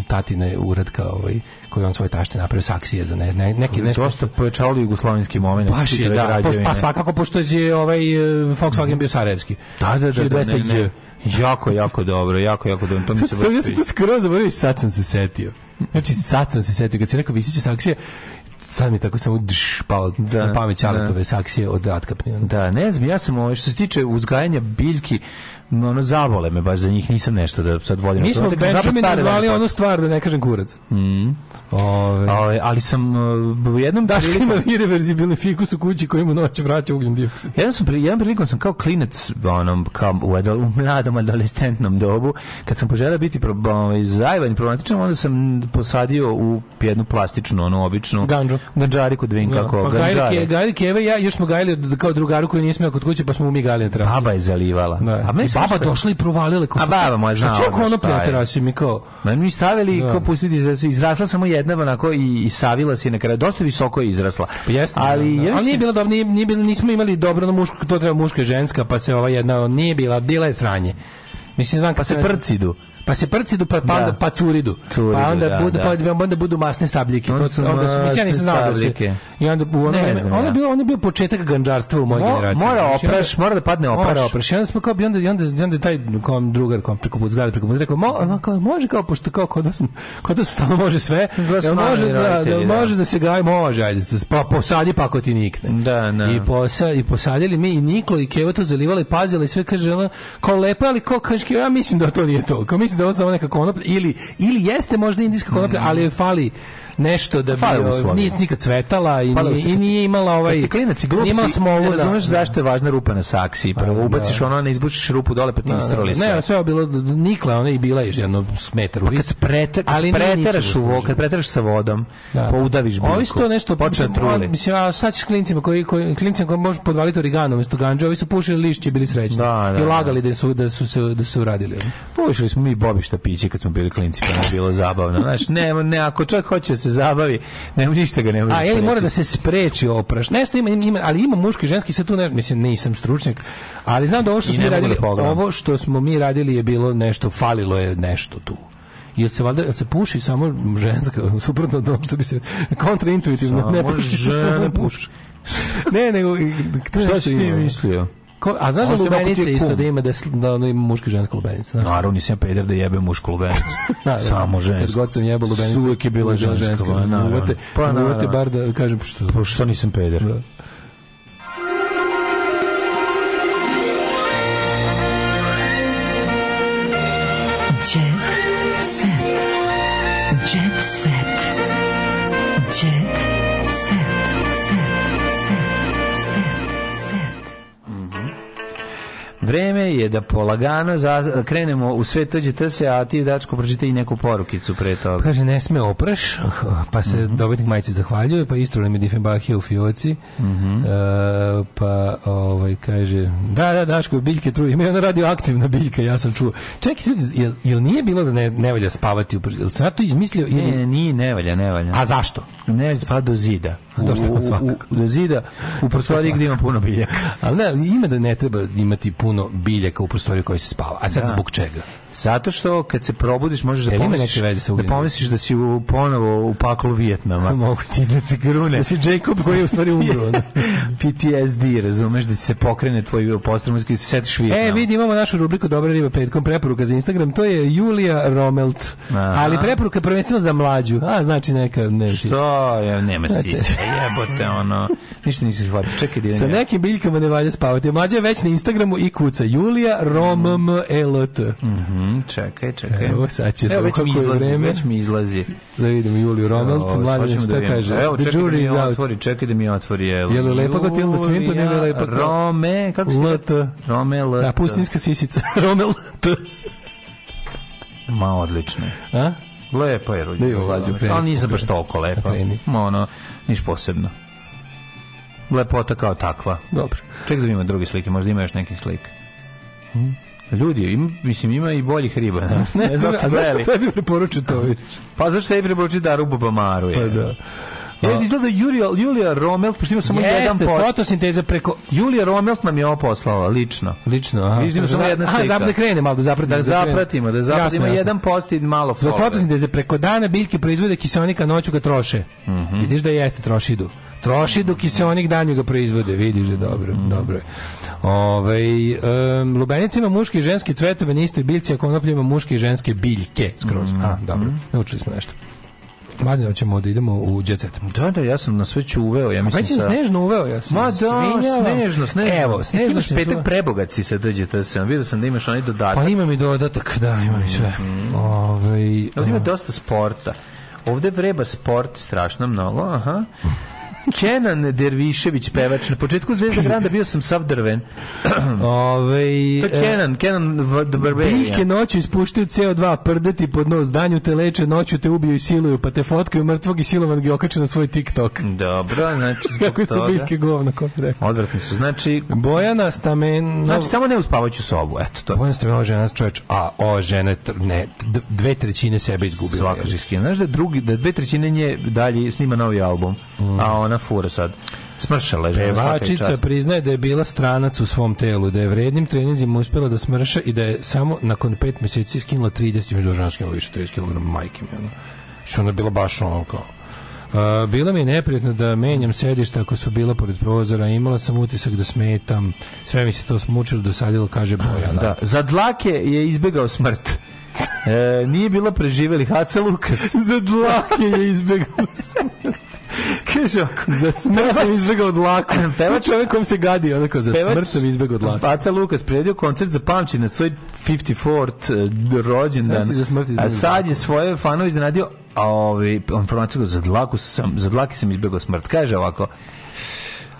tatine uratka ovaj, koji on svoje tašte napravio, saksije za ne, ne, neke nešto.
Dosta pojačalo jugoslovenski moment.
Baš je,
čitave
da. Pošto,
građevine.
pa svakako, pošto je ovaj e, Volkswagen bio sarajevski.
Da, da, da, da, ne,
1200
ne.
J.
Jako, jako dobro, jako, jako dobro. To mi
(laughs)
se
Sad ja
baš
sam
sviđa.
to skoro zaboravio i sad sam se setio. Znači, sad sam se setio. Kad si rekao visiće saksije, sad mi je tako samo drš, pao da, na pamet
da.
Aletove saksije od ono, Ratka Pnjona.
Da, ne znam, ja sam ovo, što se tiče uzgajanja biljki, m, ono, zavole me baš za njih, nisam nešto da sad vodim.
Mi smo ono
Tek sam zapad
Benjamin
stare
nazvali
vode.
onu stvar, da ne kažem kurac.
Mm.
(laughs)
Ove, Ovaj, ali sam e, u jednom
Daško
prilikom-
ima irreverzibilni fikus u kući koji mu noć vraća ugljen dioksid.
Jedan, sam, pri- jedan prilikom sam kao klinac, onom, kao u, adol- u mladom adolescentnom dobu, kad sam poželeo biti pro, ovaj, zajvan i problematičan, onda sam posadio u jednu plastičnu, onu običnu... Ganđu. Ganđariku dvin, kako
pa Gajli,
ganđare.
Ke- Gajli Keva i ja još smo gajili od- kao drugaru koji nije smeo kod kuće, pa smo mu mi gajili na terasi.
Baba je zalivala.
Da.
meni
I
se
baba
uspe-
došla i provalila.
A baba moja znala
Što
ono
ono
šta je.
prijatelj Rasi mi kao...
Ma mi stavili
Da.
ko pustiti da su- izrasla samo jedna onako i, i savila se na kraju dosta visoko je izrasla.
Pa Jeste,
ali
ali,
ja
ali
mislim-
nije bila dobro, nije, nije bila, nismo imali dobro na muško, to treba muška i ženska, pa se ova jedna, nije bila, bila je sranje. Mislim, znam
pa
kad
se
sam-
prcidu.
Pa se prcidu, pa, pa,
Da.
onda, pa curidu.
Curidu,
pa onda,
da,
budu,
da.
Pa, onda budu masne sabljike.
Onda
To,
su
onda su, mislim, ja nisam
masne
znao da se...
stabljike.
I onda, u ono,
Ne
ne
znam
ono
ja.
je bio, ono je bio početak ganđarstva u mojoj
Mo-
generaciji.
mora
Znači, onda-
opraš, mora da padne opraš.
Mora opraš. I onda smo kao, i onda, i onda, i onda je taj kom, drugar kom, preko put zgrade, preko put, rekao, mo, ono kao, može kao, pošto kao, kod vas, kod vas stalno može sve,
Glas
jel
mami i
može, da,
roditelji,
da,
da.
može da se gaj, može, ajde, pa posadi pa ako ti nikne.
Da, da.
I, posa, I posadili mi i Niklo i Keva to zalivali, pazili i sve kaže ona kao lepa, ali kao kaže ja mislim da to nije to. Kao mislim da je ovo samo neka konoplja ili ili jeste možda indijska konoplja,
Mm.
ali joj fali nešto da bi
Fale
ovaj,
uslovi.
nije nikad cvetala i
Fale
nije,
uslovi.
i nije imala ovaj
Kad si klinac i glup
nije imala
si,
smolu,
ne
da.
razumeš zašto je važna rupa na saksiji. Prvo ubaciš ono, ne izbušiš rupu dole, pa ti
Da, da, da.
istroli sve.
Ne, sve je bilo nikla, ona je i bila još jedno metar u vis.
Pa Prete,
ali
ali
nije
preteraš u
ničemu
vo,
služilo.
kad preteraš sa vodom,
Da.
poudaviš biljku.
Ovi su to nešto
počne
mislim,
da truli.
a, Mislim, a sad ćeš klincima koji, koji klincima koji može podvaliti origano umesto ganđa, ovi su pušili lišće i bili srećni.
Da, da,
I lagali da su da su se da su uradili.
Pušili smo mi bobišta piće kad smo bili klinci, pa nam je bilo zabavno. Znaš, ne, ne, ako čovjek hoće da se zabavi, nema ništa ga ne može
A je mora
sprečiti.
da se spreči opraš. Nešto ima, ima ali ima muški i ženski se tu ne, mislim nisam stručnjak, ali znam da ovo što
I
smo
ne
mi
mogu da
radili,
pogledam.
ovo što smo mi radili je bilo nešto falilo je nešto tu. Jel se valjda jel se puši samo ženska suprotno od onog što bi se kontraintuitivno ne
Samo
puši (laughs) se
žena
samo
puši.
Ne, nego to je
Šta
nešto
si ti
ima. ono.
mislio?
Ko, a znaš da
Osim ako ti je
lubenice
kum.
isto da ima da, sl- da ono ima muška i ženska lubenica, znaš?
Naravno, nisam ja peder da jebem mušku (laughs) lubenicu.
Da, da.
Samo
Kad
žensku.
god sam jebao lubenicu.
Uvijek je bila ženska. pa naravno.
Uvate,
Pa
pa,
naravno.
uvate bar da kažem što...
Pa što nisam peder?
Jet set. Jet set. Jet set.
Vreme je da polagano za, krenemo u sve tođe tse, a ti, Dačko, pročitaj i neku porukicu pre toga.
Kaže, ne sme opraš, pa se
Mhm.
dobitnik majice zahvaljuje, pa istrole mi Diffenbachija u fioci,
Mhm.
E, pa ovaj, kaže, da, da, Daško, biljke truje, ima i ona radioaktivna biljka, ja sam čuo. Čekaj, ljudi, jel, jel nije bilo da ne, ne valja spavati u pr- Jel sam ja to izmislio?
Ne,
ili-
ne, nije, ne valja, ne valja.
A zašto?
Ne valja, spada do zida. U,
Dobro,
u, u,
svakako.
do zida, u prostoriji gdje ima puno biljaka.
Ali ne, ima da ne treba imati puno biljaka u prostoriju koji se spava. A sad
Da.
zbog čega?
Zato što kad se probudiš možeš da
Jel ima
pomisliš,
neke veze sa
da,
ugljenom?
pomisliš da si u, ponovo u paklu (laughs) Vijetnama.
Moguće da ti
(laughs)
grune. Da si Jacob koji je u stvari (laughs) umro. ono.
PTSD, razumeš, da ti se pokrene tvoj postromski i se setiš Vijetnama.
E, vidi, imamo našu rubriku Dobra riba petkom, preporuka za Instagram, to je Julija Romelt.
Aha.
Ali preporuka je prvenstveno za mlađu. A, znači neka, ne znam.
Što? Ja, nema sisa, jebote, ono. Ništa nisi shvatio. (laughs) Čekaj, da idem
Sa
ja.
nekim biljkama ne valja spavati. Mlađa je već na Instagramu i kuca. Julija Romelt.
Mhm, čekaj, čekaj.
Evo, sad će
Evo,
to,
već mi
kako je
izlazi,
vreme.
već mi izlazi.
Da vidimo Juliju Romelt.
Evo,
Mlađa
hoćemo
šta
vidimo.
kaže.
Evo,
The
čekaj da mi
jury is
je
out.
otvori, čekaj da mi je otvori. Evo.
Je li lepa kao Tilda Swinton ili je lepa kao-
Rome, kako se...
LT.
Rome, L.
Da, pustinska sisica. (laughs) Romelt.
Ma, odlično. je.
A?
Lepa je ruđa.
Da imamo mlađu, kreni.
Ali nisam baš toliko lepa.
Kreni.
Ma, ono, niš posebno. Lepota kao takva.
Dobro.
Čekaj da ima druge slike, možda ima još neke slike. Ljudi, im, mislim, ima i boljih riba. Ne,
Hm? (laughs) Ne,
znam
a
zašto
zašto tebi preporučuju to? vidiš?
Pa zašto sebi preporučiti da rubu bamaru je?
Pa da.
Ja, izgleda Julija, Julija Romelt, pošto ima samo
Jeste,
jedan post.
fotosinteza preko...
Julija Romelt nam je ovo poslala, lično.
Lično, aha.
Vidim samo
Za-
jedna
aha,
slika.
zap- da krene malo, da zapratimo, da
Da
krene.
zapratimo, da
Jasno,
zapratimo
jasno.
jedan post i malo
Za
follower.
fotosinteze preko dana biljke proizvode kiseonika, noću ga troše. Vidiš da jeste trošidu. Trošidu kiseonik danju ga proizvode, vidiš da je dobro, dobro je. Ovaj, em, lubenica ima muške i ženske cvetove na istoj biljci, a konoplja ima muške i ženske biljke skroz. A, dobro, naučili smo nešto. Mladine, hoćemo da idemo u jet set.
Da, da, ja sam na sve ću uveo, ja mislim
Već je
sa-
snežno uveo, ja sam
Ma da,
svinjao.
snežno, snežno. E,
Evo, snežno
Imaš
se zove.
petak prebogat si sa DGTS-om, vidio sam da imaš onaj dodatak.
Pa imam i dodatak, da, imam i sve.
Mhm.
Ovaj,
Ovdje ima dosta sporta. Ovdje vreba sport strašno mnogo, (laughs) aha. Kenan Dervišević, pevač. Na početku Zvezda Granda bio sam sav drven.
Ove,
To je Kenan, Kenan V- The Barbarian.
Biljke ovaj, e, noću ispuštaju CO2, prdeti pod nos, danju te leče, noću te ubiju i siluju, pa te fotkaju mrtvog i silovan ga i okače na svoj TikTok.
Dobro, (laughs) znači Mhm. zbog
(laughs) Kako su
toga.
biljke govno, ko bi rekao.
Odvratni su, znači...
Bojana Stamen...
Znači, samo ne u spavaću sobu, eto to.
Bojana Stamen, ova žena čoveč, a ova žena, je tr- ne, d- dve trećine sebe izgubila.
Svaka
je.
žiskina. Znaš da, drugi, da dve trećine nje dalje snima novi album, a ona fura sad. Smršala je žena, svaka je
Pevačica
čast.
priznaje da je bila stranac u svom telu, da je vrednim treninzima uspjela da smrša i da je samo nakon pet mjeseci skinula 30, među žena skinula više 30 kg majke mi. Ono. Što ona je bila baš ono kao... Uh, bilo mi je neprijatno da menjam sedišta ako su bila pored prozora, imala sam utisak da smetam, sve mi se to smučilo, dosadilo, kaže Bojana.
Da, za dlake je izbegao (laughs) smrt. E, nije bila preživeli Haca Lukas.
Za dlake je izbjegao smrt.
Kaže ovako,
Za smrt sam izbjegao dlaku.
(laughs) Pevač-
čovjek kom se gadi, onako, za
Pevač-
smrt sam izbjegao dlaku.
Paca Lukas prijedio koncert za pamći na svoj 54. rođendan.
Sad si za smrt izbegao
A sad je svoje fanove iznenadio a ovaj, informaciju za dlaku sam, za dlaki sam izbjegao smrt. Kaže ovako,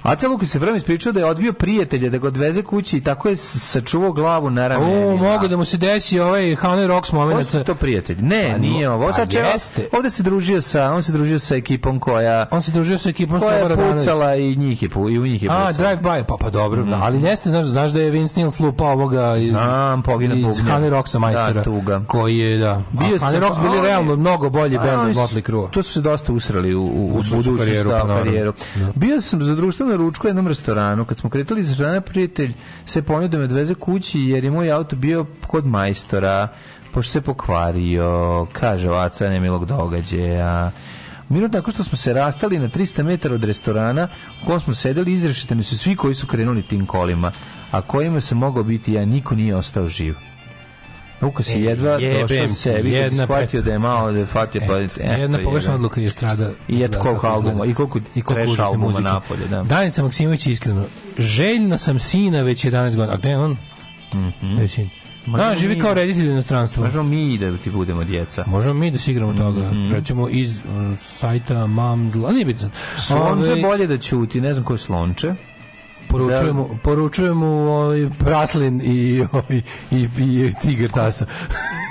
Aca Lukas se vreme ispričao da je odbio prijatelje da ga odveze kući i tako je s- sačuvao glavu na ramenima.
O, mogu da mu se desi ovaj Hanoi Rocks
Ovo
moment.
su to prijatelji. Ne,
Pa,
nije
no,
ovo.
pa
Sad će-
jeste.
ovde se družio sa, on se družio sa ekipom koja
On se družio sa ekipom
koja je
Slobora Danovića.
pucala Mhm. i njih je pu, i u njih je pucala.
A, drive by, pa pa dobro, da, ali jeste, znaš, znaš da je Vince Neil slupao ovoga iz,
Znam, pogine
iz
bubnjar.
Hanoi Rocksa majstora.
Da, tuga.
Koji je, da. Bio
Bio
a Hanoi
sam-
Rocks
a
bili
oni-
realno mnogo bolji
A,
band
oni
od
su-
Motley Crue.
To su se dosta usrali u, u, u
U svoju
budućnost,
karijeru,
da,
pa naravno.
karijeru.
Da.
Bio sam za društveno ručku u jednom restoranu. Kad smo kretali iz restorana, prijatelj se ponio da me odveze kući jer je moj auto bio kod majstora, pošto se pokvario, kaže ovaca nemilog događaja. Minut nakon što smo se rastali na 300 metara od restorana u kojem smo sedeli, izrešeteni su svi koji su krenuli tim kolima, a kojima se mogao biti ja, niko nije ostao živ. Lukas je
E,
jedva došao
jebem ti,
sebi, da bi
jedna
shvatio
pet-
da je malo, da je fatio
Eto,
pa eto,
jedna pogrešna
jebe.
odluka je strada.
I eto koliko
Dakle,
albuma, i koliko trash
užasne
albuma napolje, da.
Danica Maksimović je iskreno, željna sam sina već 11 godina. A gde je on? Gde je sin?
Mhm. Ma
Da,
nije
živi
mi-
kao reditelj u inostranstvu.
Možemo mi da ti budemo djeca.
Možemo mi da se igramo toga.
Mhm.
Recimo iz uh, sajta Mamdla, nije bitno.
Slonče
Ovaj,
bolje da ćuti, ne znam ko je slonče.
Poručujemo, poručujemo ovaj praslin i, ovaj, i, i tigar tasa.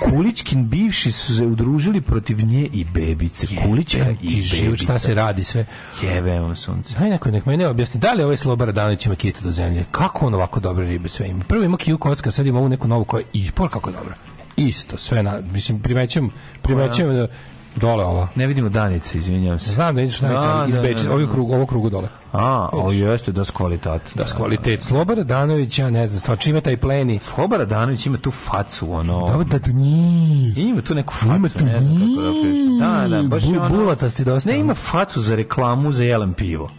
Kulićkin bivši su se udružili protiv nje i bebice. Kulićka i
Ti život šta se radi sve.
Jebe vam sunce.
Aj neko nek meni objasni, da li ovaj Slobar Danović ima kitu do zemlje? Kako on ovako dobre ribe sve ima? Prvo ima kiju kocka, sad ima ovu neku novu koja je ispor kako dobra. Isto, sve na, mislim, primećujem, primećujem da dole ova.
Ne vidimo Danice, izvinjavam se.
Znam da ideš na
Da,
da, iz
da, da,
Beča,
da.
ovaj krug, ovo krugu dole.
A, o jeste, da s kvalitat.
Da, s kvalitet Slobara Danović, ja ne znam, stvar čime taj pleni.
Slobara Danović ima tu facu, ono...
Da, da, da, njii.
Ima tu neku facu,
Ima tu
ne znam kako da opišem. Da, da, baš je
Bu-
ono...
bulatasti dosta,
Ne,
ono.
ima facu za reklamu za jelen pivo.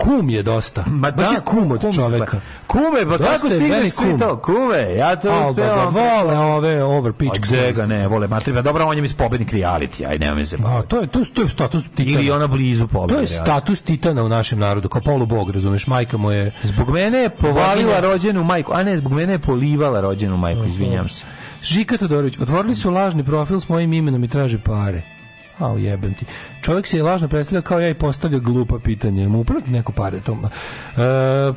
Kum je dosta.
Ma
Baš
da,
je kum od čoveka.
Kume, pa
Dosta
kako
je meni
stigneš svi
kum.
to? Kume, ja to
Al da ga
uspeo.
vole ove overpič.
A gde ga ne, vole materija. Dobro, on je mi pobednik reality, aj nema me se. pa-
A, to je, to, je- to je status titana.
Ili ona blizu pobede.
To je
reality.
status titana u našem narodu, kao polubog, razumeš, majka mu je...
Zbog mene je povalila rođenu majku. A ne, zbog mene je polivala rođenu majku, izvinjam se.
Žika Todorović, otvorili su lažni profil s mojim imenom i traže pare. A jebem ti. Čovjek se je lažno predstavljao kao ja i postavlja glupa pitanja. Mu uprati neko pare E, tom. E,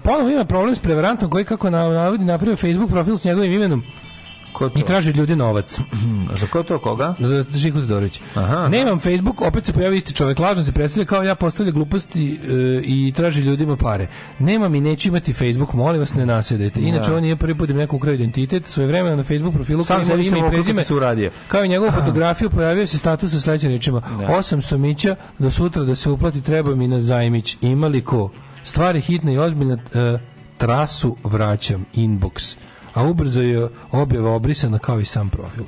ponovo ima problem s prevarantom koji kako na- navodi napravio Facebook profil s njegovim imenom
Ko
I traži od ljudi novac.
A za ko to koga?
Za Žiku Todorović.
Aha.
Nemam Facebook, opet se pojavi isti čovjek, lažno se predstavlja kao ja postavlja gluposti e, i traži ljudima pare. Nemam i neću imati Facebook, molim vas ne nasedajte. Inače
Da.
on je prvi put im neko ukrao identitet, svoje vremena na Facebook profilu
Sam
koji ima
sebi
ime
sam
i
okrutno
prezime.
se uradio.
Kao i njegovu fotografiju pojavio se status sa sledećim rečima. Osam somića do sutra da se uplati treba mi na zajmić. Ima li ko? Stvari hitne i ozbiljne. e, trasu vraćam inbox. A ubrzo je objava obrisana kao i sam profil.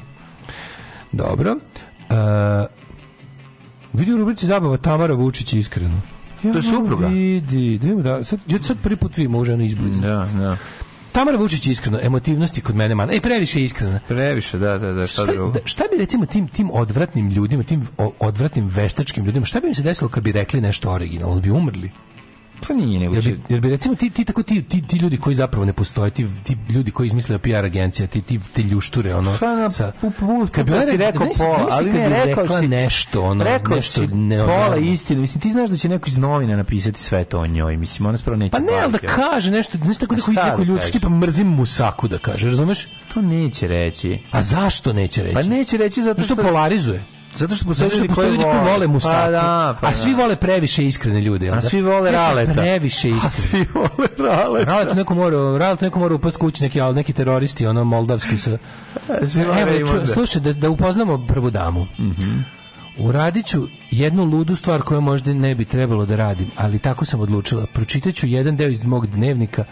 Dobro. E, vidi u rubrici zabava Tamara Vučić iskreno.
To je supruga.
Vidi, da, da, sad, ja sad prvi put vidimo ovu ženu izbliza.
Da, da.
Tamara Vučić iskreno, emotivnosti kod mene mana. E, previše je iskrena.
Previše, da, da, da, šta
Šta,
drugo.
da- šta bi recimo tim tim odvratnim ljudima, tim o- odvratnim veštačkim ljudima, šta bi im se desilo kad bi rekli nešto originalno, bi umrli?
Pa nije nego
Jer
će...
bi, jer bi recimo ti, ti, tako, ti, ti, ti ljudi koji zapravo ne postoje, ti, ti ljudi koji izmislio PR agencija, ti, ti, ti ljušture, ono,
Pa na-
sa,
pu- pu-
kad bi
pu-
ona
si
rekla-
rekao
znaš,
pola,
znaš
ali
kad
ne,
bi
rekao
rekla
si-
nešto, ono,
rekao
nešto ono-
si
nenormalno.
pola istine. Mislim, ti znaš da će neko iz novina napisati sve to o njoj. Mislim, ona spravo neće...
Pa ne, ali da
baviti, ono.
kaže nešto, nešto tako
A
neko,
šta
neko
da
ljudski,
kaže?
tipa mrzim musaku da kaže, razumeš?
To neće reći.
A zašto neće reći?
Pa neće reći zato
Zato
što...
što polarizuje.
Zato što postoje
Zato što
ljudi
postoje
koji
ljudi koji vole musake.
Pa da, pa
a pa svi
da.
vole previše iskrene ljude. jel
A
da?
svi vole
Ja sam
Raleta.
Previše
A
iskrene.
(laughs) svi vole rale.
Ralet neko mora, Ralet neko mora upast kući neki, ali neki teroristi, ono moldavski sa.
(laughs) svi vole Mhm.
Evo, ču,
Raymonda.
slušaj, da, da upoznamo prvu damu. Uradit ću jednu ludu stvar koju možda ne bi trebalo da radim, ali tako sam odlučila. Pročitat ću jedan deo iz mog dnevnika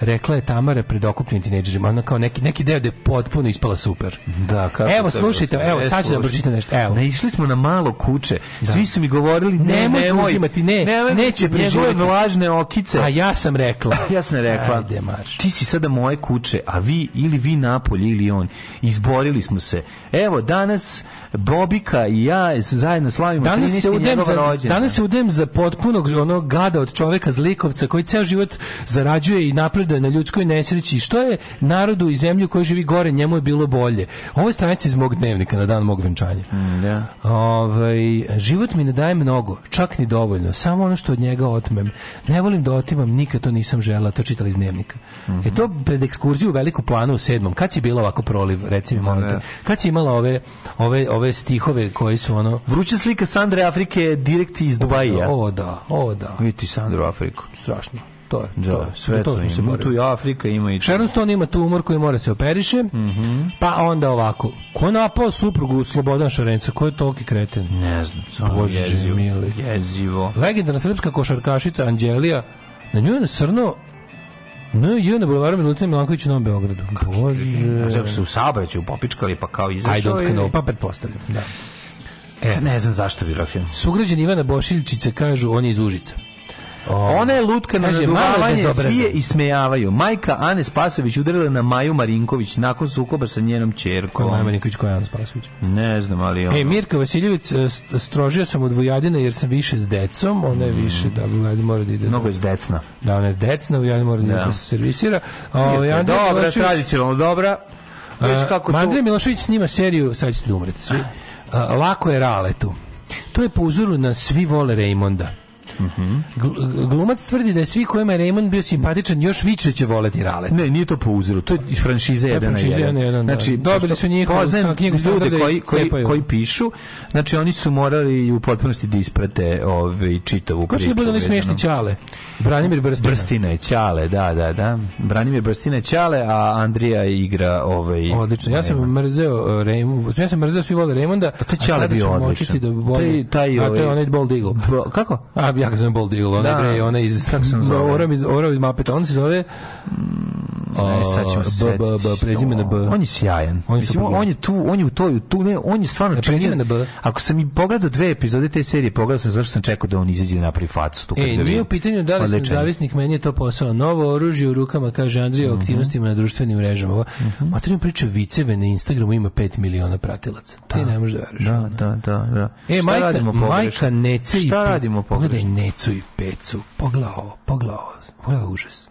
rekla je Tamara pred okupnim tinejdžerima, ona kao neki, neki deo da je potpuno ispala super.
Da, kako
Evo,
to
slušajte,
bilo?
evo,
E,
sad ću da
slušaj.
pročitam nešto, evo.
Naišli smo na malo kuće. Svi su mi govorili, ne,
Nemoj
nemoj,
ga uzimati, ne,
nemoj
neće
njegove
preživjeti.
vlažne okice.
A ja sam rekla.
Ja sam rekla,
Ajde, marš.
ti si sada moje kuće, a vi ili vi napolje ili on. Izborili smo se. Evo, danas Bobika i ja zajedno slavimo
Danas
13.
se udem
njegov
za
rođendan.
danas se udem za potpunog onog gada od čoveka zlikovca koji ceo život zarađuje i napreduje na ljudskoj nesreći i što je narodu i zemlji u kojoj živi gore njemu je bilo bolje. Ovo je stranica iz mog dnevnika na dan mog venčanja.
Mm, Da.
Ovaj, život mi ne daje mnogo, čak ni dovoljno, samo ono što od njega otmem. Ne volim da otimam, nikad to nisam žela, to čitali iz dnevnika.
Mhm.
E to pred ekskurziju u Veliku planu u sedmom, kad si bila ovako proliv, recimo, molim te? kad si imala ove, ove, ove stihove koji su ono...
Vruća slika Sandre Afrike direkt iz Dubaija.
O da, o da,
Vidite Sandru Afriku.
strašno. To je, to
Da,
je.
sve
Za
to,
smo se
ima.
borili.
Tu i Afrika ima i...
Sharon Stone ima tumor koji mora se operiše,
Mhm.
pa onda ovako, ko je napao suprugu Slobodan Šarenca, ko je toliki kreten?
Ne znam, samo
Bože
jezivo.
mili.
Jezivo.
Legendarna srpska košarkašica Anđelija, na nju je nasrno na je na bulevaru Milutina Milankovića u Novom Beogradu.
Znaš,
Bože.
ako su u saobraćaju popičkali, pa kao
I
izašao
don't
je-
know, pa pretpostavljam. Da.
E, ne znam zašto bi rekao.
Sugrađan Ivana Bošiljčića kažu, on je iz Užica.
Ona je lutka na
Kaže, malo je
naduvavanje,
bezobrazan.
svi je ismejavaju. Majka Ane Spasović udarila na Maju Marinković nakon sukoba sa njenom
Ko je
čerkom.
Marinković, ko je Ana Spasović?
Ne znam, ali ono...
E, Mirka Vasiljević, e, st- strožio sam od Vujadina jer sam više s decom, ona
Mm.
je više, da, Vujadin mora da ide.
Mnogo je zdecna.
Da, ona je s decna, Vujadin mora da, ide
Da.
da se servisira. A, ovaj,
Mirka,
Andrej
Dobra,
Milošević-
tradicionalno dobra. Već
A,
kako tu...
Andrej Milošević snima seriju, sad ćete da umreti svi. A, lako je Raletu. To je po uzoru na svi vole Raymonda.
Mhm.
Gl- Glumac tvrdi da je svi kojima je Raymond bio simpatičan još više će voleti Raleta.
Ne, nije to po uzoru, to je franšiza 1 na
franšiza
1.
jedan na jedan, da.
Znači,
Dobili
pošto
su njihovu
poznajem
stan- knjigu
ljude
standarda i
koji, koji,
cepaju.
koji pišu, znači oni su morali u potpunosti da isprate ovaj, čitavu
Ko
priču.
će da bude onaj
vezano-
smešni Ćale? Branimir Brstina.
Brstina je Ćale, da, da, da. Branimir Brstina je Ćale, a Andrija igra ovaj...
Odlično. Ja sam mrzeo Raymond, ja sam mrzeo svi vole Raymonda.
A to je
a
Pa Ćale
sada
bio
ću
odličan.
močiti Da volim,
Taj- taj
a to
ovaj-
je onaj Bald Eagle.
Bro- kako?
A ja ga zovem Bald Eagle, onaj
Da.
bre, onaj iz
Kako se on zove?
Oram iz Oram iz Mapeta, on se zove
Ne, sad ćemo se
B, B, B,
setiti.
prezime na B.
On je sjajan.
On
On
je
je, Mislim, on,
super.
on je tu, on je u toj, tu, ne, on je stvarno
Ne, prezime na
činio-
B.
Ako sam i pogledao dve epizode te serije, pogledao sam zašto sam čekao da on izađe da napravi facu tu. kad
E,
ga
nije
vidim.
u pitanju da li sam
Odličan je.
zavisnik, meni je to posao. Novo oružje u rukama, kaže Andrija, o
Mhm.
aktivnostima na društvenim mrežama. Ova Materijalna priča viceve na Instagramu ima 5 miliona pratilaca. Ti ne možeš da veruješ.
Da,
ono.
da, da, da.
E,
Šta
majka,
radimo pogrešno?
majka Nece i
Šta
Pecu.
radimo
Pogledaj
pogrešno?
Necu i Pecu. Pogledaj ovo, pogledaj ovo. Pogledaj ovo užas.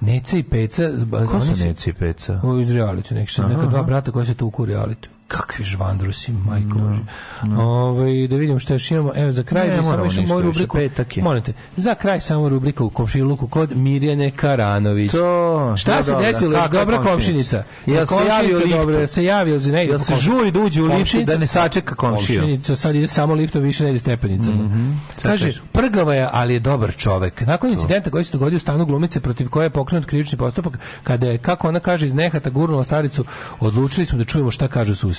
Nece i Peca...
Ko
oni
su
se-
Neci i Peca?
O, iz reality, neki su neka dva brata koja se tuku u realitu. kakvi žvandrusi, majko. No, no. Ovaj, da vidimo šta još imamo. Evo, za kraj
Ne,
bi samo
moramo
još
ništa
moju
više,
rubriku.
petak je.
Molim te, za kraj samo rubrika u komšiluku kod Mirjane Karanović.
To,
šta
no,
se
dobra.
desilo?
Kakva
dobra komšinica.
komšinica? Jel se javio
komšinica
liftu?
dobra, jel se javio za
Jel se žuri da uđe u liftu da ne sačeka komšiju?
Komšinica sad ide samo liftom, više ne ide stepenicama.
Mhm.
Kaže,
kažem.
prgava je, ali je dobar čovek. Nakon incidenta koji se dogodio u stanu glumice protiv koje je pokrenut krivični postupak, kada je, kako ona kaže, iz nehata gurnula staricu, odlučili smo da čujemo šta kažu suseti.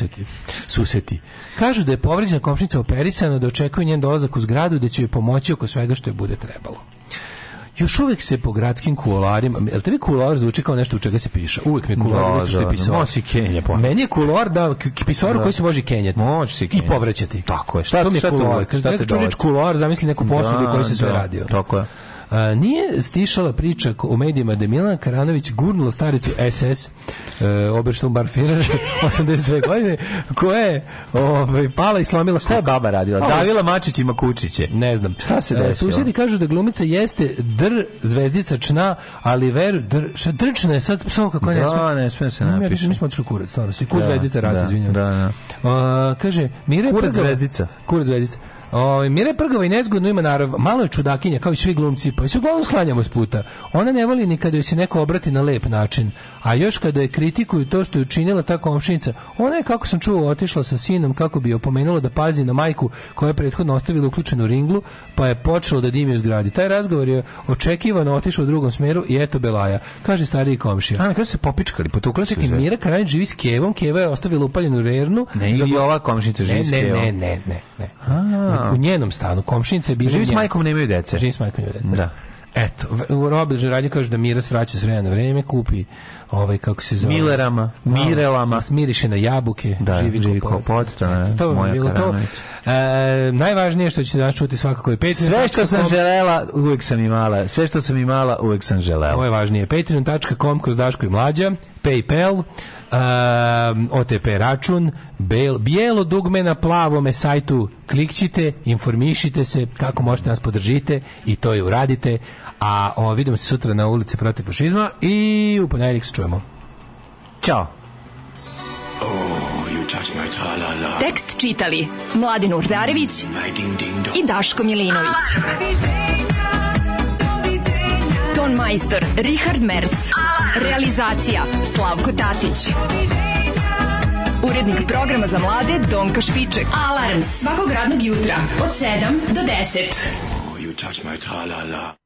suseti. Kažu da je povređena komšnica operisana, da očekuju njen dolazak u zgradu, da će joj pomoći oko svega što je bude trebalo. Još uvek se po gradskim kuloarima, jel tebi kuloar zvuči kao nešto u čega se piše? Uvek mi je kuloar
Da,
nešto što je
da, da.
pisao.
Nosi Kenja ponekad.
Meni je kuloar da k- k- pisor u koji se može kenjati.
Može se
I povraćati.
Tako je. Šta,
to mi je
šta te
kuloar.
uvek-
Kad
šta te
neko čuje reč
dovodi?
kuloar, zamisli neku posudu u kojoj se sve
da,
radio.
Tako je.
A, nije stišala priča ko- u medijima da je Milana Karanović gurnula staricu SS e, (laughs) Oberstumbarfirer 82 godine koja je ovaj, pala i slomila
Šta je baba radila?
Ovo-
Davila Mačić i Makučiće.
ne znam.
Šta se
E,
desilo?
Susedi kažu da glumica jeste dr zvezdica čna, ali ver dr, šta drčna je sad psovka koja ne
Da,
sme.
ne sme se
Mi-
napiše.
Mi smo otišli u kurac, stvarno. Svi ku
Da,
zvezdica raci,
da,
izvinjavam.
da, da.
A, kaže, Mira
Kurac
Prgava-
zvezdica.
Kurac zvezdica. Ovaj Mira je Prgava i nezgodno ima narav, malo je čudakinja kao i svi glumci, pa je se uglavnom sklanjamo s puta. Ona ne voli ni kada joj se neko obrati na lep način, a još kada je kritikuju to što je učinila ta komšinica. Ona je kako sam čuo otišla sa sinom kako bi je opomenula da pazi na majku koja je prethodno ostavila uključenu ringlu, pa je počelo da dimi u zgradi. Taj razgovor je očekivano otišao u drugom smeru i eto belaja, kaže stariji komšija.
A na kraju su se popičkali, potukli su
Čekaj,
se.
Mira Karanić živi s Kevom, Keva je ostavila upaljenu rernu.
Ne, ili
Za-
ova komšinica živi s
ne,
Kevom.
ne, ne, ne, ne. U njenom stanu. Komšinica je bila
Pa, Živi s
njena.
majkom, nemaju dece.
Živi s majkom, nema dece.
Da.
Eto, v- u Robert Žeradnju kaže da Mira svraća s vremena na vreme, kupi ovaj, kako se zove...
Milerama,
Malo,
Mirelama.
Smiriše na jabuke,
Da,
živi,
živi
kao
kao
potac.
potac, da,
Eto, To bi
moja
bilo to.
Karanović.
E, najvažnije što ćete danas čuti svakako je Patreon.
Sve što sam želela, uvek sam imala. Sve što sam imala, uvek sam
Ovo
želela.
je važnije. Patreon.com kroz Daško i Mlađa, Paypal, um, OTP račun, bel, bijelo dugme na plavome sajtu, klikćite, informišite se kako možete nas podržite i to i uradite. A o, vidimo se sutra na ulici protiv fašizma i u ponedjeljak se čujemo.
Ćao.
Tekst čitali Mladin Urdarević i Daško Milinović. Ton majstor Richard Merc. Realizacija Slavko Tatić. Urednik programa za mlade Donka Špiček. Alarms svakog radnog jutra od 7 do 10.
You touch my tra-la-la.